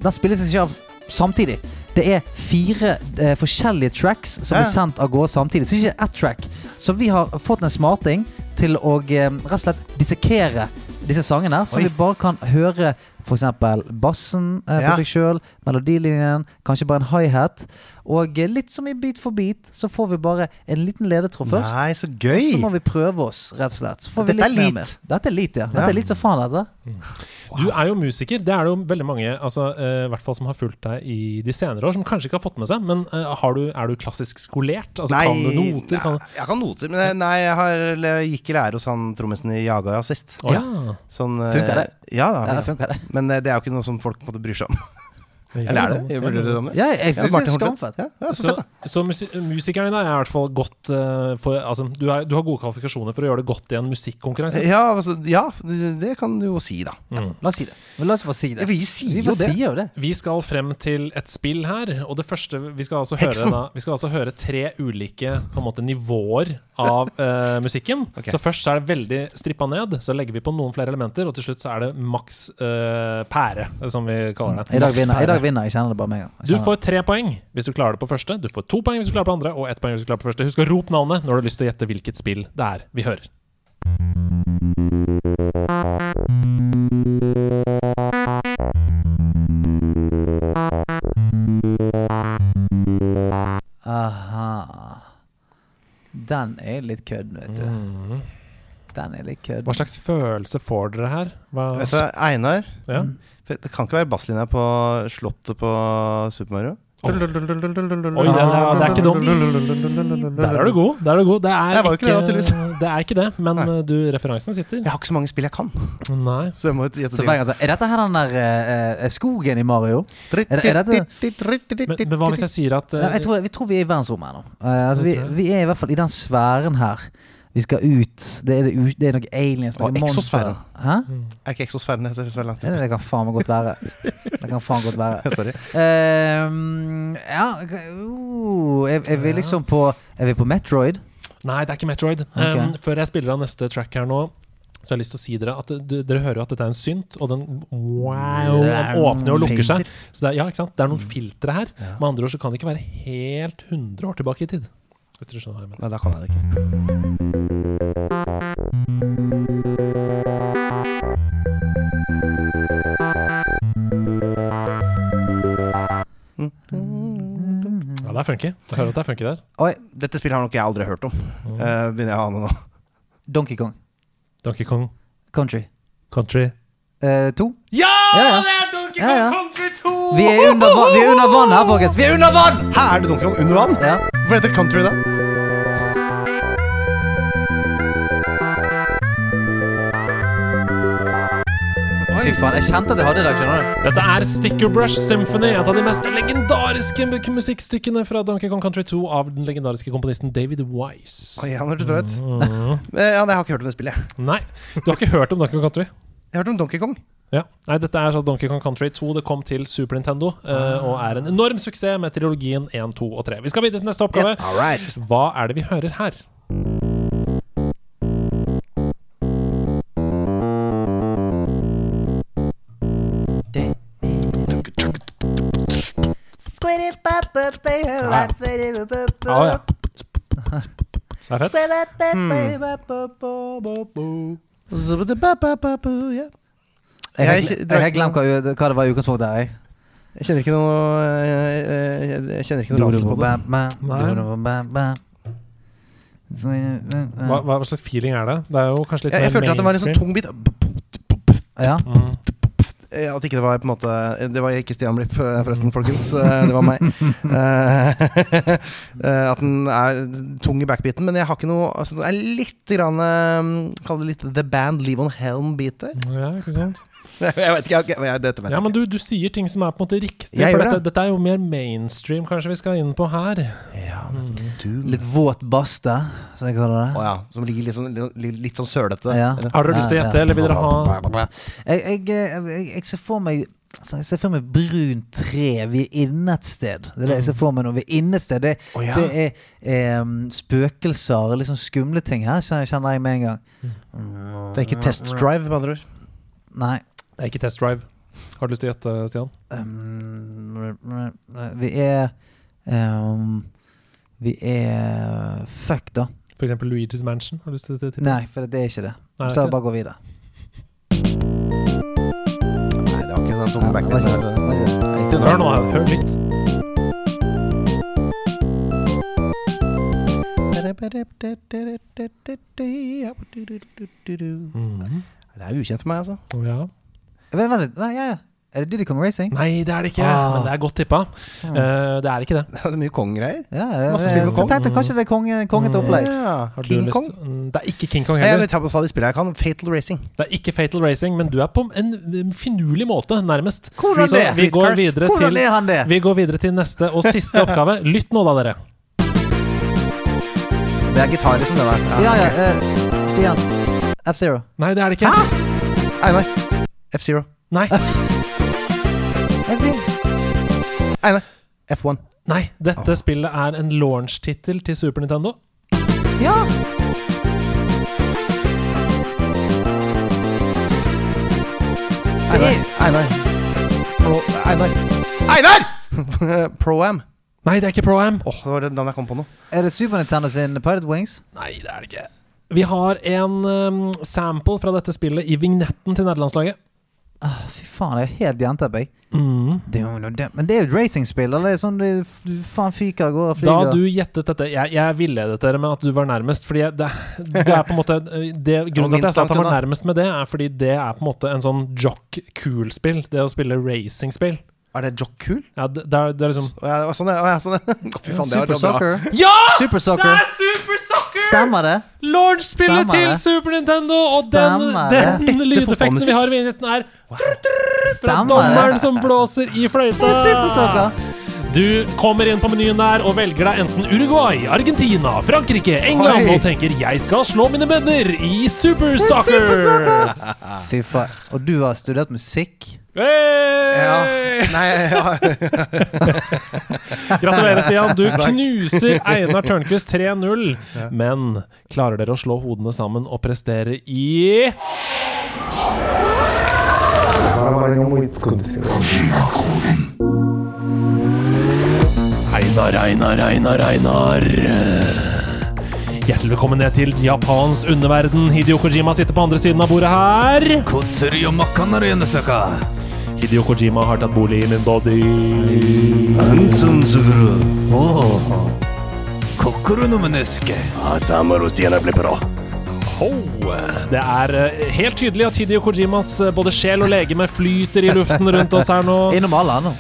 B: Den spilles ikke av samtidig. Det er fire eh, forskjellige tracks som
E: Ja.
B: blir sendt av gårde samtidig. Så det er ikke ett track. Så vi har fått en smarting til å eh, rett og slett dissekere disse sangene, så
E: Oi.
B: vi bare kan høre f.eks. bassen eh, på
E: Ja.
B: seg sjøl, melodilinjen, kanskje bare en hi-hat. Og eh, litt som i Beat for beat, så får vi bare en liten ledetråd først.
E: Nei, så
B: Så må
E: gøy.
B: vi prøve oss, rett og slett. Så får vi
E: Dette er
B: litt mer
E: lit.
B: med. Dette er lit, ja. Dette
E: Ja.
B: er lit som faen, dette.
A: Du er jo musiker. Det er det jo veldig mange altså, eh, i hvert fall som har fulgt deg i de senere år, som kanskje ikke har fått med seg. Men eh, har du, er du klassisk skolert? Altså, kan du noter?
E: nei,
A: Kan...
E: jeg kan noter, men jeg- nei, jeg, har, jeg gikk i lære hos han trommisen i Jaga sist.
A: Å ja.
E: Sånn,
B: Funker det?
E: eh, Ja da.
B: Ja, det funker, det.
E: Men eh, det er jo ikke noe som folk på en måte bryr seg om. Eller er det? Jeg burde det om det.
B: Ja, jeg
E: Ja,
B: syns det
E: Martin
B: er
E: Horten.
B: skamfett.
E: Ja, ja, så
A: Så,
E: fett, da.
A: så musi musikeren din er i hvert fall godt eh, for Altså, du, er, du har gode kvalifikasjoner for å gjøre det godt i en musikkonkurranse.
E: Ja, altså, ja, det- det kan du jo si, da.
B: La oss si det. Men la oss bare si det.
E: Vi sier
B: Vi
E: jo
B: bare
E: det.
B: sier jo det.
A: Vi skal frem til et spill her, og det første Vi skal altså høre,
E: Heksen.
A: da, vi skal altså høre tre ulike på en måte, nivåer av eh, musikken.
E: *laughs* Ok.
A: Så først så er det veldig strippa ned, så legger vi på noen flere elementer, og til slutt så er det maks eh, pære, som vi kaller det.
B: I dag vinner jeg. I dag vinner jeg. Jeg kjenner det bare med en gang. Jeg
A: Du
B: kjenner
A: får tre poeng hvis du klarer det på første, du får to poeng hvis du klarer det på andre, og ett poeng hvis du klarer det på første. Husk å rope navnet når du har lyst til å gjette hvilket spill det er vi hører.
B: det. Aha. Den er litt kødd, vet du.
E: Mm.
B: Den er litt kødd.
A: Mm. Hva slags følelse får dere her? Hva,
E: Altså, Einar,
A: ja.
B: Mm.
E: det kan ikke være basslinja på Slottet på Super Mario?
A: Oi, den, ja, det er ikke dumt. Der er du god. Der er du god. Det er
E: Jeg var jo ikke det, tydeligvis.
A: det, er ikke det men
E: Nei.
A: eh, du, referansen sitter.
E: Jeg har ikke så mange spill jeg kan.
A: Nei.
E: Så jeg må jo gjette
B: Så hver gang så, Er dette her den der eh, eh, skogen i Mario? Er det- er
A: Men, men hva hvis jeg sier at eh,
B: Nei, jeg tror, vi tror vi er i verdensrommet her nå. Eh, altså, vi,
A: Det tror jeg.
B: vi er i hvert fall i den sfæren her. Vi skal ut. Det er, det ut, det er noen aliens,
E: Og
B: noen monstre.
E: exosfæren.
B: Hæ?
A: Mm.
E: Er ikke Exosfæren det heter? Så langt ut.
B: Det, det kan faen meg godt være. Det kan faen godt være.
E: *laughs* Sorry.
B: Ehm, ja uh, jeg, jeg vil liksom på Jeg vil på Metroid.
A: Nei, det er ikke Metroid. Um, før jeg spiller av neste track her nå så jeg har jeg lyst til å si Dere at du, dere hører jo at dette er en synt, og den wow, den åpner og lukker seg. Så det er, ja, ikke sant? det er noen
E: Mm.
A: filtre her. Med andre ord så kan det ikke være helt 100 år tilbake i tid. Hvis dere skjønner hva jeg mener.
E: Nei, da kan jeg det ikke.
A: Ja, det er funky. Du hører at det er funky der.
B: Oi,
E: Mm. Dette spillet har nok jeg aldri hørt om.
B: Mm.
E: Eh, begynner jeg å ane nå.
B: Donkey Kong
A: Donkey Kong
B: Country
A: Country.
B: Eh, to.
A: Ja,
B: Ja, ja.
A: det er Donkey Kong
B: Ja, ja.
A: Country 2!
B: Vi er under, va- vi er under vann her, folkens! Vi er under vann!
E: Her er det Donkey Kong under vann!
B: Ja.
E: Hvorfor heter det country da?
B: Fy faen, jeg kjente at jeg hadde det i dag, skjønner du.
A: Dette er Sticker Brush Symphony, et av de mest legendariske mu- musikkstykkene fra Donkey Kong Country 2 av den legendariske komponisten David Wise.
E: Oi, han hørtes bra ut.
B: Mm.
E: Eh, ja, nei, jeg har ikke hørt om det spillet. jeg.
A: Nei, du har ikke hørt om Donkey Kong Country?
E: Jeg har hørt om Donkey Kong.
A: Ja. Nei, dette er sånn Donkey Kong Country 2. Det kom til Super Nintendo eh, og er en enorm suksess med trilogien 1, 2 og 3. Vi skal videre til neste oppgave.
E: All right.
A: Hva er det vi hører her?
E: Hmm.
A: Au, ja. Det er fett.
B: Jeg,
E: Jeg-
B: har- jeg har glemt hva, hva det var i utgangspunktet her. jeg.
E: Jeg kjenner ikke noe Jeg, jeg, jeg, jeg kjenner ikke noe ransel på det.
A: Nei.
B: Hva
A: Hva, hva slags feeling er det? Det er jo kanskje litt
E: Jeg, jeg
A: mer
E: følte at det var en sånn
A: mainstream.
E: tung bit.
B: Ja.
A: Mm.
E: Eh, At ikke det var på en måte Det var ikke Stian Blipp, eh, forresten, folkens. Eh, Det var meg. Eh, *laughs* eh, At den er tung i backbeaten, men jeg har ikke noe altså, Det er litt grann eh, Kall det litt The Band Leave On Helm-biter.
A: Ja, ikke sant?
E: *laughs* Jeg vet ikke, jeg, jeg, jeg, dette vet
A: Ja,
E: jeg
A: men du, du sier ting som er på en måte riktig.
E: Jeg
A: for
E: gjør
A: dette,
E: det.
A: dette er jo mer mainstream kanskje vi skal inn på her.
E: ikke. Ja, men du-
B: Litt våt baste, som jeg kaller
E: Å
B: det.
E: ja, som ligger litt sånn, litt, litt sånn sølete.
B: Ja.
A: Har dere lyst til å gjette, eller vil dere ha
B: Jeg, jeg, eh, jeg, jeg ser for meg altså, jeg ser for meg brunt tre. Vi er inne et sted. Det er det jeg ser for meg nå. Vi er inne et sted. Det,
E: Å, ja.
B: det er em, spøkelser og liksom skumle ting her, kjenner kjenner jeg med en gang.
E: Det er ikke test drive, med andre ord.
B: Nei.
A: Det er ikke Test Drive. Har du lyst til å gjette, Stian?
B: Em, Ehm, vi er em, Vi er Fuck, da.
A: For eksempel Luigi's Mansion? Har du lyst til å titte?
B: Nei, for det er ikke det.
A: Nei, det er
B: Så
A: ikke
B: bare gå videre.
E: Nei, det var ikke den
B: Ja, det
E: tunge
B: var ikke det. Det
E: backbeaten.
B: var ikke det.
A: Hør nå, her, hør litt.
E: Det er ukjent for meg, altså.
A: Å, Ja. Mhm.
E: altså.
B: Vent, vent litt. Nei, ja, ja. Er det Diddy Kong Racing?
A: Nei, det er det ikke,
B: Ah. Mm.
A: men det er godt tippa. Eh, det er ikke
E: *laughs*
A: det.
E: Det er mye konggreier.
B: Ja,
E: Masse
B: jeg,
E: spill
B: jeg
E: på Kong.
B: tenkte kanskje det er konge, konge til
A: Eh,
B: opplegg.
E: Ja,
A: Har du
E: King
A: lyst-
E: Kong.
A: Mm, Det er ikke King Kong
E: Nei, Jeg
A: heller.
E: vet ikke hva de spiller jeg kan. Fatal Racing.
A: Det er ikke Fatal Racing, men du er på en en finurlig måte, nærmest.
B: Hvordan
A: Så
B: det?
A: vi går
E: Streetcars.
A: videre
B: Hvordan
A: til
B: er han det?
A: vi går videre til neste og siste oppgave. Lytt nå, da, dere.
E: Det er gitarer som det der.
B: Ja, ja, eh, Stian. F-Zero.
A: Nei, det er det ikke.
E: Einar. F-Zero.
A: Nei,
B: Jeg vet-
E: Einar. F1.
A: nei, dette spillet er en launch-tittel til Super Nintendo.
B: Ja!
E: Einar. Einar. Pro Einar. Einar! *laughs* Pro-Am.
A: Nei, det er ikke Pro-Am.
E: Åh, det var den jeg kom på nå.
B: Er det Super Nintendo sin Pirate Wings?
A: Nei, det er det ikke. Vi har en um, sample fra dette spillet i vignetten til nederlandslaget.
B: Ah, fy faen, jeg er helt jernteppe, jeg.
A: Mm.
B: Det er jo noe dem- Men det er jo et racingspill, eller? Det er Sånn du f- du faen fyker av gårde og
A: Da
B: flyger.
A: du gjettet dette Jeg, jeg villedet dere med at du var nærmest, fordi jeg, det, det er på en måte *laughs* det, Grunnen til at jeg sa at han var nærmest med det, er fordi det er på en måte en sånn jock-cool-spill. Det å spille racing-spill.
E: Er det Jock Cool?
A: Ja, det, det, er, det er liksom
E: Å, ja, det var sånn, ja. Å, ja, sånn, *laughs* ja. Å, Fy faen, det
B: Super
E: var bra.
B: Soccer.
A: Ja!
B: Super
A: Det
B: Soccer.
A: er Super Soccer!
B: Stemmer det?
A: Launch-spillet
B: Stemmer
A: til
B: det.
A: Super Nintendo, og den,
B: Stemmer det.
A: den
E: Ekte
A: lydeffekten vi
E: fotballmusikk.
A: har i vignetten, er fra
B: Stemmer
A: dommeren
B: det?
A: som blåser i
B: Det er Super Soccer.
A: fløyta. Du kommer inn på menyen der og velger deg enten Uruguay, Argentina, Frankrike, England
E: Oi.
A: og tenker 'jeg skal slå mine venner' i Super
B: Det er
A: Soccer.
B: Super Soccer. Fy faen. Og du har studert musikk?
A: Hey!
E: Ja. Nei, ja.
A: Gratulerer, Stian. Du knuser Einar Tørnquist 3-0. Men klarer dere å slå hodene sammen og prestere i Einar, Einar, Einar, Einar. Hjertelig velkommen ned til Japans underverden. Hideo Kojima sitter på andre siden av bordet her. Hideo Kojima har tatt bolig i min body. Ho! Det er eh, helt tydelig at Hideo Kojimas eh, både sjel og legeme flyter i luften rundt oss her nå.
B: *laughs* Innom alle andre.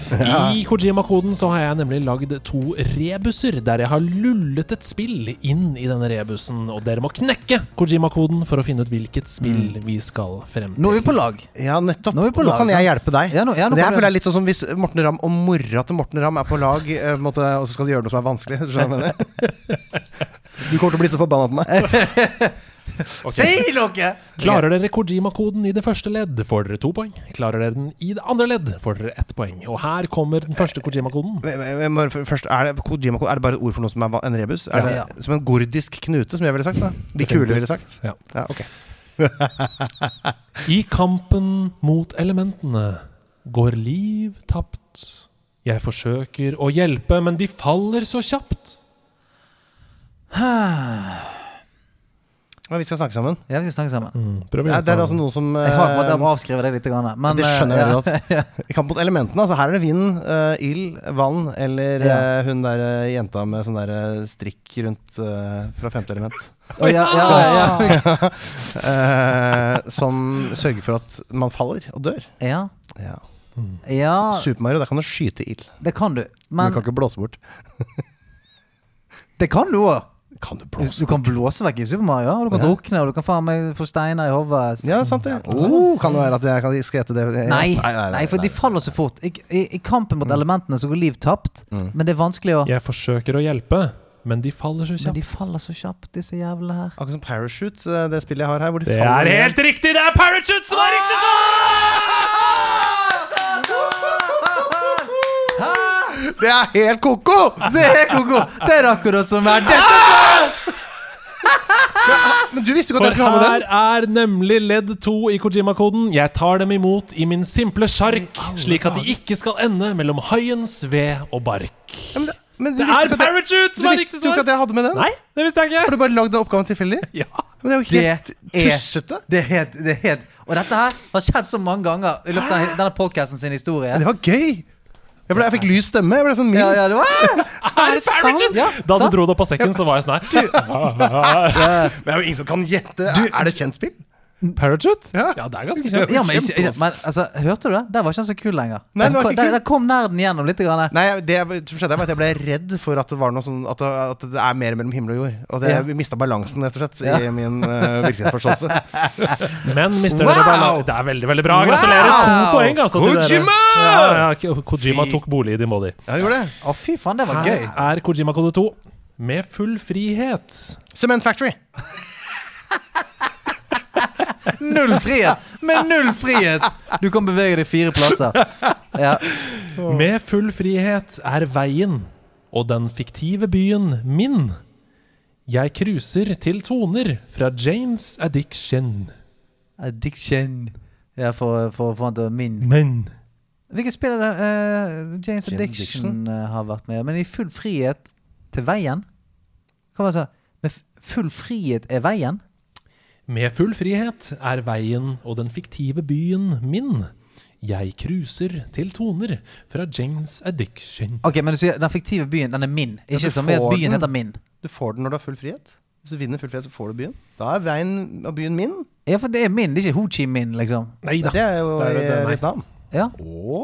A: I Kojima-koden så har jeg nemlig lagd to rebuser, der jeg har lullet et spill inn i denne rebusen. Og dere må knekke Kojima-koden for å finne ut hvilket spill vi skal frem til.
B: Nå er vi på lag.
E: ja, nettopp.
B: Nå er
E: Nå,
B: vi på lag,
E: kan jeg hjelpe deg.
B: Ja, nå- ja, nå
E: det
B: kan
E: her
B: du-
E: føler jeg er litt sånn som hvis Morten Ramm og mora til Morten Ramm er på lag, eh, på en måte, og så skal de gjøre noe som er vanskelig. Skjønner Du hva jeg mener?
B: *laughs*
E: Du kommer til å bli så forbanna på meg. *laughs*
B: Si noe!
A: Klarer dere Kojima-koden i det første ledd, får dere to poeng. Klarer dere den i det andre ledd, får dere ett poeng. Og her kommer den første Kojima-koden.
E: Men- men- men bare Først, er det, Kojima, er det bare et ord for noe som er va- en rebus? Er det
B: Ja.
E: Som en gordisk knute, som jeg ville sagt? da De kule ville sagt.
A: Ja.
E: Ja, ok.
A: I kampen mot elementene går liv tapt. Jeg forsøker å hjelpe, men de faller så kjapt.
E: Ja, vi skal snakke sammen.
B: Ja, vi skal snakke sammen.
A: Prøv
E: Ja, det er altså noe
B: *laughs*
E: som
B: Jeg har måttet
E: eh,
B: avskrive deg litt. Grann, men,
E: Det skjønner
B: eh, ja.
E: jeg veldig godt. I kamp mot elementene, altså her er det vind, eh, ild, vann eller
B: Ja.
E: eh, hun der eh, jenta med sånn der eh, strikk rundt eh, fra femte element.
B: Å, *laughs* ja, ja, ja,
E: *laughs*
B: ja.
E: Eh, som sørger for at man faller og dør.
B: ja.
E: Ja.
B: Ja,
E: Super Mario, der kan du skyte ild.
B: det kan du. Men
E: Men du kan ikke blåse bort.
B: det kan du òg.
E: Kan du
B: Du kan blåse vekk i Super Mario, og du kan
E: Ja.
B: drukne, og du kan faen meg få steiner i hodet.
E: Ja, sant det. Oh, kan det være at jeg kan skal ete det?
B: Nei, nei, Mm. for de faller så fort. I, i, i kampen mot elementene så går liv tapt, men det er vanskelig å
A: Jeg forsøker å hjelpe, men de faller så
B: Men de
A: kjapt.
B: faller så kjapt, disse jævlene her.
E: Akkurat som Parachute, eh, det spillet jeg har her. Hvor de
A: Det
E: faller
A: er
E: ned.
A: helt riktig! Det er Parachute som er riktig
E: Ah!
A: svar!
E: Det er helt ko-ko!
B: Det er koko! Det er akkurat som er dette!
E: Men du visste jo ikke at
A: For
E: jeg skulle ha med den.
A: her er nemlig ledd to i Kojima-koden. Jeg tar dem imot i min simple sjark, slik at de ikke skal ende mellom haiens ved og bark.
E: Ja, men det, men du
A: Det
E: visste
A: er
E: ikke at jeg-
A: Parachute
E: Du
A: som er
E: visste
A: riktig
E: jo ikke at
A: svar!
E: jeg hadde med den.
A: Nei, det visste jeg
E: Har
A: ikke.
E: du bare lagd den oppgaven tilfeldig?
A: Ja.
E: Men det er jo
B: Det
E: helt
B: er
E: tussete.
B: Det er helt, det er helt Og dette her har skjedd så mange ganger i løpet av denne- denne podcasten sin historie.
E: Det var gøy! Jeg, ble, jeg fikk lys stemme. Jeg ble sånn min.
B: Ja, ja, det var
A: Er det sant?
B: Ja,
A: Da du
B: sant?
A: dro det opp av sekken, så var jeg sånn her.
E: Men det er jo ingen som kan gjette. er det kjent spill?
A: Parachute?
E: Ja.
A: ja, det er ganske kjent.
B: Ja, men, ikke- ja, men altså, Hørte du det? Der var ikke han så kul lenger.
E: Nei,
B: der,
E: det
B: kom-
E: var ikke kul.
B: der, der kom nerden gjennom litt. Grann.
E: Nei, det som skjedde var at jeg ble redd for at det var noe sånn At det, at det er mer mellom himmel og jord. Og det, jeg mista balansen, rett og slett, i min eh, virkelighetsforståelse.
A: Men mister
B: Wow!
A: dere bare Det er veldig, veldig bra. Gratulerer. To
B: Wow!
A: poeng, altså. til dere.
E: Kojima!
A: Ja, ja, Ko- Kojima tok bolig i din body.
E: Ja, jeg gjorde det.
B: Å, fy faen, det var gøy.
A: Her er Kojima kode 2 med full frihet.
E: Cement Factory.
B: Null frihet! Med null frihet! Du kan bevege deg fire *laughs* plasser. Ja.
A: Med full frihet er veien og den fiktive byen min. Jeg cruiser til toner fra Janes Addiction.
B: Addiction. Ja, for, for, for han til min
A: Men
B: Hvilket spill er det eh, James Addiction
E: Addiction.
B: eh, har vært med Men i full frihet til veien? Hva var det jeg sa? Med f- full frihet er veien?
A: med full frihet er veien og den fiktive byen min. Jeg cruiser til toner fra Janes Addiction.
B: Ok, men du sier Den fiktive byen, den er min. Ikke
E: du
B: som i at
E: får
B: byen
E: den.
B: heter min.
E: Du får den når du har full frihet. Hvis du vinner full frihet, så får du byen. Da er veien av byen min.
B: Ja, for det er min, det er ikke Ho Chi Min, liksom.
A: Nei da.
E: Det er jo
A: Det er det, det er
E: i
A: meg.
E: Vietnam.
B: Ja.
E: Å?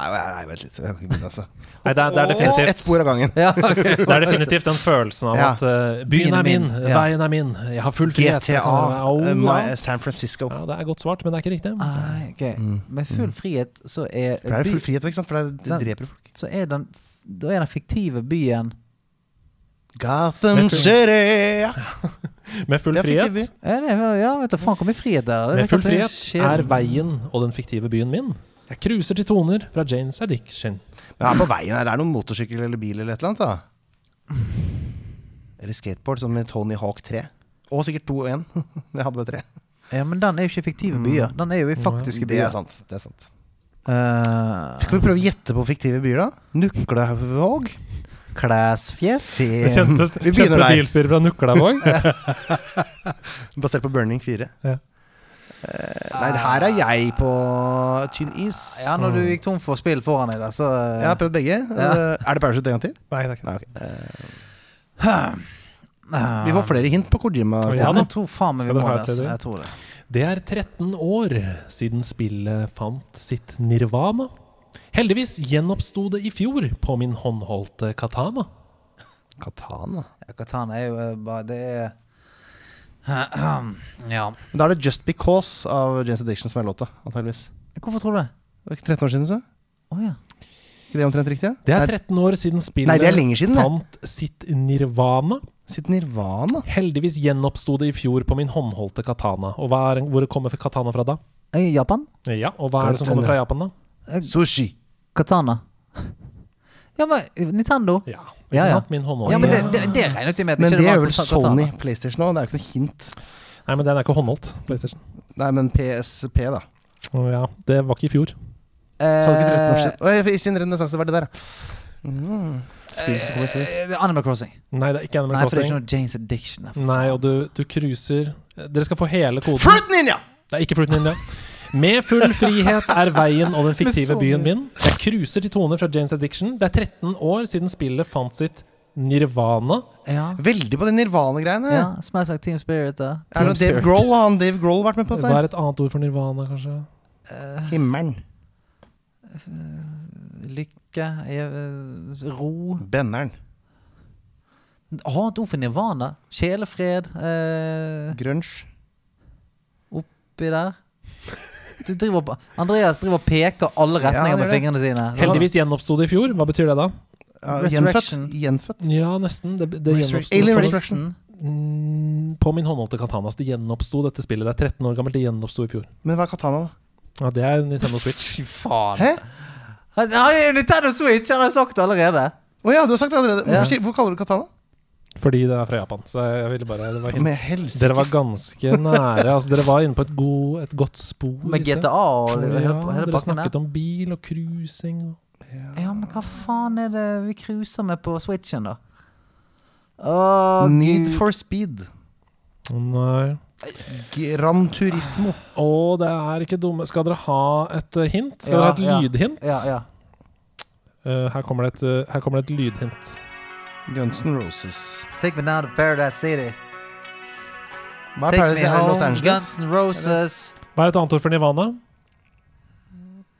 E: Nei, nei, nei, vent litt. Jeg kan ikke begynne, altså.
A: Nei, det er, det er
E: Ett
A: definitivt
E: et spor av gangen. *laughs*
B: ja ok.
A: *laughs* Det er definitivt den følelsen av
E: Ja.
A: at eh, byen er min,
B: Ja.
A: veien er min, jeg har full frihet.
E: GTA,
A: Au,
E: eh, Ah. my-
A: ja.
E: San Francisco.
A: ja, det er godt svart, men det er ikke riktig.
B: Nei, ok. Med full frihet så er,
E: Mm. For det er
B: by,
E: jo full frihet, ikke sant? For det, er,
B: Den-
E: det dreper folk.
B: så er den Da er den fiktive byen
E: Gotham City!
A: Med full
E: Det er
A: frihet.
E: fiktiv
B: Ja, det, er- ja vet du faen hvor mye frihet det er. Det
A: Med
B: virker
A: full
B: som en
A: frihet
B: skjebne.
A: er veien og den fiktive byen min. Jeg cruiser til toner fra Janes Addiction.
E: Men her på veien her, det er noen motorsykkel eller bil eller et eller annet, da. Eller skateboard, som i Tony Hawk 3. Og sikkert 2 og 1. *laughs* Jeg hadde bare 3.
B: Ja, men den er jo ikke fiktive byer. Den er jo i faktiske
E: Mm. Det
B: byer.
E: er sant. det er sant.
B: Eh,
E: Skal vi prøve å gjette på fiktive byer, da? Nuklevåg?
B: Klesfjes.
A: Det kjentes
E: Vi begynner
A: kjente
E: der.
A: bilspyr fra
E: *laughs*
A: Nuklavåg.
E: Basert på Burning 4.
A: Ja.
E: Eh, nei, her er jeg på tynn is.
B: Ja, når du gikk tom for spill foran deg, da, så eh,
E: Jeg har prøvd begge. Eh, er det Parachute en gang til?
A: Nei, det er ikke det.
E: Nei, ok. Vi får flere hint på Kojima.
A: Ja,
B: Ja,
A: da.
B: jeg tror faen meg vi
A: Skal du
B: må
A: ha
B: det.
A: et
B: Altså.
A: tredje?
B: Jeg tror det.
A: Det er 13 år siden spillet fant sitt nirvana. Heldigvis gjenoppsto det i fjor på min håndholdte katana.
E: Katana.
B: Ja, Katana er jo eh, bare Det er *clears throat* Ja.
E: Men Da er det Just Because av James Addiction som er låta, antageligvis.
B: Hvorfor tror du det?
E: Det var ikke 13 år siden, så?
B: Å ja.
E: Ikke det omtrent riktig?
A: Det er 13 år siden
E: Nei, det er
A: spillet
E: lenger siden, det.
A: fant sitt nirvana.
E: Sitt Nirvana.
A: Heldigvis gjenoppsto det i fjor på min håndholdte katana. Og hva er, hvor kommer katana fra da?
B: Eh, Japan?
A: Ja, og hva er det som kommer fra Japan da?
E: Sushi.
B: Katana. Ja, men eh, Nintendo
A: Ja, ikke
B: Ja, ja.
A: sant? Min håndholdte.
B: Ja, men det, det, det regnet vi med. at
E: Men
B: ikke
E: det
B: var
E: er vel
B: konstant
E: Sony
B: Katana.
E: PlayStation òg, det er jo ikke noe hint.
A: Nei, men den er ikke håndholdt, PlayStation.
E: Nei, men PSP, da.
A: Å ja, det var ikke i fjor.
E: Sa du ikke 13 år
B: Eh,
E: siden? Oi, I sin renessanse var det der, ja. Mm. Spill som kommer før.
B: eh, Animal Crossing.
A: Nei, det er ikke
B: Nei,
A: Animal
B: for det er ikke
A: Crossing.
B: noe Janes Addiction. der.
A: Nei, og du, du cruiser Dere skal få hele koden.
E: Eh, Fruit Ninja!
A: Det er ikke Fruit Ninja. Med full frihet er veien og den fiktive
B: Med så
A: byen
B: mye.
A: min. Jeg cruiser til toner fra Janes Addiction. Det er 13 år siden spillet fant sitt nirvana.
B: Ja.
E: Veldig på de Nirvana-greiene.
B: ja. Smells like Team Spirit. Da.
E: Er det noe Dave
A: Spirit.
E: Grohl har han Dave Grohl vært med på
A: Hva
E: dette?
A: er et annet ord for nirvana, kanskje?
E: Himmelen.
B: Lykke eh, Ro.
E: Benneren.
B: Har et ord for nirvana. Sjelefred eh,
E: Grunge.
B: oppi der. Du driver på Andreas driver og peker alle
E: Ja, han
B: retninger
E: gjør
B: med
E: det.
B: fingrene sine.
A: Heldigvis gjenoppsto det i fjor. Hva betyr det da?
E: Ja, gjenfødt.
B: Resurrection.
E: gjenfødt.
A: Ja, nesten. Det, det gjenoppsto
E: Alien
A: som-
E: Resurrection.
B: Resurrection.
A: Mm, På min håndholdte katanas. Det gjenoppsto dette spillet. Det er 13 år gammelt. Det gjenoppsto i fjor.
E: Men hva er katana, da?
A: Ja, det er Nintendo Switch.
B: Fy faen.
E: Hæ?
B: Han han er jo Nintendo Switch, han har jo sagt det allerede.
E: Å ja, du har sagt det allerede.
B: Ja.
E: Hvorfor, sier- hvor kaller du det katana?
A: Fordi det er fra Japan. Så jeg ville bare det var hint.
E: Med helse.
A: Dere var ganske nære. Altså, dere var inne på et, god, et godt spor. i
B: Med
A: sted.
B: GTA og
A: Ja,
B: hele, hele
A: dere
B: pakken
A: snakket
B: der.
A: om bil og cruising. og-
B: Ja, men hva faen er det vi cruiser med på Switchen, da? Åh,
E: Need
B: Gud.
E: for speed.
A: Å, Nei.
E: Gran Turismo.
A: Å, det er ikke dumme Skal dere ha et eh, hint? Skal
B: Ja,
A: dere ha et lydhint?
B: Ja, ja.
A: Eh, her, kommer det et, eh, her kommer det et lydhint.
E: Guns N' Roses.
B: Take me down to Paradise City.
E: Hva er
B: Take Me
E: Paradise i Los
B: Home,
E: Angeles?
B: Guns N' Roses
A: Hva er et annet ord for Nirvana?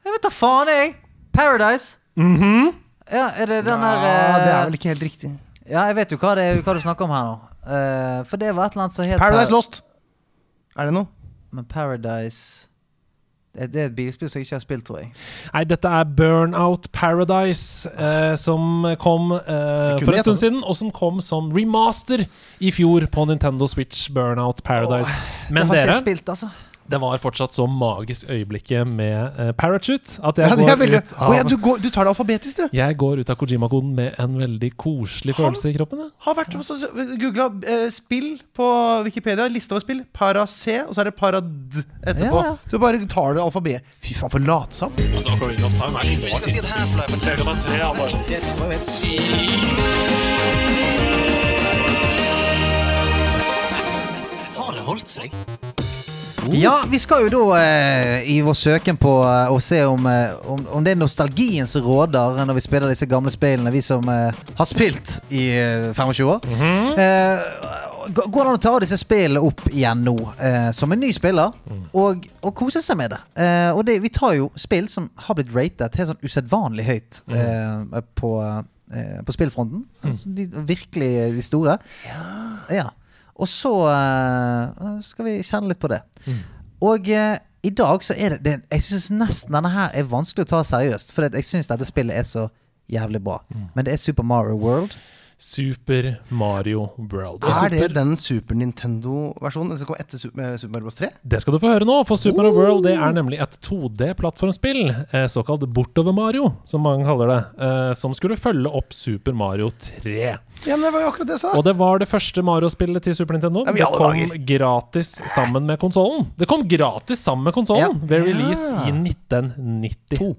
B: Jeg vet da faen, jeg! Paradise. Ja, er det den der
E: Ja, det er
B: eh,
E: vel ikke helt riktig.
B: Ja, jeg vet jo hva, det er, hva du snakker om her nå. Eh, for det var et eller annet som het
E: Paradise Lost. Er det noe?
B: Men Paradise det, det er et bilspill som jeg ikke har spilt, tror jeg.
A: Nei, dette er Burnout Paradise, eh, som kom eh,
E: kunne
A: for en
E: gjette
A: stund siden, og som kom som remaster i fjor på Nintendo Switch Burnout Paradise. Men
B: det har ikke
A: dere,
B: jeg spilt, altså.
A: det var fortsatt så magisk øyeblikket med eh, Parachute at jeg,
E: *laughs* Ja, det er
A: går,
E: veldig...
A: ut
E: Å ja,
A: av,
E: du, går, du tar det alfabetisk, du.
A: jeg går ut av Kojima-koden med en veldig koselig
E: Han-
A: følelse i kroppen. jeg.
E: Har vært googla spill på Wikipedia, liste over spill. Para-C, og så er det parad etterpå.
B: Ja, ja.
E: Du bare tar det alfabet. Fy faen, for latsom.
B: Ja, vi skal jo da eh, i vår søken på eh, å se om, eh, om, om det er nostalgien som råder når vi spiller disse gamle spillene, vi som eh, har spilt i eh, 25 år. Eh, g- går det an å ta disse spillene opp igjen nå, eh, som en ny spiller, og, og kose seg med det? Eh, og det, vi tar jo spill som har blitt ratet helt sånn usedvanlig høyt eh, på, eh, på spillfronten. Altså, De, virkelig eh, de store. Ja. Og så eh, skal vi kjenne litt på det. Og eh, i dag så er det, det Jeg syns nesten denne her er vanskelig å ta seriøst, for jeg syns dette spillet er så jævlig bra. Men det er Super Mario World.
A: Super Mario World. Og
E: Er
A: Super,
E: det den Super Nintendo-versjonen? Den som kom etter Super, eh, Super Mario Bros. 3?
A: Det skal du få høre nå, for Super Mario World det er nemlig et 2D-plattformspill, eh, såkalt Bortover-Mario, som mange kaller det, eh, som skulle følge opp Super Mario 3.
E: Ja, men det var jo akkurat det jeg sa.
A: Og det var det første Mario-spillet til Super Nintendo.
E: men i
A: Det
E: alle
A: kom
E: dager.
A: gratis sammen med konsollen. Det kom gratis sammen med konsollen
B: Ja.
A: ved release
E: Ja.
A: i 1990.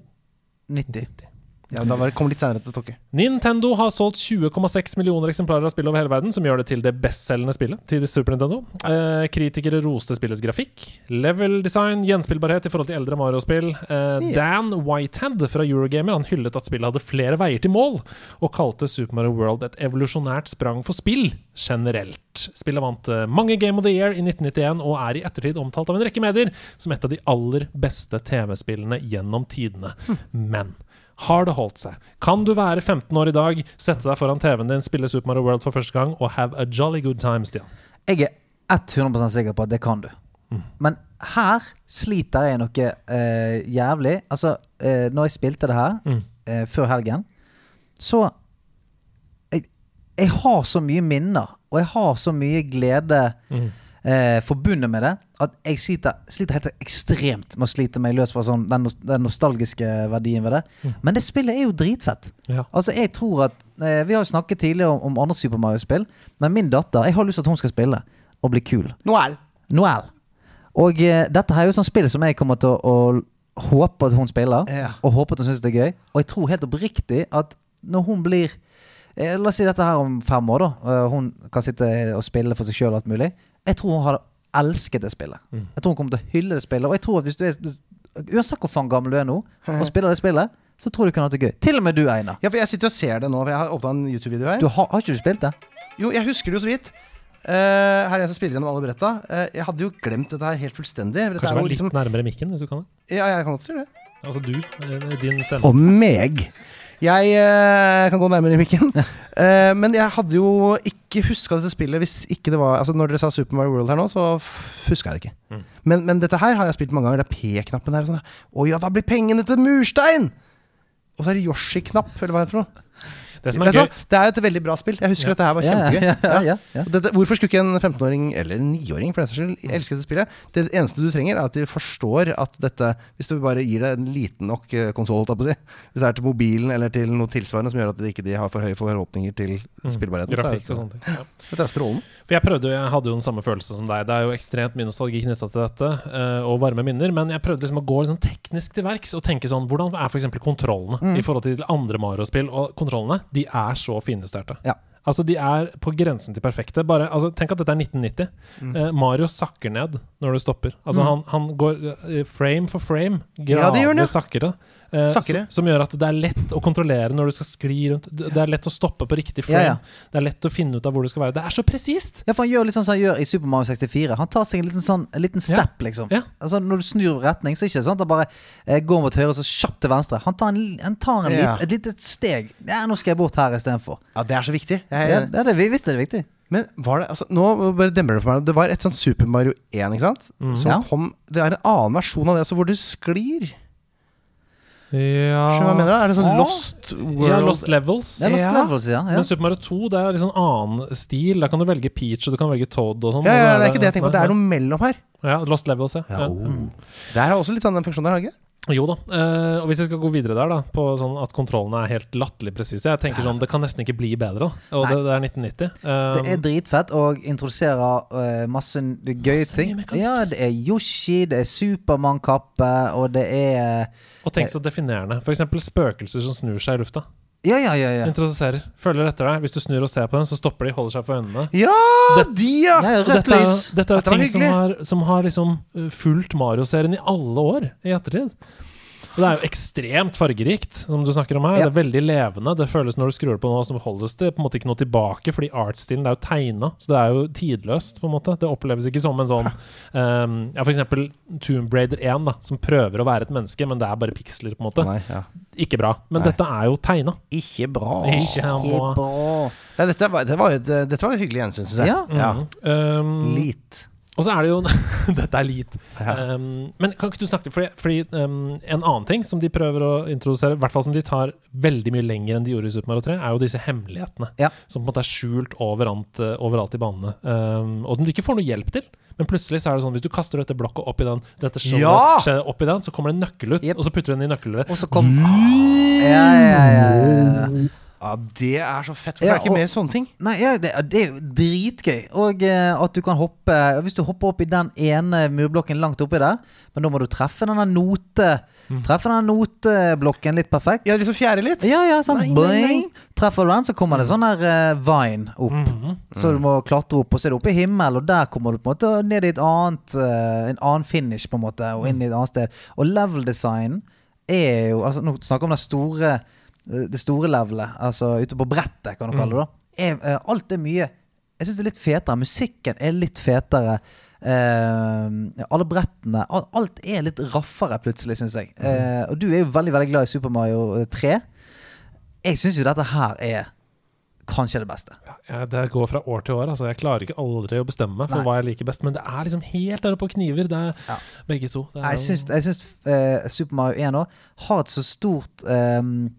B: 90.
E: Ja, men da var det kom litt senere til stokket.
A: Nintendo har solgt 20,6 millioner eksemplarer av spillet over hele verden, som gjør det til det bestselgende spillet til Super Nintendo. Eh, kritikere roste spillets grafikk, level-design, gjenspillbarhet i forhold til eldre Mario-spill. Eh, Dan Whitehead fra Eurogamer han hyllet at spillet hadde flere veier til mål, og kalte Super Mario World et evolusjonært sprang for spill generelt. Spillet vant eh, mange Game of the Year i 1991, og er i ettertid omtalt av en rekke medier som et av de aller beste TV-spillene gjennom tidene. Men har det holdt seg? Kan du være 15 år i dag, sette deg foran TV-en din, spille Super Mario World for første gang og have a jolly good time, Stian?
B: Jeg er 100 sikker på at det kan du. Men her sliter jeg noe eh, jævlig. Altså, eh, når jeg spilte det her eh, før helgen, så jeg, jeg har så mye minner, og jeg har så mye glede eh, forbundet med det, at jeg sliter, sliter helt ekstremt med å slite meg løs fra sånn, den, nos- den nostalgiske verdien ved det. Men det spillet er jo dritfett.
A: Ja.
B: Altså, jeg tror at eh, Vi har jo snakket tidligere om, om andre Super Mario-spill, men min datter Jeg har lyst til at hun skal spille og bli kul.
E: Noel.
B: Noel. Og eh, dette her er jo sånn spill som jeg kommer til å, å håpe at hun spiller,
E: Ja.
B: og håpe at hun syns det er gøy. Og jeg tror helt oppriktig at når hun blir eh, La oss si dette her om fem år, da. eh, Hun kan sitte og spille for seg sjøl og alt mulig. Jeg tror hun hadde elsket det spillet.
E: Mm.
B: Jeg tror hun kommer til å hylle det spillet. Og jeg tror at hvis du er Uansett hvor faen gammel du er nå, og spiller det spillet, så tror jeg du kunne hatt det gøy. Til og med du, Einar.
E: Ja, for jeg sitter og ser det nå, for jeg har åpna en YouTube-video her.
B: Du har, har ikke du spilt det?
E: Jo, jeg husker det jo så vidt. Eh, her er jeg som spiller gjennom alle bretta. Eh, jeg hadde jo glemt dette her helt fullstendig. for Dette
A: Kanskje
E: er jo
A: være litt
E: liksom,
A: nærmere mikken, hvis du kan det?
E: ja, jeg kan godt gjøre det.
A: Altså du, eh, din stemme.
E: Og meg. Jeg eh, kan gå nærmere mikken. Eh, men jeg hadde jo ikke huska dette spillet hvis ikke det var Altså Når dere sa Super Mario World her nå, så huska jeg det ikke.
A: Mm.
E: Men, men dette her har jeg spilt mange ganger. Det er P-knappen her. og Sånn. Å ja, da blir pengene til murstein! Og så er det Yoshi-knapp, eller hva heter det for noe.
A: Det som er
E: Vet du
A: gøy
E: hva? Det er et veldig bra spill. Jeg
A: Ja.
E: husker at dette her var
B: Ja, ja,
E: kjempegøy.
B: ja, ja, ja, ja.
E: Og Dette, hvorfor skulle ikke en 15-åring, eller en 9-åring for den saks skyld, elske dette spillet? Det eneste du trenger, er at de forstår at dette Hvis du bare gir det en liten nok konsoll, holdt jeg på å si. Hvis det er til mobilen eller til noe tilsvarende som gjør at de ikke de har for høye forhåpninger til spillbarheten. så er
A: Grafikk
E: dette-
A: og sånne ting. Ja.
E: Dette er strålen.
A: For jeg prøvde jo, jeg hadde jo den samme følelse som deg. Det er jo ekstremt mye nostalgi knytta til dette, eh, og varme minner. Men jeg prøvde liksom å gå litt sånn teknisk til verks og tenke sånn Hvordan er f.eks. kontrollene
E: Mm.
A: i forhold til andre Mario-spill? Og kontrollene, de er så finjusterte.
B: Ja.
A: Altså, de er på grensen til perfekte. Bare, altså, tenk at dette er 1990.
E: Mm.
A: Eh, Mario sakker ned når du stopper. Altså, han, han går eh, frame for frame.
E: Ja, det gjør han, ja.
A: Gradvis sakkere. eh,
E: Sakkere.
A: s- som gjør at det er lett å kontrollere når du skal skli rundt. D- Det er lett å stoppe på riktig frame.
B: Ja, ja.
A: Det er lett å finne ut av hvor du skal være. Det er så presist!
B: Ja, for han gjør litt sånn som han gjør i Super Mario 64. Han tar seg en liten, sånn, en liten
A: Ja.
B: step, liksom.
A: Ja.
B: Altså, når du snur retning, så er det ikke sånn at han bare eh, går mot høyre og så kjapt til venstre. Han tar, en, li- han tar en,
E: Ja.
B: lit- et lite steg. Ja, nå skal jeg bort her istedenfor.
E: Ja, det er så viktig.
A: Eh.
E: Jeg,
B: Ja, det, er det, vi visste det er viktig.
E: Men var det altså, Nå bare demmer det for meg. Det var et sånn Super Mario 1, ikke sant? Som
B: Ja.
E: kom Det er en annen versjon av det, altså, hvor du sklir. Skjønner du hva jeg
A: Ah. Ja,
E: mener? da? Er det sånn
B: Ja.
E: Lost World
A: ja Lost Levels.
B: Det er Lost
E: Ja.
B: Levels, ja. ja.
A: Men Super Mario 2 det er liksom annen stil. Der kan du velge Peach og du kan velge Toad og sånn.
E: ja,
A: Og
E: ja,
A: så
E: det er ikke det jeg tenker på. Det
A: Nei,
E: er noe mellom her.
A: nei. Ja, Lost Levels, ja. ja.
E: Der er også litt sånn den funksjonen der, har ikke?
A: Jo da. Eh, og hvis vi skal gå videre der, da, på sånn at kontrollene er helt latterlig presise Jeg tenker sånn, Det kan nesten ikke bli bedre. da. Og det, det er 1990. Eh,
B: Det er dritfett og introduserer eh, masse n- gøye
A: Masse
B: ting.
A: nye mekanikker.
B: Ja, det er Yoshi, det er Supermann-kappe, og det er
A: eh, og tenk så definerende. F.eks. spøkelser som snur seg i lufta.
B: Ja, ja, ja. ja.
A: Introduserer. Følger etter deg. Hvis du snur og ser på dem, så stopper de, holder seg for øynene.
E: Ja,
A: Det-
E: de, ja!
B: ja
A: Og
B: rødt
A: dette, er-
B: lys.
A: dette er
E: Dette var
A: jo ting som
E: hyggelig.
A: har, som har liksom uh, fulgt Mario-serien i alle år i ettertid. Og det er jo ekstremt fargerikt, som du snakker om her.
B: Ja.
A: Det er veldig levende. Det føles når du skrur på nå, så holdes det på en måte ikke noe tilbake, fordi artstilen det er jo tegna, så det er jo tidløst, på en måte. Det oppleves ikke som en sånn um, Ja, for eksempel Tomb Raider 1, da, som prøver å være et menneske, men det er bare piksler, på en måte.
E: Nei, ja.
A: Ikke bra. Men
E: Nei.
A: dette er jo tegna.
E: Ikke bra.
A: Ikke bra.
B: Kjempebra.
E: Nei, dette, var, det var, jo et- dette var et hyggelig gjensyn, syns jeg.
B: Ja.
A: Mm. Um,
E: Lit.
A: Og så er det jo *laughs* Dette er lit. Um, men kan ikke du snakke Fordi, fordi um, en annen ting som de prøver å introdusere, i hvert fall som de tar veldig mye lenger enn de gjorde i Super Mario 3, er jo disse hemmelighetene.
B: Ja.
A: Som på en måte er skjult overalt, eh, overalt i banene. Um, og som du ikke får noe hjelp til. Men plutselig så er det sånn hvis du kaster dette blokket oppi den, dette skjoldet
E: Ja!
A: skje- opp i den, så kommer det en nøkkel ut,
B: Jep.
A: og så putter du den i nøkkelrøret.
B: Og så kom ja, ja, ja, ja.
E: Ja, det er så fett. For
B: Ja,
E: det er ikke
B: og-
E: mer sånne ting.
B: Nei, ja, det, det er jo dritgøy. Og eh, at du kan hoppe Hvis du hopper opp i den ene murblokken langt oppi der, men da må du treffe denne note Treffe denne noteblokken litt perfekt.
E: Ja, liksom fjerde litt.
B: Ja, ja, sant.
E: Nei, nei, nei.
B: Boing. Treffer du den, så kommer det sånn der eh, vine opp.
E: Mhm.
B: Så du må klatre opp, og så er det oppe i himmel, og der kommer du på en måte ned i et annet eh, En annen finish, på en måte, og inn i et annet sted. Og level-design er jo altså, Nå snakker vi om det store eh, Det store levelet, altså ute på brettet, kan du kalle
E: Mhm.
B: det. da er, eh, Alt er mye Jeg syns det er litt fetere. Musikken er litt fetere. Eh, alle brettene al- Alt er litt raffere, plutselig, syns jeg.
E: Mhm.
B: Eh, og du er jo veldig veldig glad i Super Mario eh, 3. Jeg syns jo dette her er kanskje det beste.
A: Ja, det går fra år til år. Altså, jeg klarer ikke aldri å bestemme meg for
B: Nei.
A: hva jeg liker best. Men det er liksom helt der oppe på kniver, det er
B: Ja.
A: begge to. Det er
B: Jeg
A: jo-
B: syns, jeg syns eh, Super Mario 1 òg har et så stort ehm,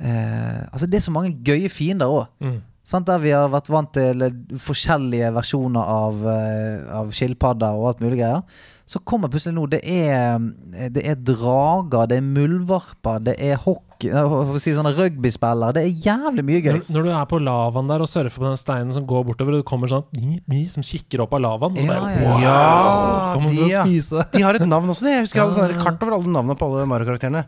B: eh, Altså, det er så mange gøye fiender òg.
A: Mm.
B: Sant, der vi har vært vant til eh, forskjellige versjoner av, eh, av skilpadder og alt mulig greier. Så kommer plutselig nå Det er, eh, det er drager, det er muldvarper, det er hockey eh, hva skal jeg si, sånne Rugbyspillere. Det er jævlig mye gøy.
A: Når, når du er på lavaen der og surfer på den steinen som går bortover, og det kommer sånn ni, ni, som kikker opp av lavaen, og så
B: Ja,
A: bare
B: ja, ja.
E: Ja,
A: Kommer
E: de,
A: til å
E: ja.
A: spise. Ah.
E: De har et navn også. det. Jeg husker jeg hadde
A: Ja,
E: sånne
A: ja.
E: kart over alle navnene på alle Mario-karakterene.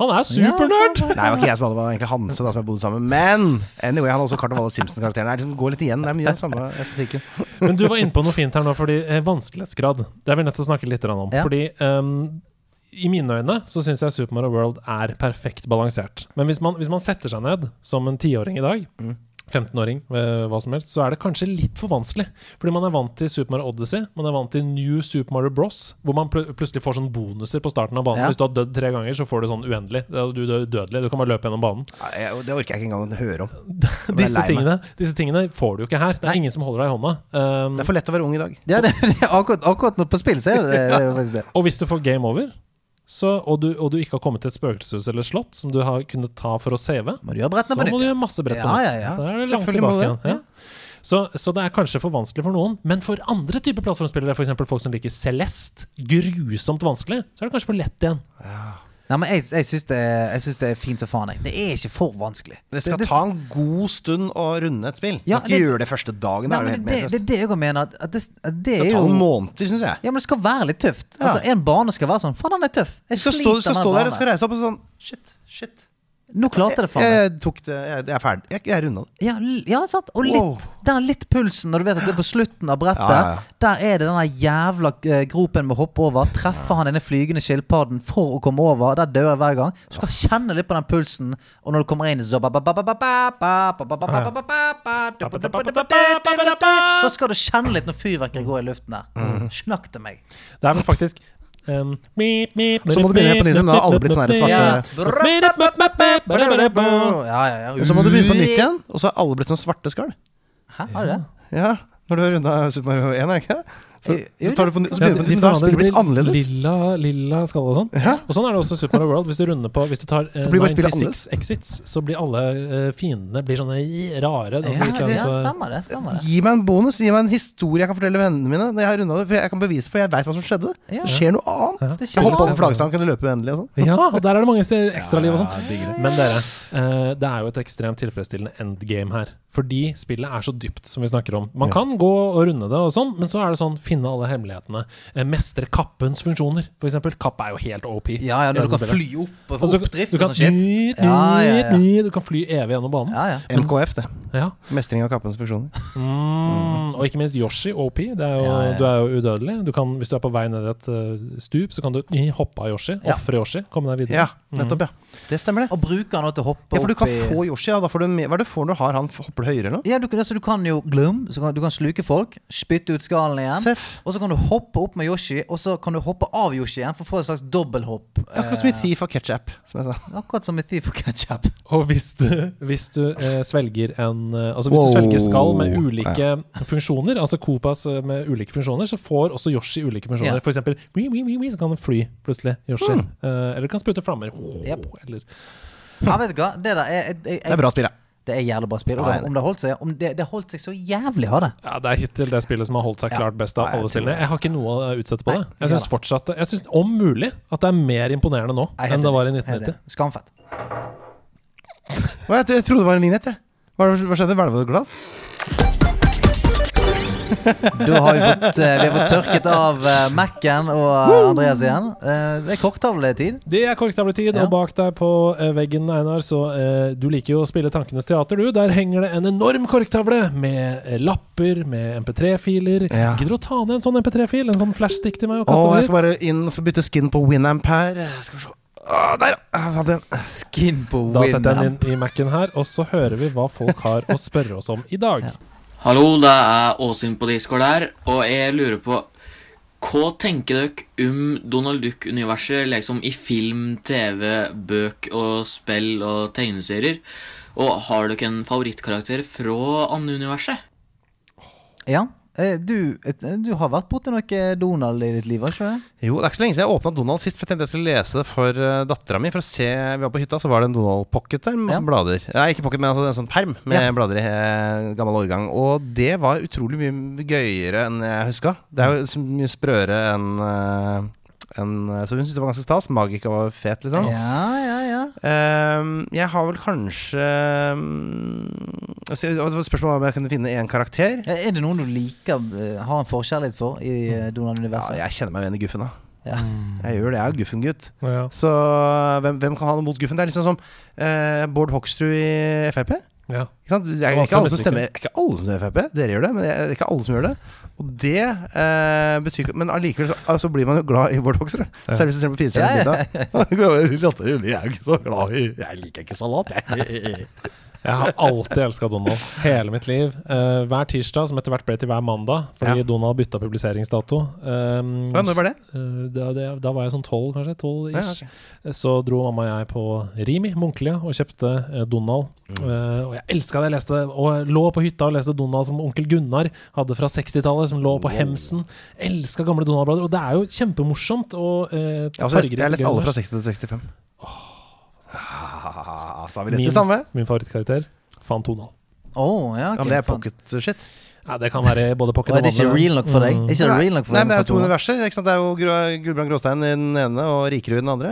A: Han er
B: Ja, sant,
A: supernerd!
E: Nei, det var ikke jeg som hadde, det var egentlig Hanse da, som jeg bodde sammen med. Men anyway, han har også kart over alle Simpsons-karakterene. Det er liksom, går litt igjen. Det er mye av den samme estetikken.
A: Men du var inne på noe fint her nå, fordi eh, vanskelighetsgrad. Det er vi nødt til å snakke litt grann om.
B: Ja.
A: Fordi ehm, i mine øyne så syns jeg Super Mario World er perfekt balansert. Men hvis man, hvis man setter seg ned som en tiåring i dag 15-åring, eh, hva som helst, så er det kanskje litt for vanskelig. Fordi man er vant til Super Mario Odyssey, man er vant til New Super Mario Bros, hvor man pl plutselig får sånne bonuser på starten av banen.
B: Ja.
A: Hvis du har dødd tre ganger, så får du sånn uendelig. Da er Du dør udødelig, du kan bare løpe gjennom banen.
E: Nei, jeg- Det orker jeg ikke engang å høre om. Jeg
A: *laughs*
E: ble
A: Disse
E: lei meg.
A: tingene, disse tingene får du jo ikke her. Det er ingen som holder deg i hånda. Um,
E: Det er for lett å være ung i dag.
B: Ja, det, det er akkurat, akkurat nå på spill, så er det det.
A: *laughs*
B: det, er faktisk det.
A: Og hvis du får game over, så, og, du, og du ikke har kommet til et spøkelseshus eller slott som du har kunnet ta for å save,
B: Må du gjøre brettene
A: så
B: på
A: må du
B: nytt.
A: gjøre masse brett på
B: Ja,
A: nytt.
B: ja, ja.
A: Da er det langt
E: Selvfølgelig må
A: tilbake igjen.
E: du det,
A: Ja. Så, så det er kanskje for vanskelig for noen, men for andre typer plattformspillere, f.eks. folk som liker Celeste, grusomt vanskelig, så er det kanskje for lett igjen.
B: Nei, men jeg, jeg syns det, jeg syns det er fint som faen. jeg. Det er ikke for vanskelig.
E: Det skal ta en god stund å runde et spill.
B: Ja,
E: Ja, ikke
B: det-
E: gjøre det første dagen.
B: Nei,
E: da er
B: men
E: det, helt
B: det, det
E: meningsløst.
B: er det jeg mener. At, at det, at det
E: det
B: er
E: tar
B: jo
E: noen måneder, syns jeg.
B: Ja, men det skal være litt tøft. Altså, En bane skal være sånn. Faen, den er tøff. Jeg
E: Du skal stå,
B: sliter
E: du skal
B: med
E: stå
B: den
E: der og
B: banen.
E: skal reise deg opp og sånn Shit, shit.
B: Nå klarte det faen meg.
E: Jeg tok det Jeg, jeg er ferdig. Jeg, jeg runda det.
B: Ja, l- ja, sant. Og litt,
E: Wow.
B: der er litt pulsen når du vet at du er på slutten av brettet.
E: Ja, ja, ja.
B: Der er det den der jævla eh, gropen med å hoppe over. Treffer han denne flygende skilpadden for å komme over. Der dør jeg hver gang. Du skal kjenne litt på den pulsen. Og når du kommer inn så ba- ba- ba- ba- ba- ba- ba- ba- ba- ba- ba- ba- ba- ba- ba- Da skal du kjenne litt når fyrverkeriet går i luften
E: Mm.
B: der. Snakk til meg.
A: Det er vel faktisk um,
E: Så må du begynne på nytt, men det har aldri blitt sånn her svarte-
B: Ja. Ja, ja, ja.
E: Og så må du begynne på nytt igjen, og så er alle blitt sånn svarte skall.
B: Hæ, har du det?
E: Ja, når du har runda Super Mario 1, er det ikke det? Så,
B: Eh, Jo,
E: så tar du på nytt, så begynner du på nytt, men da har spillet blitt annerledes.
A: Lilla, lilla skall og sånn.
E: Ja.
A: Og sånn er det også i Super Mario World. Hvis du runder på Hvis du tar eh,
E: blir bare spillet
A: 96 exits, så blir alle eh, fiendene blir sånne rare. sånn da, så
B: Ja,
A: i stedet
B: ja,
A: for-
B: stemmer det. Stemmer det.
E: Gi meg en bonus, gi meg en historie jeg kan fortelle vennene mine. Når jeg har rundet det, for jeg kan bevise det, for jeg vet hva som skjedde.
B: Ja.
E: Det skjer noe annet.
A: Ja.
B: Det skjer
E: Jeg hoppet
B: noe
E: over flaggstangen, kunne løpe uendelig og sånn.
A: Ja, og der er det mange steder ekstraliv og sånn.
E: diggere.
A: Men dere, eh, det er jo et ekstremt tilfredsstillende endgame her. Fordi spillet er så dypt, som vi snakker om. Man kan gå og runde det, og sånn men så er det sånn finne alle hemmelighetene. Eh, Mestre kappens funksjoner, f.eks. Kapp er jo helt OP.
B: Ja,
A: i
B: ja,
A: dette
B: når du kan
A: spillet.
B: fly opp og
A: Altså,
B: få
A: du,
B: oppdrift
A: du,
B: og
A: kan,
B: sånn shit.
A: nyt,
B: Ja, ja, ja.
A: nyt, nyt, du kan fly evig gjennom banen.
B: Ja, ja.
E: MKF, det.
A: Ja.
E: Mestring av kappens funksjoner.
A: Mm, og ikke minst Yoshi, OP. Det er jo,
B: Ja, ja.
A: Du er jo udødelig. Du kan, hvis du er på vei ned i et eh, stup, så kan du hoppe av Yoshi.
B: Ja.
A: Ofre Yoshi. Komme deg videre.
E: Ja, nettopp, ja. Det stemmer, det.
B: Og bruker han nå til å hoppe
E: Ja, for du kan
B: opp i
E: få Yoshi, ja. Da får du mer Hva er det du får når du har han? Hopper du høyere eller noe?
B: Ja, du, kan- altså, du kan jo glum, så kan, du kan sluke folk, spytte ut skallen igjen.
E: Seff.
B: Og så kan du hoppe opp med Yoshi, og så kan du hoppe av Yoshi igjen for å få et slags dobbelthopp.
E: Akkurat som i Thief og Ketchup, som jeg sa.
B: Eh, akkurat som i Thief og Ketchup.
A: Og hvis du, hvis du eh, svelger en eh, Altså hvis
E: Wow.
A: du svelger skall med ulike funksjoner, altså Koopas eh, med ulike funksjoner, så får også Yoshi ulike funksjoner.
B: Ja. Mm.
A: For eksempel wii, wii, wii, wii, så kan han fly plutselig, Yoshi. Eh, eller kan sprute flammer. Eller
B: Ja, vet du hva? Det der er, jeg, jeg,
E: Det er bra spill, ja.
B: Det er jævlig bra spill. Og
E: Ja,
B: det- om det holdt seg, om det, det holdt seg så jævlig, har det.
A: Ja, Det er hittil det spillet som har holdt seg klart best av
E: Nei, jeg
A: alle
E: tror
A: spillene.
E: det.
A: Jeg har ikke noe å utsette på
B: Nei,
A: det. Jeg syns
B: ja da.
A: fortsatt Jeg synes om mulig at det er mer imponerende nå
B: Jeg er helt
A: enn det var i
B: enig. Jeg er
A: 1990.
B: helt enig. Skamfett.
E: Hva, jeg, jeg trodde det var en vignett, jeg. Hva, er det- hva skjedde? Hvelva du et glass?
B: Da har vi fått, eh, vi har fått tørket av eh, Mac-en og eh, Andreas igjen. Eh, det er korttavletid.
A: Det er korktavletid,
B: Ja.
A: og bak deg på eh, veggen, Einar, så eh, du liker jo å spille Tankenes teater, du. Der henger det en enorm korktavle med eh, lapper, med MP3-filer.
E: Ja.
A: Gidder du å ta ned en sånn MP3-fil? En sånn flashstick til meg? og kaste
E: Å,
A: over
E: jeg skal
A: hit?
E: bare inn og så bytte skin på Winamp her. Skal vi se. Å, der, ja. Jeg fant den.
B: Skin på
A: Da setter jeg
B: Winamp.
A: den inn i Mac-en her, og så hører vi hva folk har å spørre oss om i dag.
F: Hallo, det er Åsyn på Discord her, og jeg lurer på Hva tenker dere om Donald Duck-universet liksom i film, TV, bøk og spill og tegneserier? Og har dere en favorittkarakter fra Anne-universet?
B: Ja. Eh, Du, eh, du har vært borti noe Donald i ditt liv, har ikke du det?
E: Jo, det er ikke så lenge siden jeg åpna Donald sist, for jeg tenkte jeg skulle lese det for uh, dattera mi. For å se, vi var på hytta, så var det en Donald-pocket der med masse
B: Ja.
E: blader. Nei, ikke pocket, men altså en sånn perm med
B: Ja.
E: blader i eh, gammel årgang. Og det var utrolig mye gøyere enn jeg huska. Det er jo så mye sprøere enn eh, enn, eh, Så hun syntes det var ganske stas. Magika var fet, liksom.
B: Ja, ja, ja.
E: Ehm, jeg har vel kanskje um, altså, Det var et spørsmål om jeg kunne finne én karakter.
B: Er det noen du liker, eh, har en forkjærlighet for i eh,
E: Mm. Ja,
B: Donald-universet?
E: jeg kjenner meg igjen i Guffen, da.
B: Ja.
E: Jeg gjør det. Jeg er jo Guffen-gutt.
A: Ja.
E: Så eh, hvem, hvem kan ha noe mot Guffen? Det er liksom som eh, Bård Hoksrud i Frp.
A: Ja.
E: Ikke sant? Det er
A: Og
E: ikke alle som
A: Astrid
E: stemmer ikke alle som stemmer Frp. Dere gjør det, men det er ikke alle som gjør det. Og det eh, betyr ikke Men allikevel så, altså, blir man jo glad i Bård Hoksrud.
A: Ja.
E: Seriøst, selv på
B: Ja, ja,
E: firestjerners *laughs* middag. Jeg er ikke så glad i Jeg liker ikke salat, jeg.
A: Jeg har alltid elska Donald. Hele mitt liv. Eh, hver tirsdag, som etter hvert ble til hver mandag, fordi
E: Ja.
A: Donald bytta publiseringsdato. Um,
E: Ja, når var det?
A: eh, da, det, da var jeg sånn tolv, kanskje. 12 ish.
E: Ja, ok.
A: Så dro mamma og jeg på Rimi, Munkelia, og kjøpte eh, Donald.
E: Mm.
A: Eh, og jeg elska det jeg leste, og lå på hytta og leste Donald som onkel Gunnar hadde fra 60-tallet, som lå på Hemsen. Elska gamle Donald-blader. Og det er jo kjempemorsomt. Og eh,
E: altså, Jeg har også lest-
A: fargerikt
E: jeg har lest alle
A: gøy.
E: fra 60 til 65. Ah, så har vi lest
A: Min-
E: det samme.
A: Min favorittkarakter, Fan Donald.
B: Åh, ja, ok,
E: Ja, men det er
B: faen.
E: pocket shit.
A: Ja, det kan være både
B: Og
A: pocket
B: er det ikke
A: vanlig. Mm.
B: real nok for deg? Er ikke det
E: mm. Nei,
B: real nok for
E: nei,
B: deg?
E: men det er jo to
B: Fatone?
E: universer. Ikke sant? Det er jo Gro- Gulbrand Gråstein i den ene og Rikerud i den andre.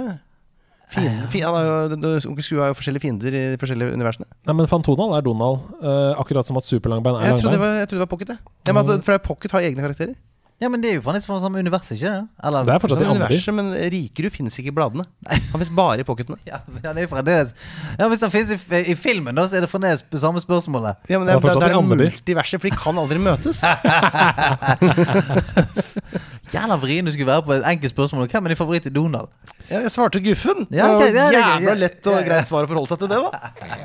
E: Fienden, fi- han har jo, onkel Skrue har jo forskjellige fiender i de forskjellige universene.
A: Nei, men Fan Donald er Donald. eh, akkurat som at Superlangbein er
E: Jeg trodde
A: Langbein.
E: det
B: Mm.
E: var, jeg trodde det var Pocket. Jeg. Jeg mener, at- for Pocket har egne karakterer.
B: Ja, men det er jo faktisk fra samme univers, ikke det? Eller-
A: Det er fortsatt i
E: Sånn
A: Ammer.
E: universet, men Rikerud finnes ikke i bladene. Han finnes bare i pocketene.
B: Ja, men han er jo fremdeles Ja, Hvis han finnes i, i filmen, da, så er det fremdeles på samme spørsmålet.
E: Ja, men
A: Det
E: det,
A: er
E: det,
A: fortsatt
E: det
A: i
E: er noe
A: Andeby.
E: multiverset, for de kan aldri møtes.
B: Jævla vrien du skulle være på et enkelt spørsmål. Hvem er din favoritt i Donald?
E: Ja, jeg svarte Guffen.
B: Ja, ok,
E: det var
B: det er
E: jævla
B: greit.
E: lett og greit svar å forholde seg til det, da.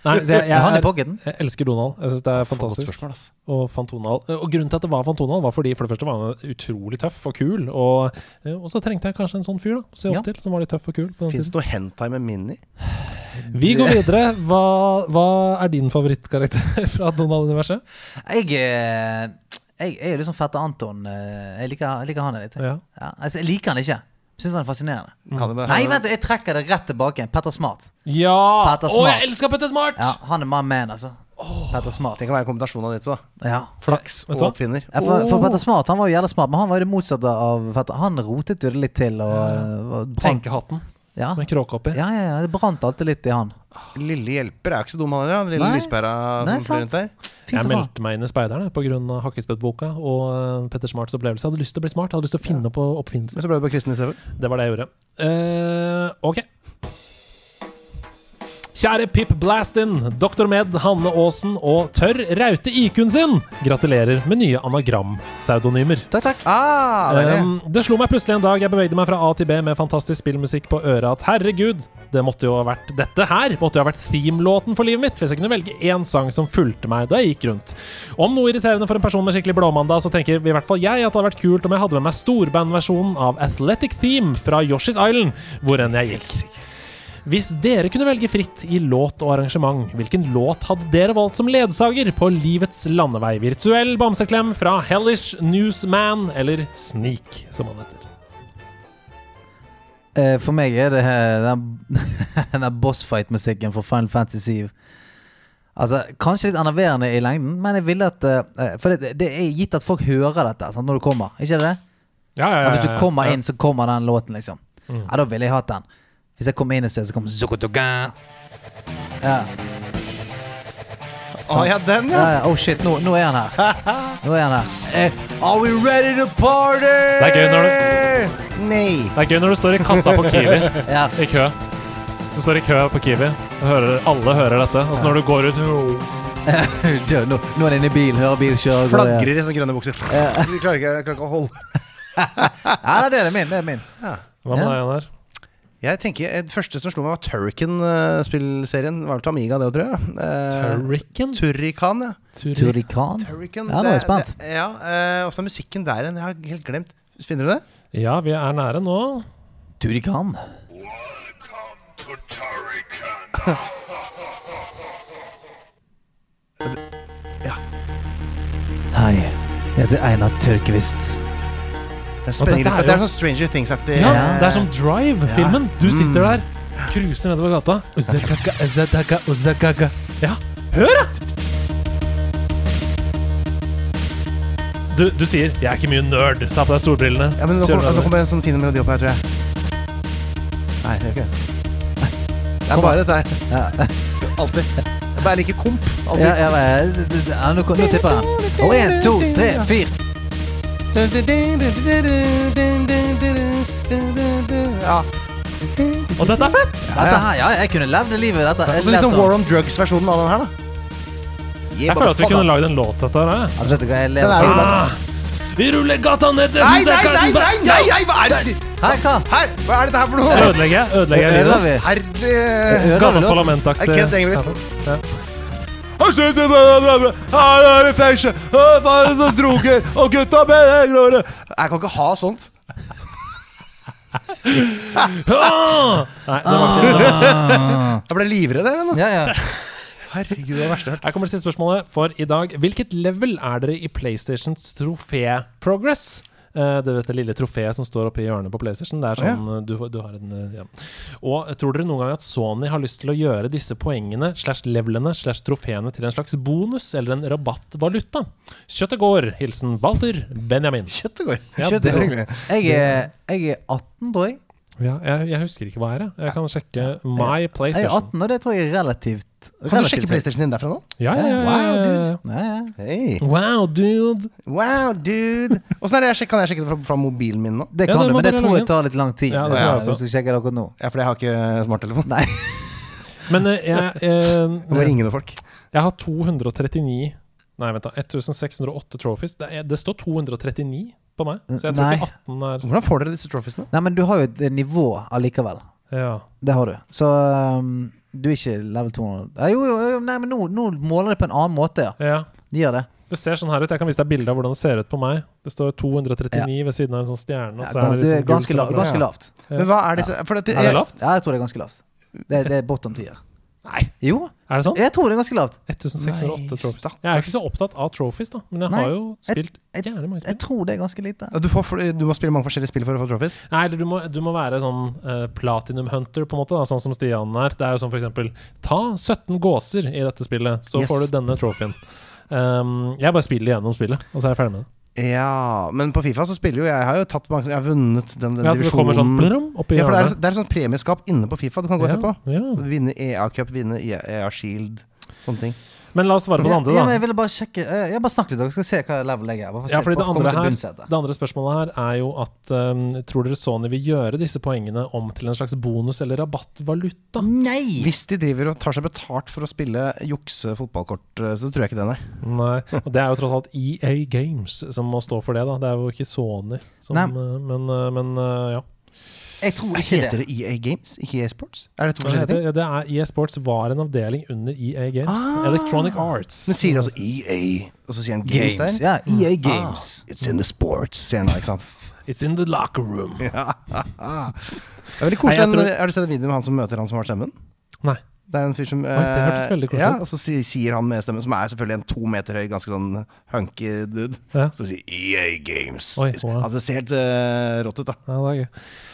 A: Nei, så jeg,
B: han i
A: jeg, er,
B: pocketen?
A: jeg elsker Donald. Jeg syns det er fantastisk.
E: Spørsmål, altså.
A: Og Fantonal. Og grunnen til at det var Fantonal, var fordi for det første var han utrolig tøff og kul. Og, eh, og så trengte jeg kanskje en sånn fyr da, å se opp
B: Ja.
A: til, som var litt tøff og kul. på den tiden.
E: Fins det noe hentai med Mini?
A: Vi går videre. Hva, hva er din favorittkarakter *laughs* fra Donald-universet?
B: Jeg, eh, jeg, jeg er jo liksom fette Anton. eh, Jeg liker, jeg liker han litt.
A: Ja.
B: altså, jeg liker han ikke. Syns han er fascinerende.
A: Mm.
E: Hadde det-
B: Nei, vent, jeg trekker det rett tilbake igjen. Petter Smart.
A: Ja!
B: Petter
A: Å,
B: Smart.
A: jeg elsker Petter Smart!
B: Ja, han er my man, altså. Petter Smart.
E: Det kan være en kombinasjon av de to. da.
B: Ja.
E: Flaks
A: Vet
E: og
A: du hva?
E: oppfinner.
B: Ja, for, for
A: Åh.
B: Petter Smart han var jo jævla smart, men han var jo det motsatte av Petter. Han rotet jo det litt til. Og, og brant,
A: Tenkehatten
B: ja.
A: med kråke oppi.
B: ja, ja, ja. Det brant alltid litt i han.
E: Lille hjelper er jo ikke så dum, han heller. han Lille
B: Nei.
E: lyspæra
B: Nei,
E: som blir
B: sant.
E: rundt der.
B: Fy
A: Jeg
B: så faen.
A: meldte meg inn i Speiderne pga. Hakkespettboka og eh, Petter Smarts opplevelse. Jeg hadde lyst til å bli smart. Jeg hadde lyst til å finne på oppfinnelser.
E: Men så ble det bare kristen istedenfor.
A: Det var det jeg gjorde. Eh, ok. Kjære Pip Blastin, Dr. Med, Hanne Aasen og Tørr Raute IQ-en sin! Gratulerer med nye anagram-pseudonymer.
B: Takk, takk.
E: Ah, det er det.
A: Um, det slo meg plutselig en dag jeg bevegde meg fra A til B med fantastisk spillmusikk på øret at herregud, det måtte jo ha vært dette her måtte jo ha vært themelåten for livet mitt hvis jeg kunne velge én sang som fulgte meg da jeg gikk rundt. Om noe irriterende for en person med skikkelig blåmandag, så tenker i hvert fall jeg at det hadde vært kult om jeg hadde med meg storbandversjonen av Athletic Theme fra Yoshi's Island, hvor enn jeg gikk. Hvis dere kunne velge fritt i låt og arrangement, hvilken låt hadde dere valgt som ledsager på Livets landevei? Virtuell bamseklem fra Hellish Newsman, eller Sneak, som han heter.
B: Eh, for meg er det eh, den, *laughs* den der bossfight-musikken fra Final Fantasy 7. Altså, Kanskje litt enerverende i lengden, men jeg ville at eh, For det, det er gitt at folk hører dette sant, når du kommer. Ikke det?
A: Ja, ja, Mm.
B: Ja, hvis du kommer inn, så kommer den låten, liksom. Ja, Da ville jeg hatt den. Hvis jeg kom inn et sted, så kom Zukotoga. Ja,
E: Ah, ja, den,
B: ja, ja.
E: ja.
B: Oh shit, nå, nå er han
A: *laughs*
B: her. Nå er han her. Eh, are we ready to party?
A: Det er gøy når du,
E: Nei.
A: det er gøy når du står i kassa på Kiwi
B: Ja.
A: i kø. Du står i kø på Kiwi, og hører, alle hører dette. Og så når du går ut
B: nå, nå er det inne i bil, hører bil kjøre. går igjen.
E: Flagrer i sånne grønne bukser. *laughs* Du klarer ikke, jeg klarer ikke å holde
B: Ja, det er det min. Det er min.
A: Hva med
B: Ja.
A: deg, Einar?
E: Jeg tenker, eh, Det første som slo meg, var Turrican-spillserien. Var det til Amiga, det òg, tror jeg? Eh,
A: Turrican?
E: Turrican, ja.
B: Turrikan?
E: Turrican.
B: Ja, nå er jeg spent.
E: Det, ja, eh, Også musikken der igjen. Jeg har helt glemt. Finner du det?
A: Ja, vi er nære nå.
E: *laughs*
B: Turrikan? Hei, jeg heter Einar Tørkvist.
E: Det er, spenning-
A: dette er jo-
E: det er sånn Stranger Things-aktig.
A: Ja, det er sånn som Drive-filmen. Du
E: Mm.
A: sitter der, cruiser nedover gata. Uzakaka, uzakaka, uzakaka. Ja, hør, da! Du, du sier 'jeg er ikke mye nerd'. Ta på deg solbrillene.
E: Ja, men nå
A: Kjører
E: kommer, nå
A: nedover.
E: kommer en sånn fin melodi opp her, tror jeg. Nei, det gjør ikke det. Det er bare dette her. Alltid. Jeg bare liker komp. Alltid.
B: Ja, ja, ja, d- d- d- ja, nå, nå tipper han. Og én, to, tre, fire.
E: Ja.
A: Og dette er fett!
B: Dette her, ja, jeg kunne levd det livet. Dette.
E: Og
B: Jeg
E: så litt
B: levd
E: sånn War on Drugs-versjonen av den her, da.
A: Jeg føler at vi kunne lagd en låt etter det.
B: Ja, vet du hva, jeg
E: Den
B: lever
E: er jo-
B: for det.
A: Ah, vi ruller gata ned til
E: Nei, nei, nei, nei, nei, nei, hva er det
B: Hei, hva?
E: Her, hva er dette her for noe?
A: Ødelegger jeg? Ødelegger jeg
B: Ødela vi?
A: livet?
E: Herlig
B: Ødela vi
A: Gatas
B: nå?
E: Jeg
A: parlamentaktig
E: kødder engelsk.
A: Ja.
E: Og så er det bla, bla, bla. Her er det fengsel, og faren som drukker, og gutta med det grå håret. Jeg kan ikke ha sånt.
A: Ah! Nei, det var ikke
E: Jeg ble livredd her nå.
B: Ja, ja.
E: Herregud, det er verste jeg har hørt.
A: Her kommer det siste spørsmålet for i dag. Hvilket level er dere i PlayStations trofé-progress? Eh, det vet det lille trofeet som står oppe i hjørnet på PlayStation. Det er
E: Å, ja.
A: sånn eh, du, du har en eh, ja. Og eh, tror dere noen gang at Sony har lyst til å gjøre disse poengene slash levelene slash trofeene til en slags bonus eller en rabattvaluta? Kjøttet går. Hilsen Walter Benjamin.
E: Kjøttet går.
A: Ja,
E: det er hyggelig.
B: Jeg er, jeg er 18, tror jeg.
A: Ja, jeg, jeg husker ikke hva er det. Jeg kan sjekke My
B: Jeg er
A: PlayStation.
B: 18, og det tror jeg er relativt
E: Kan du sjekke
B: relativt-
E: PlayStation din derfra nå?
A: Ja, ja, ja, ja, ja.
B: Ja, ja.
E: Hey.
A: Wow, dude!
E: Wow, *laughs* dude! Åssen er det jeg sjek- Kan jeg sjekke det fra, fra mobilen min nå?
B: Det
A: Ja, det
B: kan du,
A: må
B: men det
A: bare
B: tror
A: logge
B: jeg
A: inn.
B: tar litt lang tid.
A: Ja, det
B: det
A: tror jeg også.
B: Hvis du sjekker det akkurat nå.
E: Ja, for jeg har ikke smarttelefon.
B: Nei.
A: Men eh, jeg,
E: Jeg må
A: eh,
E: ringe noen folk.
A: jeg har 239 Nei, vent, da. 1608 trophies. Det, er, det står 239 på meg, så jeg tror
B: Nei.
A: ikke 18 er
E: Hvordan får dere disse trophiesene?
B: Nei, men du har jo et nivå allikevel.
A: Ja.
B: Det har du. Så um, du er ikke level 200 Ja, Jo, jo, jo nei, men nå, nå måler de på en annen måte, ja.
A: ja.
B: De gjør det.
A: Det ser sånn her ut. Jeg kan vise deg bilde av hvordan det ser ut på meg. Det står 239 ved siden av en sånn stjerne. Og
B: Ja,
A: så er det
B: det
A: liksom
B: er ganske,
A: gull
B: la,
A: som er bra.
B: ganske lavt.
E: Men hva er disse for at det,
A: Er det lavt?
B: Ja, jeg tror det er ganske lavt. Det, det er bottom tier.
A: Nei.
B: Jo,
A: Er det sånn?
B: jeg tror det er ganske lavt.
A: 1608
E: Nei,
A: trophies.
E: stakkars.
A: Jeg er jo ikke så opptatt av trophies, da, men jeg
B: Nei,
A: har jo spilt
B: jeg-
A: jævlig mange
B: Jeg
A: spill.
B: tror det er ganske lite.
E: Ja, Du, får, fl- du må spille mange forskjellige spill for å få trophies?
A: Nei, du må, du må være sånn eh, platinum hunter, på en måte, da, sånn som Stian er. Det er jo sånn for eksempel Ta 17 gåser i dette spillet, så
E: Yes.
A: får du denne trophyen. Um, jeg bare spiller gjennom spillet, og så er jeg ferdig med det.
E: Ja, men på Fifa så spiller jo jeg har jo tatt mange Jeg har vunnet den, den
A: Ja, så det kommer sånn
E: divisjonen.
A: blrum opp i
E: Ja, for det er,
A: hjørnet.
E: det er sånn premieskap inne på Fifa du kan gå og se på.
A: Ja, ja.
E: Vinne EA Cup, vinne E EA Shield, sånne ting.
A: Men la oss svare på det andre,
B: Ja,
A: da.
B: men jeg ville bare sjekke eh, Jeg bare snakket litt, dere skal se hva level jeg er. Bare for å
A: Ja,
B: se-
A: fordi det
B: for å komme
A: andre,
B: til
A: her,
B: bunns i dette.
A: det andre spørsmålet her er jo at um, Tror dere Sony vil gjøre disse poengene om til en slags bonus- eller rabattvaluta?
B: Nei!
E: Hvis de driver og tar seg betalt for å spille jukse fotballkort, eh, så tror jeg ikke det, nei.
A: Nei. Og det er jo tross alt EA Games som må stå for det, da. Det er jo ikke Sony som
B: Nei.
A: uh, Men, uh, men uh, ja.
B: Jeg tror ikke det.
E: Heter det EA Games, ikke EA Sports? Er det to
A: Hva
E: forskjellige
A: heter
E: ting?
A: det? det er, EA Sports var en avdeling under EA Games.
E: Ah.
A: Electronic Arts.
E: Men sier de altså EA, og så sier han Games, der?
B: Ja, EA Games.
E: Ah, it's in the sports, sier han da, ikke sant?
A: It's in the locker room.
E: Det er veldig
A: Nei, jeg
E: koselig. den-
A: tror-
E: Har du sett den videoen med han som møter han som har stemmen?
A: Nei.
E: Det er en fyr som eh,
A: hørtes veldig koselig
E: ja,
A: ut.
E: Og så si- sier han med stemmen, som er selvfølgelig en to meter høy, ganske sånn hunky dude,
A: Ja.
E: som sier EA Games.
A: Oi, wow.
E: altså, det ser helt eh, rått ut, da.
A: Ja, det er gøy.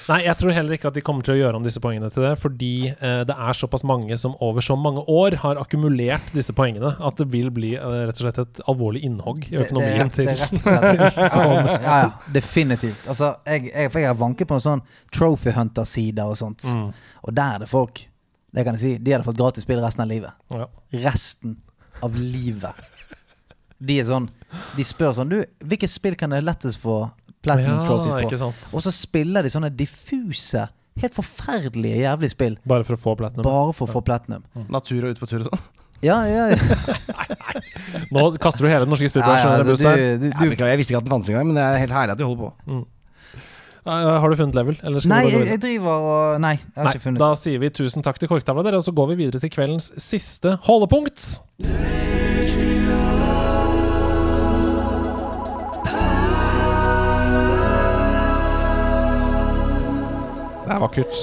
A: Nei, jeg tror heller ikke at de kommer til å gjøre om disse poengene til det, fordi eh, det er såpass mange som over så mange år har akkumulert disse poengene, at det vil bli eh, rett og slett et alvorlig innhogg i økonomien
B: det, det, er
A: til
B: rett- det er
A: *laughs*
B: rett og slett. Ja, ja, ja, definitivt. Altså, jeg, jeg, for jeg har vanket på en sånn Trophy Hunter-side og sånt.
A: Mm.
B: Og der er det folk Det kan jeg si, De hadde fått gratis spill resten av livet.
A: ja.
B: Resten av livet. De er sånn De spør sånn Du, hvilket spill kan jeg lettest få Platinum
A: Ja,
B: Trophy
A: ikke
B: på?
A: sant.
B: Og så spiller de sånne diffuse, helt forferdelige jævlige spill
A: Bare for å få platinum.
B: bare for å få platinum.
E: Natur og ut på tur og sånn.
B: Ja, ja, ja.
A: Nå kaster *laughs* du hele den norske
B: ja, ja
A: spillbransjen under
B: altså,
A: bussen. her.
B: du, du,
E: Jeg, beklager, jeg visste ikke at den fantes engang, men det er helt herlig at de holder på.
A: Eh, Har du funnet level? Eller skal
B: Nei,
A: vi bare gå
B: jeg,
A: videre?
B: jeg driver og Nei, jeg har
A: Nei,
B: ikke funnet
A: da sier vi tusen takk til korktavla, dere, og så går vi videre til kveldens siste holdepunkt. Det er vakkert.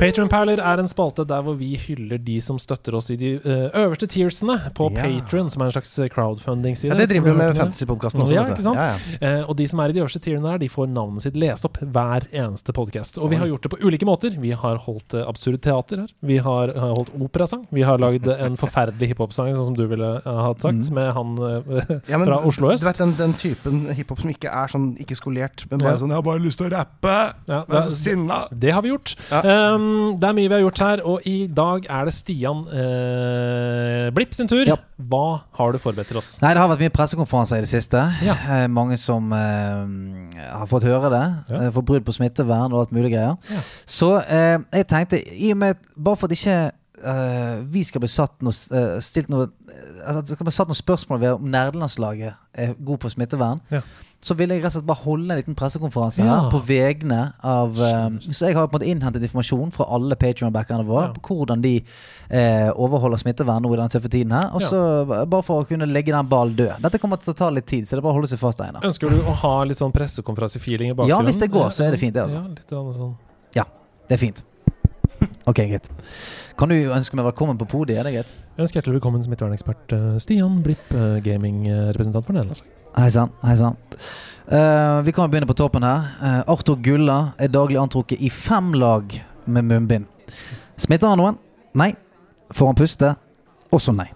A: Patreon Perler er en spalte der hvor vi hyller de som støtter oss i de eh, øverste tiersene på
E: Ja.
A: Patreon, som er en slags crowdfunding-side.
E: Ja, det driver du med
A: Hørt om det?
E: fantasypodkasten også.
A: Ja,
E: vet du.
A: ikke sant?
E: Ja, ja.
A: Eh, og de som er i de øverste tierne der, de får navnet sitt lest opp hver eneste podkast. Og vi har gjort det på ulike måter. Vi har holdt eh, absurd teater her. Vi har, eh, holdt operasang. Vi har lagd
B: *laughs*
A: en forferdelig hiphop-sang, sånn som du ville eh, ha sagt,
B: Mm.
A: med han eh,
E: Ja, men
A: fra Oslo
E: Du
A: øst.
E: vet den, den typen hiphop som ikke er sånn ikke skolert, men bare
A: Ja.
E: sånn 'Jeg har bare lyst til å rappe'.
A: Ja,
E: Jeg er
A: det-
E: så sinna.
A: Det har vi gjort.
E: Ja.
A: Um, det er mye vi har gjort her, og i dag er det Stian eh, Blipp sin tur.
B: Ja.
A: Hva har du forberedt til oss?
B: Nei, det har vært mye pressekonferanser i det siste.
A: Ja.
B: Eh, mange som eh, har fått høre det.
A: Ja.
B: Ja. Fått brudd på smittevern og alt mulig greier.
A: Ja.
B: Så eh, jeg tenkte, i og med at- Bare for at ikke eh, vi skal bli satt noe, s- eh, stilt noe eh, Altså at det skal bli satt noen spørsmål ved om nerdelandslaget er god på smittevern.
A: Ja.
B: Så ville jeg rett og slett bare holde en liten pressekonferanse
A: Ja.
B: her på vegne av eh, Så jeg har på en måte innhentet informasjon fra alle Patreon-backerne våre
A: Ja.
B: på hvordan de eh, overholder smittevern nå i den tøffe tiden her. Og
A: Ja.
B: så b- bare for å kunne legge den ballen død. Dette kommer til å ta litt tid, så det er bare å holde seg fast, Einar.
A: Ønsker du å ha litt sånn pressekonferanse-feeling i bakgrunnen?
B: Ja, hvis det går, så er det fint, det, altså.
A: Ja, litt grann sånn.
B: Ja, det er fint. *laughs* Ok, greit. Kan du ønske meg velkommen på podiet? Er det greit?
A: Jeg ønsker hjertelig velkommen smittevernekspert eh, Stian Blipp, eh, gamingrepresentant for Nederlandslaget.
B: Hei sann. Hei sann. Eh, vi kan begynne på toppen her. Eh, Arthur Gulla er daglig antrukket i fem lag med munnbind. Smitter han noen? Nei. Får han puste? Også nei.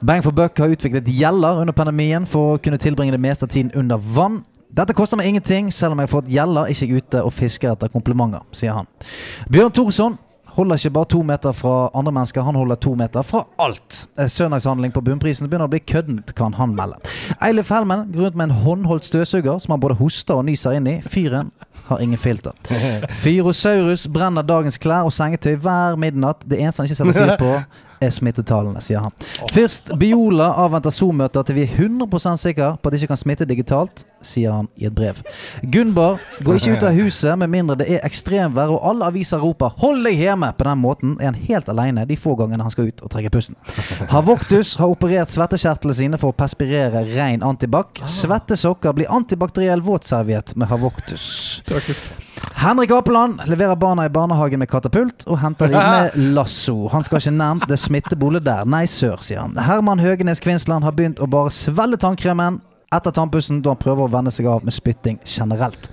B: Bang for buck har utviklet gjeller under pandemien for å kunne tilbringe det meste av tiden under vann. Dette koster meg ingenting, selv om jeg har fått gjelder, ikke jeg er ute og fisker etter komplimenter, sier han. Bjørn Thorsson holder ikke bare to meter fra andre mennesker, han holder to meter fra alt. Eh, Søndagshandling på bunnprisen begynner å bli køddent, kan han melde. Eilif Helmen går rundt med en håndholdt støvsuger som han både hoster og nyser inn i. Fyren har ingen filter. Fyrosaurus brenner dagens klær og sengetøy hver midnatt. Det eneste han ikke setter fyr på, er smittetallene, sier han. Fyrst Biola avventer Zoom-møter til vi er 100 sikre på at de ikke kan smitte digitalt, sier han i et brev. Gunbar går ikke ut av huset med mindre det er ekstremvær og alle aviser roper 'hold deg hjemme'. På den måten er han helt alene de få gangene han skal ut og trekke pusten. Havoktus har operert svettekjertlene sine for å perspirere ren antibac. Svette sokker blir antibakteriell våtserviett med Havoktus.
A: Praktisk.
B: Henrik Apeland leverer barna i barnehagen med katapult og henter de med lasso. Han skal ikke nærmt det smittebolet der. Nei sør, sier han. Herman Høgenes Kvinsland har begynt å bare svelle tannkremen etter tannpussen da han prøver å venne seg av med spytting generelt.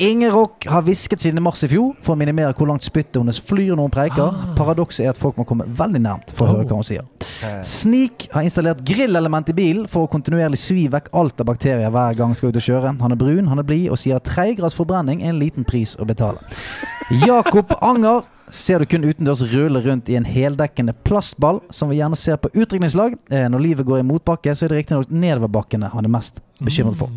B: Inger Rock har hvisket siden i mars i fjor for å minimere hvor langt spyttet hennes flyr når hun preiker. Paradokset er at folk må komme veldig nærmt for å høre hva hun sier. Sneak har installert grillelement i bilen for å kontinuerlig svi vekk alt av bakterier hver gang han skal ut og kjøre. Han er brun, han er blid og sier at tre grads forbrenning er en liten pris å betale. Jakob Anger ser du kun utendørs rulle rundt i en heldekkende plastball, som vi gjerne ser på utdrikningslag. Eh, Når livet går i motbakke, så er det riktignok nedoverbakkene han er mest bekymret
A: Mm,
B: for.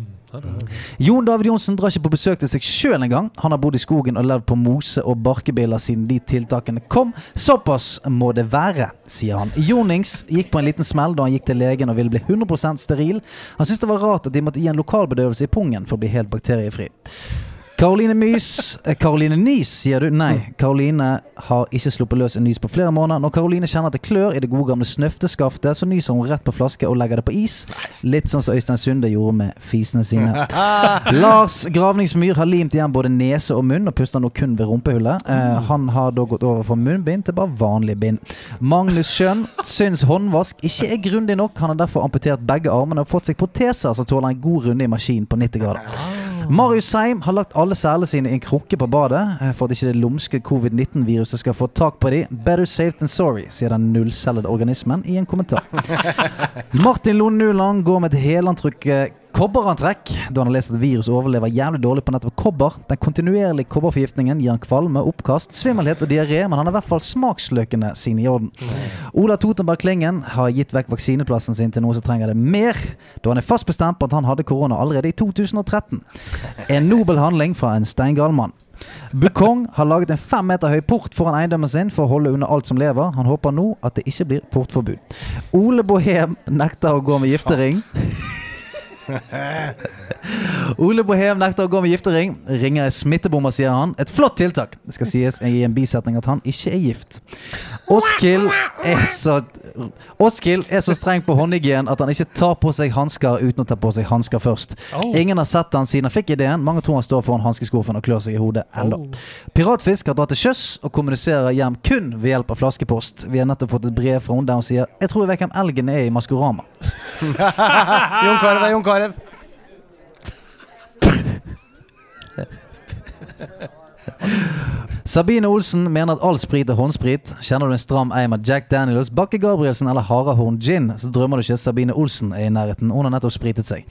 B: Jon David Johnsen drar ikke på besøk til seg sjøl engang. Han har bodd i skogen og levd på mose og barkebiller siden de tiltakene kom. Såpass må det være, sier han. Jonings gikk på en liten smell da han gikk til legen og ville bli 100 steril. Han syntes det var rart at de måtte gi en lokalbedøvelse i pungen for å bli helt bakteriefri. Karoline Mys eh, Karoline Nys, sier du? Nei. Karoline har ikke sluppet løs en nys på flere måneder. Når Karoline kjenner at det klør i det gode gamle snøfteskaftet, så nyser hun rett på flaske og legger det på is. Litt sånn som Øystein Sunde gjorde med fisene sine. Lars Gravningsmyr har limt igjen både nese og munn, og puster nå kun ved rumpehullet. Eh, han har da gått over fra munnbind til bare vanlig bind. Magnus Schjønn syns håndvask ikke er grundig nok. Han har derfor amputert begge armene og fått seg proteser som tåler en god runde i maskinen på 90 grader. Marius Seim har lagt alle selene sine i en krukke på badet eh, for at ikke det lumske covid-19-viruset skal få tak på de. Better safe than sorry, sier den nullcellede organismen i en kommentar. Martin Lund Nuland går med et helantrykk eh, kobberantrekk da han har lest at virus overlever jævlig dårlig på nettopp kobber. Den kontinuerlige kobberforgiftningen gir han kvalme, oppkast, svimmelhet og diaré, men han har i hvert fall smaksløkene sine i orden. Ola Totenberg Klingen har gitt vekk vaksineplassen sin til noen som trenger det mer, da han er fast bestemt på at han hadde korona allerede i 2013. En nobel handling fra en steingal mann. Bukong har laget en fem meter høy port foran eiendommen sin for å holde unna alt som lever. Han håper nå at det ikke blir portforbud. Ole Bohem nekter å gå med giftering. Ole Bohem nekter å gå med giftering. Ringer er smittebomber, sier han. Et flott tiltak. Det skal sies i en bisetning at han ikke er gift. Oskil er så Oskil er så streng på håndhygien at han ikke tar på seg hansker uten å ta på seg hansker først.
A: Oh.
B: Ingen har sett han siden han fikk ideen. Mange tror han står foran hanskeskuffen og klør seg i hodet ennå. Piratfisk har dratt til sjøs og kommuniserer hjem kun ved hjelp av flaskepost. Vi har nettopp fått et brev fra henne der hun sier 'Jeg tror jeg vet hvem elgen er i Maskorama'.
E: Jon Carew er Jon Carew.
B: Sabine Olsen mener at all sprit er håndsprit. Kjenner du en stram eim av Jack Daniels, Bakke Gabrielsen eller Harahorn gin, så drømmer du ikke at Sabine Olsen er i nærheten. Hun har nettopp spritet seg.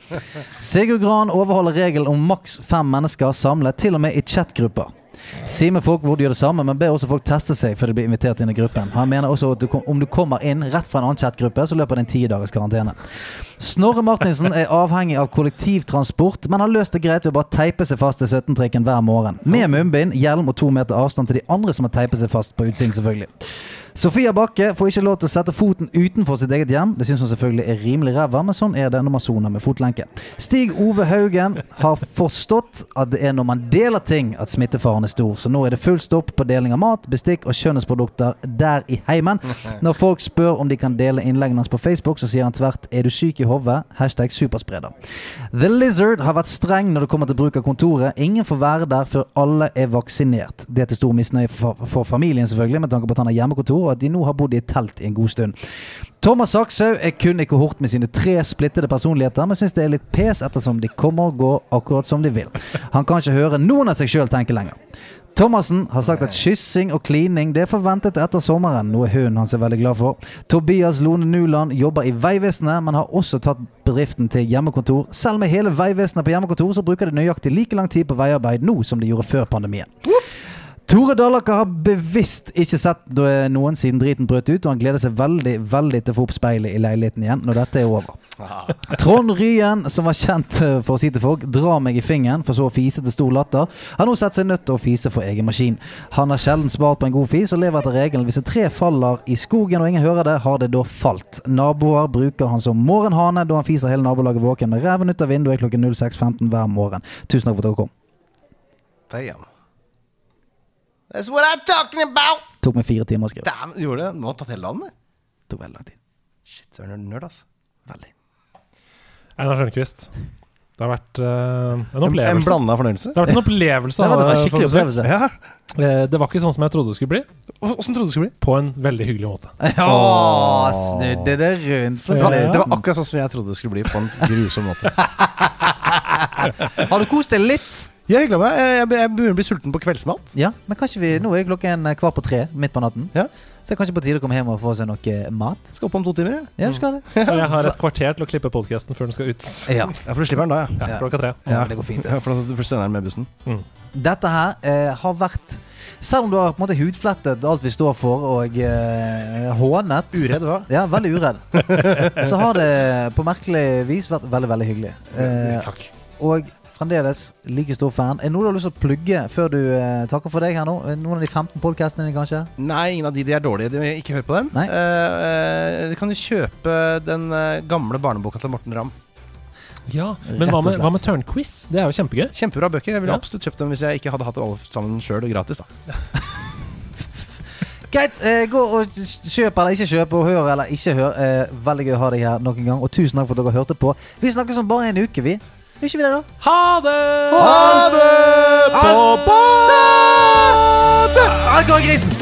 B: Sigurd Gran overholder regelen om maks fem mennesker samlet, til og med i chatgrupper. Simen Folkvord gjør det samme, men ber også folk teste seg før de blir invitert inn i gruppen. Han mener også at du, kom- om du kommer inn rett fra en annen chatgruppe, så løper det en ti dagers karantene. Snorre Martinsen er avhengig av kollektivtransport, men har løst det greit ved å bare teipe seg fast til 17-trikken hver morgen. Med munnbind, hjelm og to meter avstand til de andre som har teipet seg fast på utsiden, selvfølgelig. Sofia Bakke får ikke lov til å sette foten utenfor sitt eget hjem. Det syns hun selvfølgelig er rimelig ræva, men sånn er det når man soner med fotlenke. Stig Ove Haugen har forstått at det er når man deler ting at smittefaren er stor, så nå er det full stopp på deling av mat, bestikk og skjønnhetsprodukter der i heimen. Når folk spør om de kan dele innleggene hans på Facebook, så sier han tvert 'er du syk i hodet?' hashtag superspreder. The Lizard har vært streng når det kommer til bruk av kontoret. Ingen får være der før alle er vaksinert. Det er til stor misnøye for, for familien, selvfølgelig, med tanke på at han har hjemmekontor, og at de nå har bodd i et telt i en god stund. Thomas Sakshaug er kun i kohort med sine tre splittede personligheter, men syns det er litt pes ettersom de kommer og går akkurat som de vil. Han kan ikke høre noen av seg sjøl tenke lenger. Thomassen har sagt at kyssing og klining det er forventet etter sommeren, noe hun hans er veldig glad for. Tobias Lone Nuland jobber i Vegvesenet, men har også tatt bedriften til hjemmekontor. Selv med hele Vegvesenet på hjemmekontor, så bruker de nøyaktig like lang tid på veiarbeid nå som de gjorde før pandemien. Tore Dallaker har bevisst ikke sett noen siden driten brøt ut, og han gleder seg veldig veldig til å få opp speilet i leiligheten igjen når dette er over. Trond Ryen, som var kjent eh, for å si til folk 'dra meg i fingeren', for så å fise til stor latter, har nå sett seg nødt til å fise for egen maskin. Han har sjelden spart på en god fis, og lever etter regelen 'hvis et tre faller i skogen og ingen hører det, har det da falt'. Naboer bruker han som morgenhane, da han fiser hele nabolaget våken med reven ut av vinduet klokken 06.15 hver morgen. Tusen takk for at dere kom.
E: Damn. That's what I'm talking about!
B: Tok meg fire timer å skrive.
E: Damn, gjorde det? Nå har tatt hele dagen, det.
B: Tok veldig lang tid.
E: Shit, det er en nerd, ass.
B: Veldig.
A: Einar Tørnquist. Det har vært eh, en
E: En, en
A: opplevelse.
E: blanda fornøyelse.
A: Det har vært en opplevelse.
B: Det var, det var
A: å
B: en
A: ha på
B: skikkelig
A: besøk.
B: opplevelse.
E: Ja.
A: Eh, Det var ikke sånn som jeg trodde det skulle bli,
E: Åssen trodde du det skulle bli?
A: på en veldig hyggelig måte.
B: Åh, snudde det rundt på
E: Det var, det
B: slutten.
E: var akkurat sånn som jeg trodde det skulle bli, på en grusom *laughs* måte.
B: Har du kost deg litt?
E: Jeg hygla meg. Jeg, jeg, jeg begynner å bli sulten på kveldsmat.
B: Ja, men kanskje vi, Nå er klokken eh, kvart på tre, midt på natten.
E: Ja.
B: Så det er kanskje på tide å komme hjem og få seg noe mat.
E: Skal opp om to timer, jeg.
B: *laughs* Ja, vi
E: *laughs*
B: skal det.
A: Og jeg har et kvarter til å klippe podkasten før den skal ut.
B: Ja,
E: Ja, for du slipper den da, ja.
A: Ja, klokka tre.
E: Ja.
B: Det går fint.
E: Ja, for da- for sender den med bussen.
B: Dette her eh, har vært Selv om du har på en måte hudflettet alt vi står for, og eh, hånet
E: Uredd, hva?
B: Ja, veldig
E: *laughs*
B: uredd. Så har det på merkelig vis vært veldig, veldig hyggelig. Eh,
E: Takk.
B: og fremdeles like stor fan. Er det noe du har lyst til å plugge før du eh, takker for deg her nå? Noen av de 15 podkastene dine, kanskje?
E: Nei, ingen av de de er dårlige. De, ikke hør på dem.
B: Nei.
E: Eh, eh, de kan jo kjøpe den eh, gamle barneboka til Morten Ramm.
A: Ja, Men
B: Rett
A: hva
B: og
A: med,
B: slett.
A: hva med Tørnquiz? Det er jo kjempegøy.
E: Kjempebra bøker. Jeg ville
A: Ja.
E: absolutt kjøpt dem hvis jeg ikke hadde hatt alle sammen sjøl og gratis. da
B: Greit. Eh, gå og kjøp eller ikke kjøp, og hør eller ikke hør. Eh, veldig gøy å ha deg her nok en gang, og tusen takk for at dere hørte på. Vi snakkes om bare en uke, vi. Gjør ikke vi det, da?
E: Ha det på badet!
B: Alkoholgrisen!